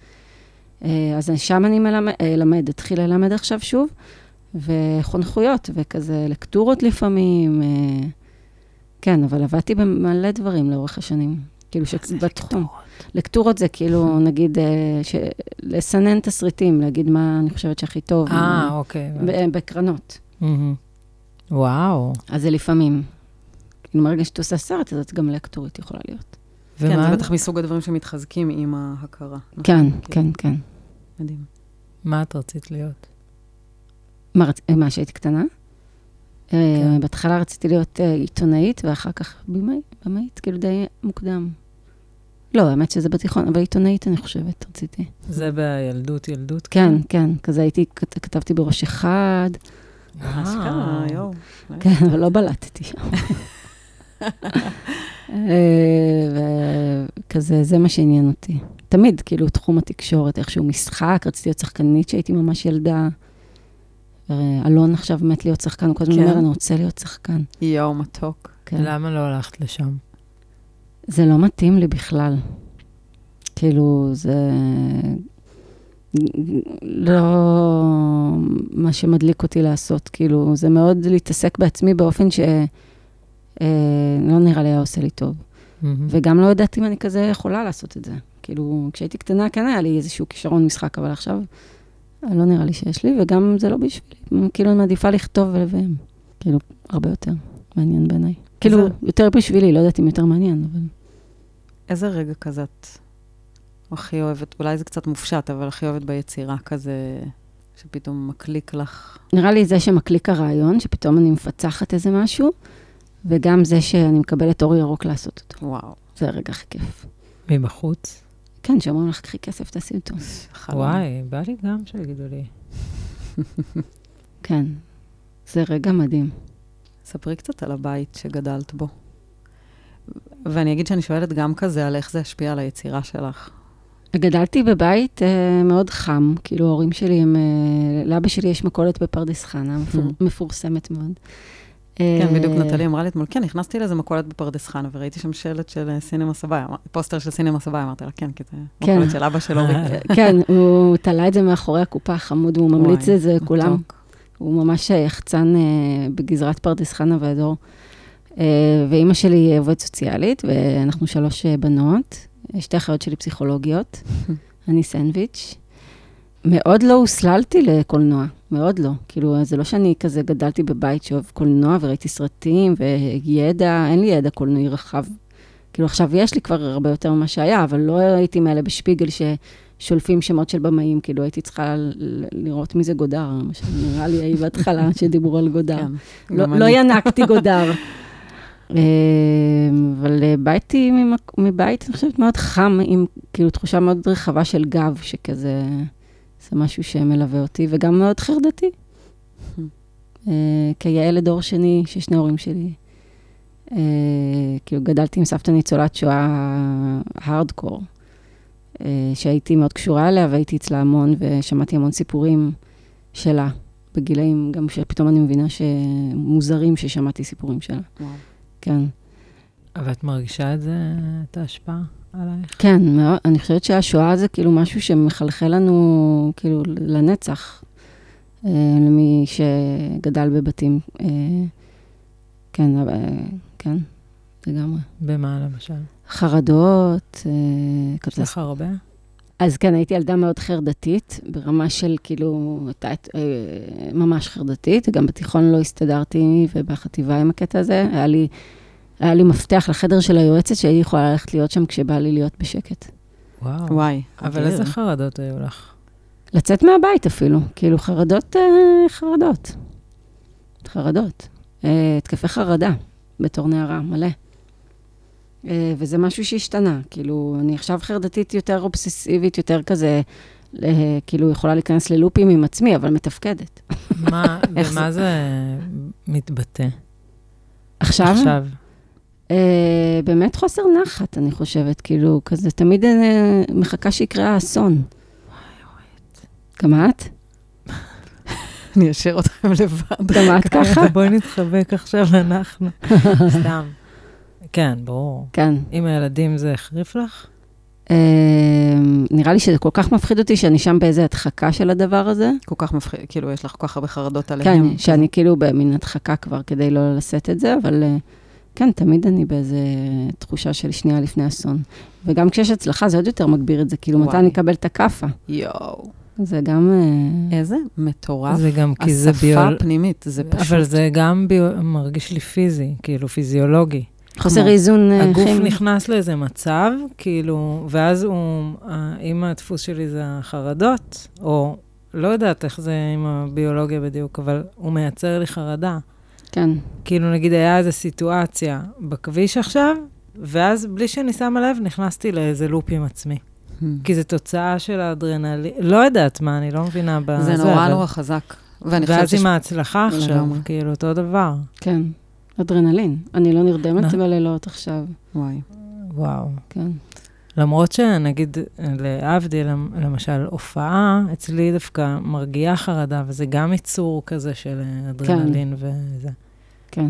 Speaker 3: אה, אז שם אני מלמד, אה, למד, אתחיל ללמד עכשיו שוב, וחונכויות, וכזה לקטורות לפעמים. אה, כן, אבל עבדתי במלא דברים לאורך השנים. כאילו, ש... בתחום. לקטורות זה כאילו, נגיד, אה, ש... לסנן תסריטים, להגיד מה אני חושבת שהכי טוב.
Speaker 2: אה, אוקיי.
Speaker 3: ב- כן, אה, בקרנות.
Speaker 2: מהמם. וואו.
Speaker 3: אז זה לפעמים. כאילו, מרגע שאת עושה סרט, אז את גם לקטורית יכולה להיות.
Speaker 1: כן,
Speaker 2: ומה-
Speaker 1: זה בטח מסוג הדברים שמתחזקים עם ההכרה. נכון?
Speaker 3: כן, כן, כן.
Speaker 1: מדהים.
Speaker 2: מה את רצית להיות?
Speaker 3: מה, רצ- מה, שהייתי קטנה? אה, בהתחלה רציתי להיות אה, עיתונאית, ואחר כך במאי- במאית, כאילו די מוקדם. לא, האמת שזה בתיכון, אבל עיתונאית, אני חושבת, רציתי.
Speaker 2: זה בילדות, ילדות?
Speaker 3: כן, כן, כזה הייתי, כת- כתבתי בראש אחד,
Speaker 1: אה,
Speaker 2: וואו. אה,
Speaker 1: אשכרה, יואו.
Speaker 3: כן, אבל לא בלטתי שם. אה, וכזה, זה מה שעניין אותי. תמיד, כאילו, תחום התקשורת, איכשהו משחק, רציתי להיות שחקנית כשהייתי ממש ילדה. אה, אלון עכשיו מת להיות שחקן, הוא כל הזמן
Speaker 1: כן.
Speaker 3: אומר, אני רוצה להיות שחקן.
Speaker 1: יואו, מתוק.
Speaker 3: כן.
Speaker 2: למה לא הלכת לשם?
Speaker 3: זה לא מתאים לי בכלל. כאילו, זה לא מה שמדליק אותי לעשות. כאילו, זה מאוד להתעסק בעצמי באופן ש... אה, לא נראה לי היה עושה לי טוב. וגם לא ידעתי אם אני כזה יכולה לעשות את זה. כאילו, כשהייתי קטנה כן היה לי איזשהו כישרון משחק, אבל עכשיו אה, לא נראה לי שיש לי, וגם זה לא בשבילי. כאילו, אני מעדיפה לכתוב ולביים. כאילו, הרבה יותר מעניין בעיניי. כאילו, יותר בשבילי, לא יודעת אם יותר מעניין, אבל...
Speaker 1: איזה רגע כזה את הכי אוהבת, אולי זה קצת מופשט, אבל הכי אוהבת ביצירה כזה, שפתאום מקליק לך.
Speaker 3: נראה לי זה שמקליק הרעיון, שפתאום אני מפצחת איזה משהו, וגם זה שאני מקבלת אור ירוק לעשות אותו.
Speaker 1: וואו,
Speaker 3: זה הרגע הכי כיף.
Speaker 2: מבחוץ?
Speaker 3: כן, שאומרים לך, קחי כסף, תעשי אותו.
Speaker 1: חלום.
Speaker 2: וואי, בא לי גם שיגידו לי.
Speaker 3: כן, זה רגע מדהים.
Speaker 1: ספרי קצת על הבית שגדלת בו. ואני אגיד שאני שואלת גם כזה על איך זה השפיע על היצירה שלך.
Speaker 3: גדלתי בבית אה, מאוד חם, כאילו ההורים שלי הם... אה, לאבא שלי יש מכולת בפרדס חנה, מפור,
Speaker 1: Mm.
Speaker 3: מפורסמת מאוד.
Speaker 1: כן,
Speaker 3: אה,
Speaker 1: בדיוק נטלי אמרה לי אתמול, כן, נכנסתי לאיזה מכולת בפרדס חנה, וראיתי שם שלט של אה, סינמה סביי, אמר- פוסטר של סינמה סביי, אמרתי לה, כן, כי זה
Speaker 3: כן.
Speaker 1: מכולת של אבא של אורי.
Speaker 3: כן, הוא תלה את זה מאחורי הקופה החמוד, והוא ממליץ
Speaker 1: וואי,
Speaker 3: את זה לכולם.
Speaker 1: מתוק.
Speaker 3: הוא ממש יחצן אה, בגזרת פרדס חנה והדור. אה, ואימא שלי היא עובדת סוציאלית, ואנחנו שלוש אה, בנות, שתי אחיות שלי פסיכולוגיות, אני סנדוויץ'. מאוד לא הוסללתי לקולנוע, מאוד לא. כאילו, זה לא שאני כזה גדלתי בבית שאוהב קולנוע וראיתי סרטים וידע, אין לי ידע קולנועי רחב. כאילו, עכשיו יש לי כבר הרבה יותר ממה שהיה, אבל לא הייתי מאלה בשפיגל ששולפים שמות של במאים, כאילו, הייתי צריכה ל- ל- לראות מי זה גודר, מה שנראה לי היה בהתחלה, שדיברו על גודר.
Speaker 1: כן,
Speaker 3: לא
Speaker 1: גם אני.
Speaker 3: לא ינקתי גודר. אה, אבל אה, באתי ממק- מבית, אני חושבת, מאוד חם, עם כאילו תחושה מאוד רחבה של גב, שכזה, זה משהו שמלווה אותי, וגם מאוד חרדתי. אה, כילד דור שני, ששני ההורים שלי, אה, כאילו גדלתי עם סבתא ניצולת שואה הארדקור, אה, שהייתי מאוד קשורה אליה, והייתי אצלה המון, ושמעתי המון סיפורים שלה. בגילאים, גם שפתאום אני מבינה שמוזרים ששמעתי סיפורים שלה.
Speaker 1: וואו.
Speaker 3: כן.
Speaker 2: אבל את מרגישה את זה, את ההשפעה עלייך?
Speaker 3: כן, מאוד, אני חושבת שהשואה זה כאילו משהו שמחלחל לנו כאילו לנצח, אה, למי שגדל בבתים. אה, כן, אבל, אה, כן, לגמרי.
Speaker 2: במה למשל?
Speaker 3: חרדות, אה,
Speaker 2: יש לך הרבה?
Speaker 3: אז כן, הייתי ילדה מאוד חרדתית, ברמה של כאילו, הייתה את- אה, ממש חרדתית, גם בתיכון לא הסתדרתי, ובחטיבה עם הקטע הזה, היה לי, היה לי מפתח לחדר של היועצת, שהייתי יכולה ללכת להיות שם כשבא לי להיות בשקט.
Speaker 2: וואו.
Speaker 1: וואי. אוקיי.
Speaker 2: אבל
Speaker 1: אדיר.
Speaker 2: איזה חרדות היו לך?
Speaker 3: לצאת מהבית אפילו, כאילו חרדות, אה, חרדות. חרדות. אה, התקפי חרדה, בתור נערה, מלא. אה, וזה משהו שהשתנה, כאילו, אני עכשיו חרדתית יותר אובססיבית, יותר כזה, אה, כאילו, יכולה להיכנס ללופים עם עצמי, אבל מתפקדת.
Speaker 2: מה,
Speaker 1: איך
Speaker 2: במה זה מתבטא
Speaker 3: עכשיו, עכשיו.
Speaker 2: עכשיו?
Speaker 3: אה, באמת חוסר נחת, אני חושבת, כאילו, כזה, תמיד אה, מחכה שיקרה האסון. גם את?
Speaker 1: אני אשאיר אותם לבד.
Speaker 3: גם את ככה?
Speaker 2: בואי נתחבק עכשיו אנחנו. סתם. כן, ברור.
Speaker 3: כן.
Speaker 2: עם הילדים זה החריף לך?
Speaker 3: אה, נראה לי שזה כל כך מפחיד אותי שאני שם באיזה הדחקה של הדבר הזה.
Speaker 1: כל כך מפחיד, כאילו, יש לך כל כך הרבה חרדות עליהם.
Speaker 3: כן, שאני כאילו במין הדחקה כבר כדי לא לשאת את זה, אבל אה, כן, תמיד אני באיזה תחושה של שנייה לפני אסון. וגם כשיש הצלחה זה עוד יותר מגביר את זה, כאילו מתי
Speaker 1: וואי.
Speaker 3: אני אקבל את הכאפה.
Speaker 1: יואו.
Speaker 3: זה גם... אה,
Speaker 1: איזה מטורף.
Speaker 2: זה גם כי זה ביול...
Speaker 1: השפה הפנימית, זה פשוט...
Speaker 2: אבל זה גם ביו- מרגיש לי פיזי, כאילו פיזיולוגי.
Speaker 3: חוסר
Speaker 1: כן, כמו-
Speaker 3: איזון אה,
Speaker 2: הגוף
Speaker 3: כימי.
Speaker 2: נכנס לאיזה מצב, כאילו, ואז הוא, אה, אם הדפוס שלי זה החרדות, או לא יודעת איך זה עם הביולוגיה בדיוק, אבל הוא מייצר לי חרדה.
Speaker 3: כן,
Speaker 2: כאילו, נגיד, היה איזו סיטואציה בכביש עכשיו, ואז בלי שאני שמה לב, נכנסתי לאיזה לופ עם עצמי.
Speaker 1: Hmm.
Speaker 2: כי זו תוצאה של האדרנלין, לא יודעת מה, אני לא מבינה בזה.
Speaker 1: זה נורא
Speaker 2: אבל-
Speaker 1: נורא חזק. ואני חושבת
Speaker 2: ואז
Speaker 1: שיש...
Speaker 2: עם ההצלחה עכשיו,
Speaker 1: לגמרי.
Speaker 2: כאילו, אותו דבר.
Speaker 3: כן. אדרנלין. אני לא נרדמת
Speaker 2: נ-
Speaker 3: בלילות עכשיו,
Speaker 1: וואי.
Speaker 2: וואו.
Speaker 3: כן.
Speaker 2: למרות שנגיד, להבדיל, למ- למשל, הופעה, אצלי דווקא מרגיעה חרדה, וזה גם ייצור כזה של אה, אדרנלין וזה.
Speaker 3: כן.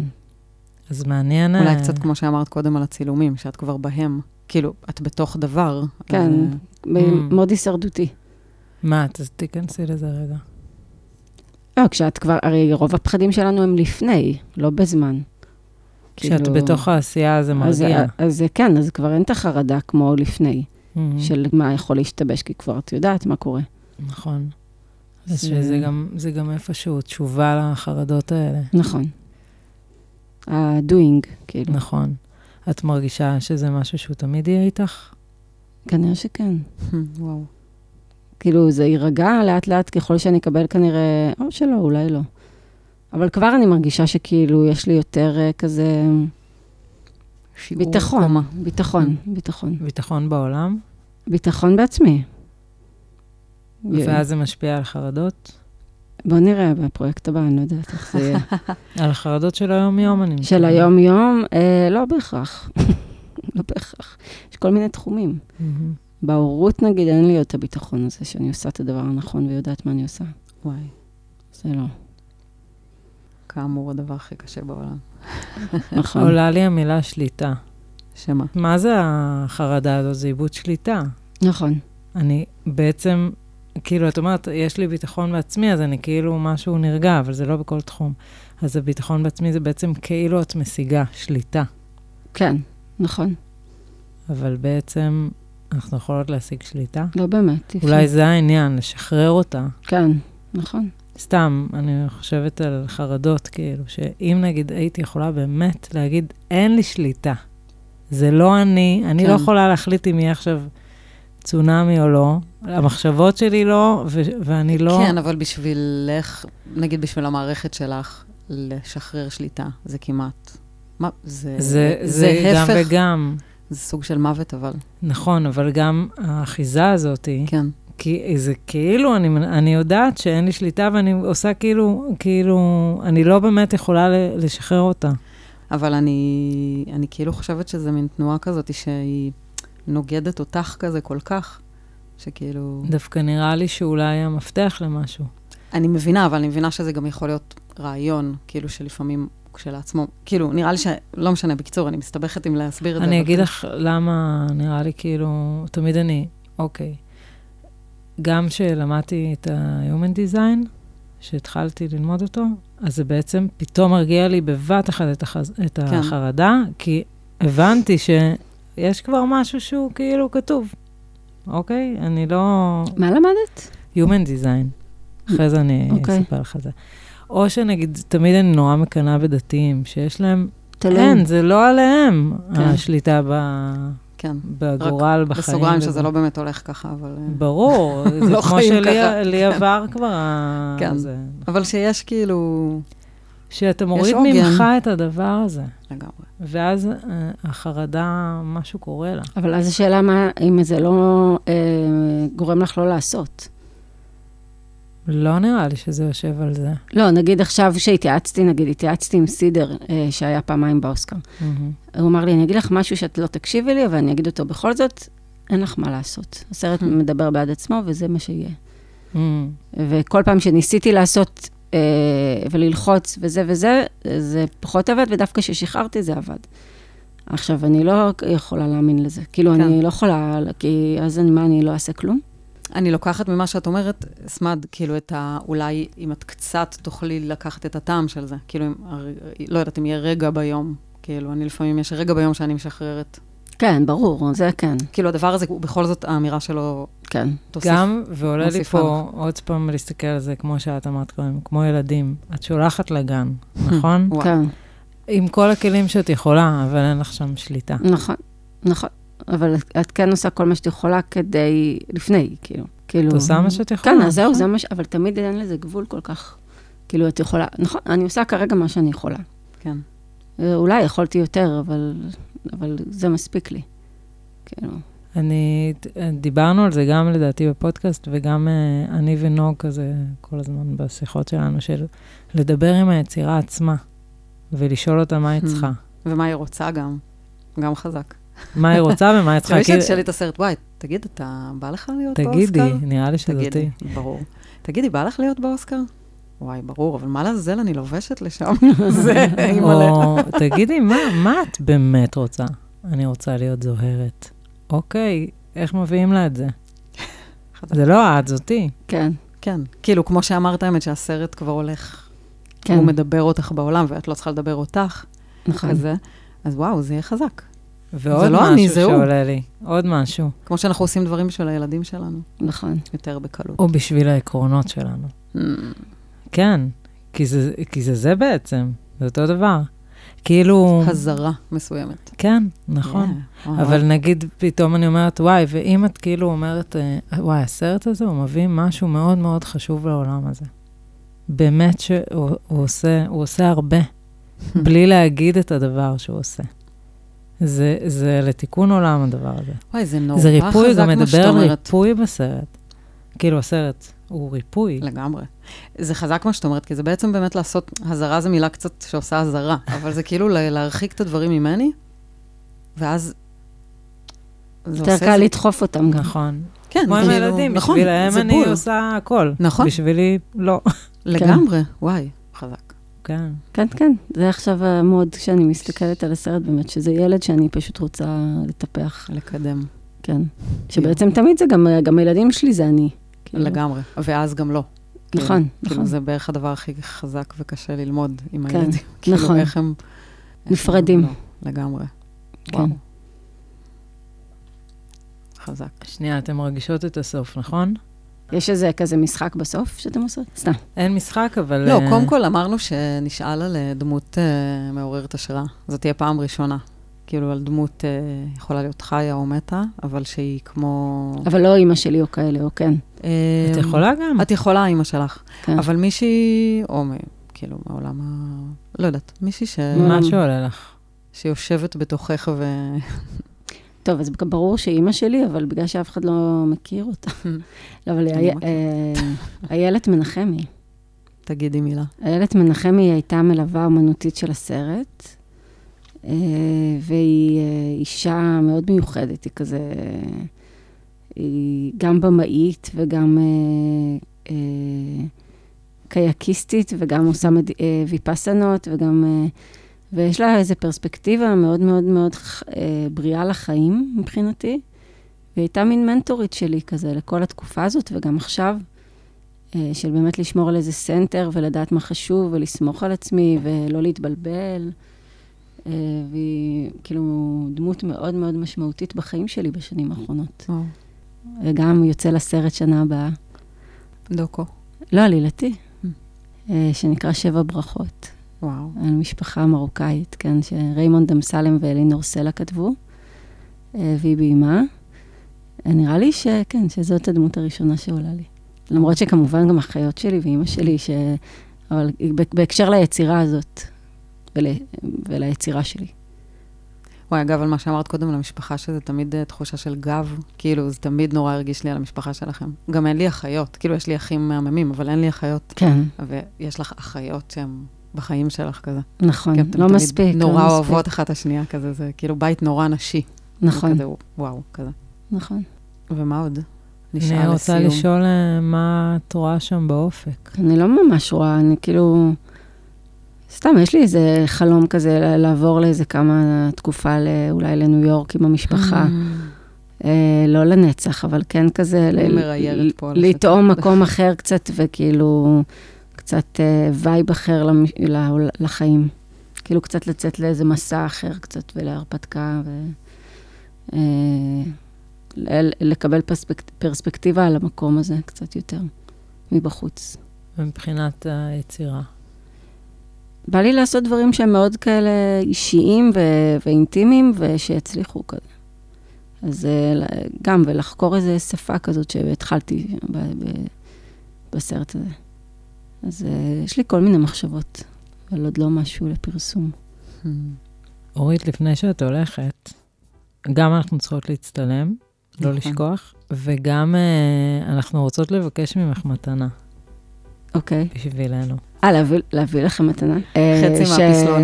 Speaker 2: אז מעניין... אה,
Speaker 1: אולי קצת כמו שאמרת קודם על הצילומים, שאת כבר בהם. כאילו, את בתוך דבר. אז,
Speaker 3: כן.
Speaker 1: אה,
Speaker 3: ב- מאוד הישרדותי.
Speaker 2: מה, ת- תיכנסי לזה רגע.
Speaker 3: לא, כשאת כבר, הרי רוב הפחדים שלנו הם לפני, לא בזמן.
Speaker 2: כשאת
Speaker 3: כאילו,
Speaker 2: בתוך העשייה זה
Speaker 3: אז,
Speaker 1: אה,
Speaker 2: מרגיע.
Speaker 3: אז כן, אז כבר אין את החרדה כמו לפני,
Speaker 2: Mhm.
Speaker 3: של מה יכול להשתבש, כי כבר את יודעת מה קורה.
Speaker 2: נכון.
Speaker 3: אז,
Speaker 2: אז שזה
Speaker 3: אה,
Speaker 2: גם, זה גם איפשהו תשובה לחרדות האלה.
Speaker 3: נכון. ה-doing, כאילו.
Speaker 2: נכון. את מרגישה שזה משהו שהוא תמיד יהיה איתך? נכון.
Speaker 3: כנראה שכן.
Speaker 1: hmm, וואו.
Speaker 3: כאילו, זה יירגע לאט-לאט ככל שאני אקבל כנראה, או שלא, אולי לא. אבל כבר אני מרגישה שכאילו, יש לי יותר אה, כזה
Speaker 1: שיעור
Speaker 3: ביטחון,
Speaker 1: קומה.
Speaker 3: ביטחון,
Speaker 2: Mm.
Speaker 3: ביטחון.
Speaker 2: ביטחון בעולם,
Speaker 3: ביטחון בעצמי.
Speaker 2: ואז זה משפיע על חרדות?
Speaker 3: בוא נראה בפרויקט הבא, אני לא יודעת איך זה יהיה.
Speaker 2: על החרדות של היום-יום, אני
Speaker 3: של
Speaker 2: מתכוונת.
Speaker 3: היום-יום, אה, לא בהכרח. לא בהכרח. יש כל מיני תחומים.
Speaker 2: מהמם.
Speaker 3: בהורות, נגיד, אין לי עוד את הביטחון הזה שאני עושה את הדבר הנכון ויודעת מה אני עושה.
Speaker 1: וואי.
Speaker 3: זה לא.
Speaker 1: כאמור, הדבר הכי קשה בעולם.
Speaker 3: נכון.
Speaker 2: עולה לי המילה שליטה.
Speaker 1: שמה?
Speaker 2: מה זה החרדה הזאת? זה איבוד שליטה.
Speaker 3: נכון.
Speaker 2: אני בעצם, כאילו, את אומרת, יש לי ביטחון בעצמי, אז אני כאילו משהו נרגע, אבל זה לא בכל תחום. אז הביטחון בעצמי זה בעצם כאילו את משיגה שליטה,
Speaker 3: כן, נכון.
Speaker 2: אבל בעצם אנחנו יכולות להשיג שליטה.
Speaker 3: לא באמת. אי אפשר.
Speaker 2: אולי זה העניין, לשחרר אותה.
Speaker 3: כן, נכון.
Speaker 2: סתם, אני חושבת על חרדות, כאילו, שאם נגיד הייתי יכולה באמת להגיד, אין לי שליטה, זה לא אני, אני
Speaker 1: כן.
Speaker 2: לא יכולה להחליט אם יהיה עכשיו צונאמי או לא, המחשבות שלי לא, ו- ואני לא...
Speaker 1: כן, אבל בשבילך, נגיד בשביל המערכת שלך, לשחרר שליטה, זה כמעט... מה? זה,
Speaker 2: זה, זה, זה גם וגם.
Speaker 1: זה סוג של מוות, אבל...
Speaker 2: נכון, אבל גם האחיזה הזאת,
Speaker 1: כן.
Speaker 2: כי זה כאילו, אני, אני יודעת שאין לי שליטה ואני עושה כאילו, כאילו, אני לא באמת יכולה ל- לשחרר אותה.
Speaker 1: אבל אני, אני כאילו חושבת שזה מין תנועה כזאת שהיא נוגדת אותך כזה כל כך, שכאילו...
Speaker 2: דווקא נראה לי שאולי המפתח למשהו.
Speaker 1: אני מבינה, אבל אני מבינה שזה גם יכול להיות רעיון, כאילו שלפעמים הוא כשלעצמו, כאילו, נראה לי ש... לא משנה, בקיצור, אני מסתבכת עם להסביר את זה.
Speaker 2: אני
Speaker 1: אבל
Speaker 2: אגיד
Speaker 1: כאילו-
Speaker 2: לך למה נראה לי כאילו, תמיד אני, אוקיי. גם כשלמדתי את ה-Human Design, שהתחלתי ללמוד אותו, אז זה בעצם פתאום הרגיע לי בבת אחת את, החז... את
Speaker 1: כן.
Speaker 2: החרדה, כי הבנתי שיש כבר משהו שהוא כאילו כתוב, אוקיי? אני לא...
Speaker 3: מה למדת?
Speaker 2: Human Design. אחרי זה אני
Speaker 3: אוקיי.
Speaker 2: אספר לך את זה. או שנגיד, תמיד אני נורא מקנאה בדתיים, שיש להם
Speaker 3: תלוי.
Speaker 2: אין, זה לא עליהם,
Speaker 3: כן.
Speaker 2: השליטה ב...
Speaker 1: כן.
Speaker 2: בגורל, בחיים.
Speaker 1: בסוגריים שזה
Speaker 2: וב-
Speaker 1: לא באמת הולך ככה, אבל... אה,
Speaker 2: ברור, זה
Speaker 1: לא
Speaker 2: כמו
Speaker 1: חיים
Speaker 2: שלי
Speaker 1: ככה.
Speaker 2: לי עבר כבר ה...
Speaker 1: כן.
Speaker 2: זה.
Speaker 1: אבל שיש כאילו...
Speaker 2: שאתה מוריד
Speaker 1: עוגן.
Speaker 2: ממך את הדבר הזה,
Speaker 1: לגמרי.
Speaker 2: ואז אה, החרדה, משהו קורה לה.
Speaker 3: אבל אז השאלה מה, אם זה לא אה, גורם לך לא לעשות.
Speaker 2: לא נראה לי שזה יושב על זה.
Speaker 3: לא, נגיד עכשיו שהתייעצתי, נגיד התייעצתי עם סידר אה, שהיה פעמיים באוסקר.
Speaker 2: מהמם.
Speaker 1: Mm-hmm.
Speaker 3: הוא אמר לי, אני אגיד לך משהו שאת לא תקשיבי לי, אבל אני אגיד אותו בכל זאת, אין לך מה לעשות. הסרט מדבר בעד עצמו, וזה מה שיהיה.
Speaker 2: מהמם.
Speaker 3: וכל פעם שניסיתי לעשות אה, וללחוץ וזה וזה, אה, זה פחות עבד, ודווקא כששחררתי זה עבד. עכשיו, אני לא יכולה להאמין לזה. כאילו,
Speaker 1: כן.
Speaker 3: אני לא יכולה, כי אז אני, מה, אני לא אעשה כלום?
Speaker 1: אני לוקחת ממה שאת אומרת, סמד, כאילו את ה... אולי אם את קצת תוכלי לקחת את הטעם של זה. כאילו, אם, הר- לא יודעת אם יהיה רגע ביום. כאילו, אני לפעמים, יש רגע ביום שאני משחררת.
Speaker 3: כן, ברור, זה כן,
Speaker 1: כאילו, הדבר הזה, הוא בכל זאת, האמירה שלו
Speaker 3: כן.
Speaker 1: תוסיף.
Speaker 2: גם, ועולה לי
Speaker 1: מוסיפה
Speaker 2: פה עוד פעם להסתכל על זה, כמו שאת אמרת קודם, כמו ילדים. את שולחת לגן, נכון?
Speaker 1: וואו.
Speaker 3: כן,
Speaker 2: עם כל הכלים שאת יכולה, אבל אין לך שם שליטה.
Speaker 1: Mm.
Speaker 3: נכון, נכון. אבל את- את כן עושה כל מה שאת יכולה כדי, לפני, כאילו. כאילו...
Speaker 2: את עושה מה שאת יכולה.
Speaker 1: אה,
Speaker 3: כן, אז זהו,
Speaker 2: נכון?
Speaker 3: זה מה ש... אבל תמיד אין לזה גבול כל כך. כאילו, את יכולה... נכון, אני עושה כרגע מה שאני יכולה.
Speaker 1: כן.
Speaker 3: אה, אולי יכולתי יותר, אבל, אבל זה מספיק לי. כאילו,
Speaker 2: אני, דיברנו על זה גם לדעתי בפודקאסט, וגם אה, אני ונוג כזה כל הזמן בשיחות שלנו, של לדבר עם היצירה עצמה, ולשאול אותה מה היא
Speaker 1: Hmm.
Speaker 2: צריכה.
Speaker 1: ומה היא רוצה גם, גם חזק.
Speaker 2: מה היא רוצה ומה היא צריכה.
Speaker 1: כשמישהו
Speaker 2: כאילו,
Speaker 1: ישאל לי את הסרט, וואי, תגיד, אתה בא לך להיות באוסקר?
Speaker 2: תגידי, נראה לי שזאתי.
Speaker 1: תגידי, ברור. תגידי, בא לך להיות באוסקר? וואי, ברור, אבל מה לעזאזל אני לובשת לשם? זה, אימא'לה.
Speaker 2: או, תגידי, מה, מה את באמת רוצה? אני רוצה להיות זוהרת. אוקיי, איך מביאים לה את זה?
Speaker 1: חזק.
Speaker 2: זה לא את, זאתי.
Speaker 3: כן,
Speaker 1: כן, כאילו, כמו שאמרת, האמת שהסרט כבר הולך,
Speaker 3: כן,
Speaker 1: הוא מדבר אותך בעולם, ואת לא צריכה לדבר אותך,
Speaker 3: נכון.
Speaker 1: כזה. אז וואו, זה יהיה חזק.
Speaker 2: ועוד
Speaker 1: לא אני,
Speaker 2: משהו
Speaker 1: זה הוא.
Speaker 2: שעולה לי. עוד משהו.
Speaker 1: כמו שאנחנו עושים דברים בשביל הילדים שלנו,
Speaker 3: נכון.
Speaker 1: יותר בקלות.
Speaker 2: או בשביל העקרונות שלנו. כן, כי זה, כי זה זה בעצם, זה אותו דבר. כאילו,
Speaker 1: חזרה מסוימת.
Speaker 2: כן, נכון.
Speaker 1: Yeah, וואו.
Speaker 2: אבל נגיד, פתאום אני אומרת, וואי, ואם את כאילו אומרת, אה, וואי, הסרט הזה, הוא מביא משהו מאוד מאוד חשוב לעולם הזה. באמת שהוא הוא עושה, הוא עושה הרבה, בלי להגיד את הדבר שהוא עושה. זה, זה לתיקון עולם הדבר הזה.
Speaker 1: וואי, זה נורא
Speaker 2: זה ריפוי,
Speaker 1: חזק
Speaker 2: גם
Speaker 1: מה
Speaker 2: מדבר
Speaker 1: שאת
Speaker 2: על
Speaker 1: אומרת.
Speaker 2: ריפוי בסרט. כאילו, הסרט הוא ריפוי.
Speaker 1: לגמרי. זה חזק מה שאת אומרת, כי זה בעצם באמת לעשות, הזרה זו מילה קצת שעושה הזרה, אבל זה כאילו ל- להרחיק את הדברים ממני, ואז... זה
Speaker 3: יותר
Speaker 1: עושה זה-
Speaker 3: קל לדחוף אותם גם.
Speaker 2: נכון.
Speaker 1: כן,
Speaker 2: כמו עם
Speaker 1: כאילו,
Speaker 2: הילדים,
Speaker 1: נכון,
Speaker 2: בשבילהם
Speaker 1: זה
Speaker 2: אני
Speaker 1: בול.
Speaker 2: עושה הכל.
Speaker 1: נכון.
Speaker 2: בשבילי, לא.
Speaker 1: לגמרי, וואי, חזק.
Speaker 2: כן.
Speaker 3: כן, כן, זה עכשיו המוד שאני מסתכלת על הסרט באמת, שזה ילד שאני פשוט רוצה לטפח,
Speaker 1: לקדם,
Speaker 3: כן. שבעצם תמיד זה גם, גם הילדים שלי זה אני. כאילו.
Speaker 1: לגמרי. ואז גם לא. כאילו,
Speaker 3: נכון,
Speaker 1: כאילו,
Speaker 3: נכון.
Speaker 1: זה בערך הדבר הכי חזק וקשה ללמוד עם
Speaker 3: כן,
Speaker 1: הילדים. כאילו,
Speaker 3: נכון.
Speaker 1: איך הם... איך
Speaker 3: נפרדים.
Speaker 1: הם לא, לגמרי. וואו.
Speaker 3: כן.
Speaker 1: חזק.
Speaker 2: שנייה, אתן מרגישות את הסוף, נכון?
Speaker 3: יש איזה כזה משחק בסוף שאתם עושים? סתם.
Speaker 2: אין משחק, אבל...
Speaker 1: לא,
Speaker 2: אה,
Speaker 1: קודם כל אמרנו שנשאל על אה, דמות אה, מעוררת השראה. זאת תהיה פעם ראשונה. כאילו, על דמות אה, יכולה להיות חיה או מתה, אבל שהיא כמו...
Speaker 3: אבל לא אימא שלי או כאלה, או כן.
Speaker 1: אה,
Speaker 2: את יכולה גם.
Speaker 1: את יכולה, אימא שלך.
Speaker 3: כן.
Speaker 1: אבל מישהי, או מ- כאילו, מהעולם ה... לא יודעת, מישהי ש...
Speaker 2: מה שעולה לך.
Speaker 1: שיושבת בתוכך ו...
Speaker 3: טוב, אז ברור שאימא שלי, אבל בגלל שאף אחד לא מכיר אותה. לא, אבל
Speaker 1: אני
Speaker 3: אי-
Speaker 1: מכיר.
Speaker 3: אה, איילת מנחמי.
Speaker 1: תגידי מילה.
Speaker 3: איילת מנחמי היא הייתה מלווה אומנותית של הסרט, אה, והיא אה, אישה מאוד מיוחדת, היא כזה, אה, היא גם במאית וגם אה, אה, קייקיסטית וגם עושה מד... אה, ויפאסנות וגם, אה, ויש לה איזו פרספקטיבה מאוד מאוד מאוד ח- אה, בריאה לחיים מבחינתי. והיא הייתה מין מנטורית שלי כזה לכל התקופה הזאת, וגם עכשיו, אה, של באמת לשמור על איזה סנטר ולדעת מה חשוב ולסמוך על עצמי ולא להתבלבל. אה, והיא כאילו דמות מאוד מאוד משמעותית בחיים שלי בשנים האחרונות. וגם יוצא לסרט שנה הבאה,
Speaker 1: דוקו.
Speaker 3: לא עלילתי,
Speaker 1: Mm.
Speaker 3: אה, שנקרא שבע ברכות,
Speaker 1: וואו.
Speaker 3: על משפחה מרוקאית, כן, שריימונד אמסלם ואלינור סלע כתבו, אה, והיא ביימה. אה, נראה לי שכן, שזאת הדמות הראשונה שעולה לי. למרות שכמובן גם אחיות שלי ואימא שלי, ש... אבל ב- בהקשר ליצירה הזאת ול... וליצירה שלי.
Speaker 1: וואי, אגב, על מה שאמרת קודם, על המשפחה, שזה תמיד אה, תחושה של גב, כאילו, זה תמיד נורא הרגיש לי על המשפחה שלכם. גם אין לי אחיות, כאילו, יש לי אחים מהממים, אבל אין לי אחיות,
Speaker 3: כן,
Speaker 1: ויש לך אחיות שהן בחיים שלך כזה.
Speaker 3: נכון,
Speaker 1: כי אתן
Speaker 3: לא
Speaker 1: כן, תמיד
Speaker 3: מספיק. לא
Speaker 1: נורא
Speaker 3: מספיק.
Speaker 1: אוהבות אחת את השנייה כזה, זה כאילו בית נורא נשי.
Speaker 3: נכון,
Speaker 1: כזה, וואו, כזה.
Speaker 3: נכון.
Speaker 1: ומה עוד? נשאל
Speaker 2: אני רוצה
Speaker 1: לסיום.
Speaker 2: לשאול אה, מה את רואה שם באופק.
Speaker 3: אני לא ממש רואה, אני כאילו... סתם, יש לי איזה חלום כזה ל- לעבור לאיזה כמה תקופה ל- אולי לניו יורק עם המשפחה. אה, לא לנצח, אבל כן כזה... ל-
Speaker 1: אני מראיירת פה על השטח.
Speaker 3: לטעום מקום אחר קצת, וכאילו, קצת אה, וייב אחר למש- ל- לחיים. כאילו, קצת לצאת לאיזה מסע אחר קצת, ולהרפתקה, ו... אה, ל- לקבל פרספק- פרספקטיבה על המקום הזה קצת יותר מבחוץ.
Speaker 2: מבחינת היצירה.
Speaker 3: בא לי לעשות דברים שהם מאוד כאלה אישיים ו- ואינטימיים, ושיצליחו כזה. אז אה, ל- גם, ולחקור איזו שפה כזאת שהתחלתי ב- ב- בסרט הזה. אז אה, יש לי כל מיני מחשבות, אבל עוד לא משהו לפרסום.
Speaker 2: אורית, לפני שאת הולכת, גם אנחנו צריכות להצטלם, לא
Speaker 1: נכון.
Speaker 2: לשכוח, וגם אה, אנחנו רוצות לבקש ממך מתנה
Speaker 3: אוקיי,
Speaker 2: בשבילנו.
Speaker 3: אה, להביא, להביא לכם מתנה.
Speaker 1: חצי
Speaker 3: אה, ש-
Speaker 1: מהפסלון.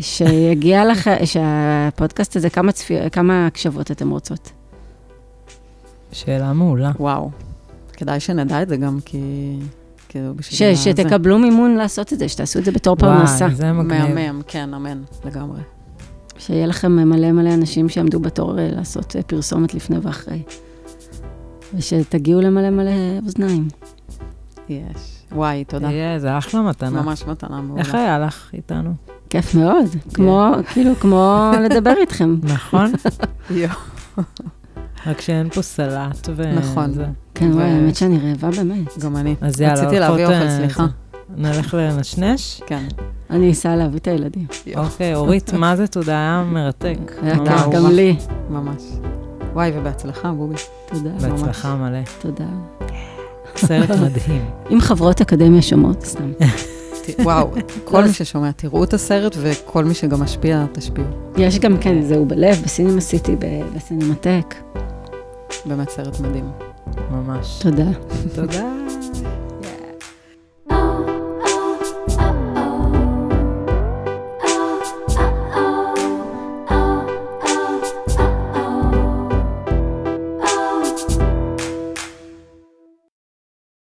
Speaker 3: שיגיע לך, שהפודקאסט הזה, כמה, צפי, כמה הקשבות אתם רוצות?
Speaker 2: שאלה מעולה.
Speaker 1: וואו. כדאי שנדע את זה גם, כי... כאילו, בשביל
Speaker 3: ש,
Speaker 1: ה- זה.
Speaker 3: שתקבלו מימון לעשות את זה, שתעשו את זה בתור פרנסה.
Speaker 2: וואי, זה מגניב.
Speaker 1: מהמם, כן, אמן, לגמרי.
Speaker 3: שיהיה לכם מלא מלא אנשים שיעמדו בתור אה, לעשות אה, פרסומת לפני ואחרי. ושתגיעו למלא מלא אוזניים.
Speaker 1: יש. וואי, תודה.
Speaker 2: תהיה, זה נכון. אחלה מתנה.
Speaker 1: ממש מתנה מעולה.
Speaker 2: איך היה לך איתנו?
Speaker 3: כיף מאוד, כמו, כאילו, כמו לדבר איתכם.
Speaker 2: נכון?
Speaker 1: יו.
Speaker 2: רק שאין פה סלט ו...
Speaker 1: נכון.
Speaker 2: זה.
Speaker 3: כן, וואי,
Speaker 1: ו-
Speaker 3: האמת שאני רעבה באמת.
Speaker 1: גם אני.
Speaker 2: אז יאללה,
Speaker 1: רציתי
Speaker 2: הולכות,
Speaker 1: להביא אוכל,
Speaker 2: אה,
Speaker 1: סליחה.
Speaker 2: זה. נלך לנשנש?
Speaker 1: כן.
Speaker 3: אני אסע להביא את הילדים.
Speaker 1: יו.
Speaker 2: אוקיי, אורית, מה זה? תודה, היה מרתק.
Speaker 3: היה
Speaker 2: ממש.
Speaker 3: כיף גם
Speaker 1: אהובה.
Speaker 3: לי.
Speaker 1: ממש. וואי, ובהצלחה, בובי.
Speaker 3: תודה,
Speaker 2: בהצלחה מלא.
Speaker 3: תודה.
Speaker 2: סרט מדהים.
Speaker 3: אם חברות אקדמיה שומעות, סתם.
Speaker 1: ת- וואו, כל מי ששומע, תראו את הסרט, וכל מי שגם משפיע, תשפיעו.
Speaker 3: יש גם, כן, זהו בלב, בסינמה סיטי, ב- בסינמטק.
Speaker 1: באמת סרט מדהים.
Speaker 2: ממש.
Speaker 3: תודה.
Speaker 2: תודה.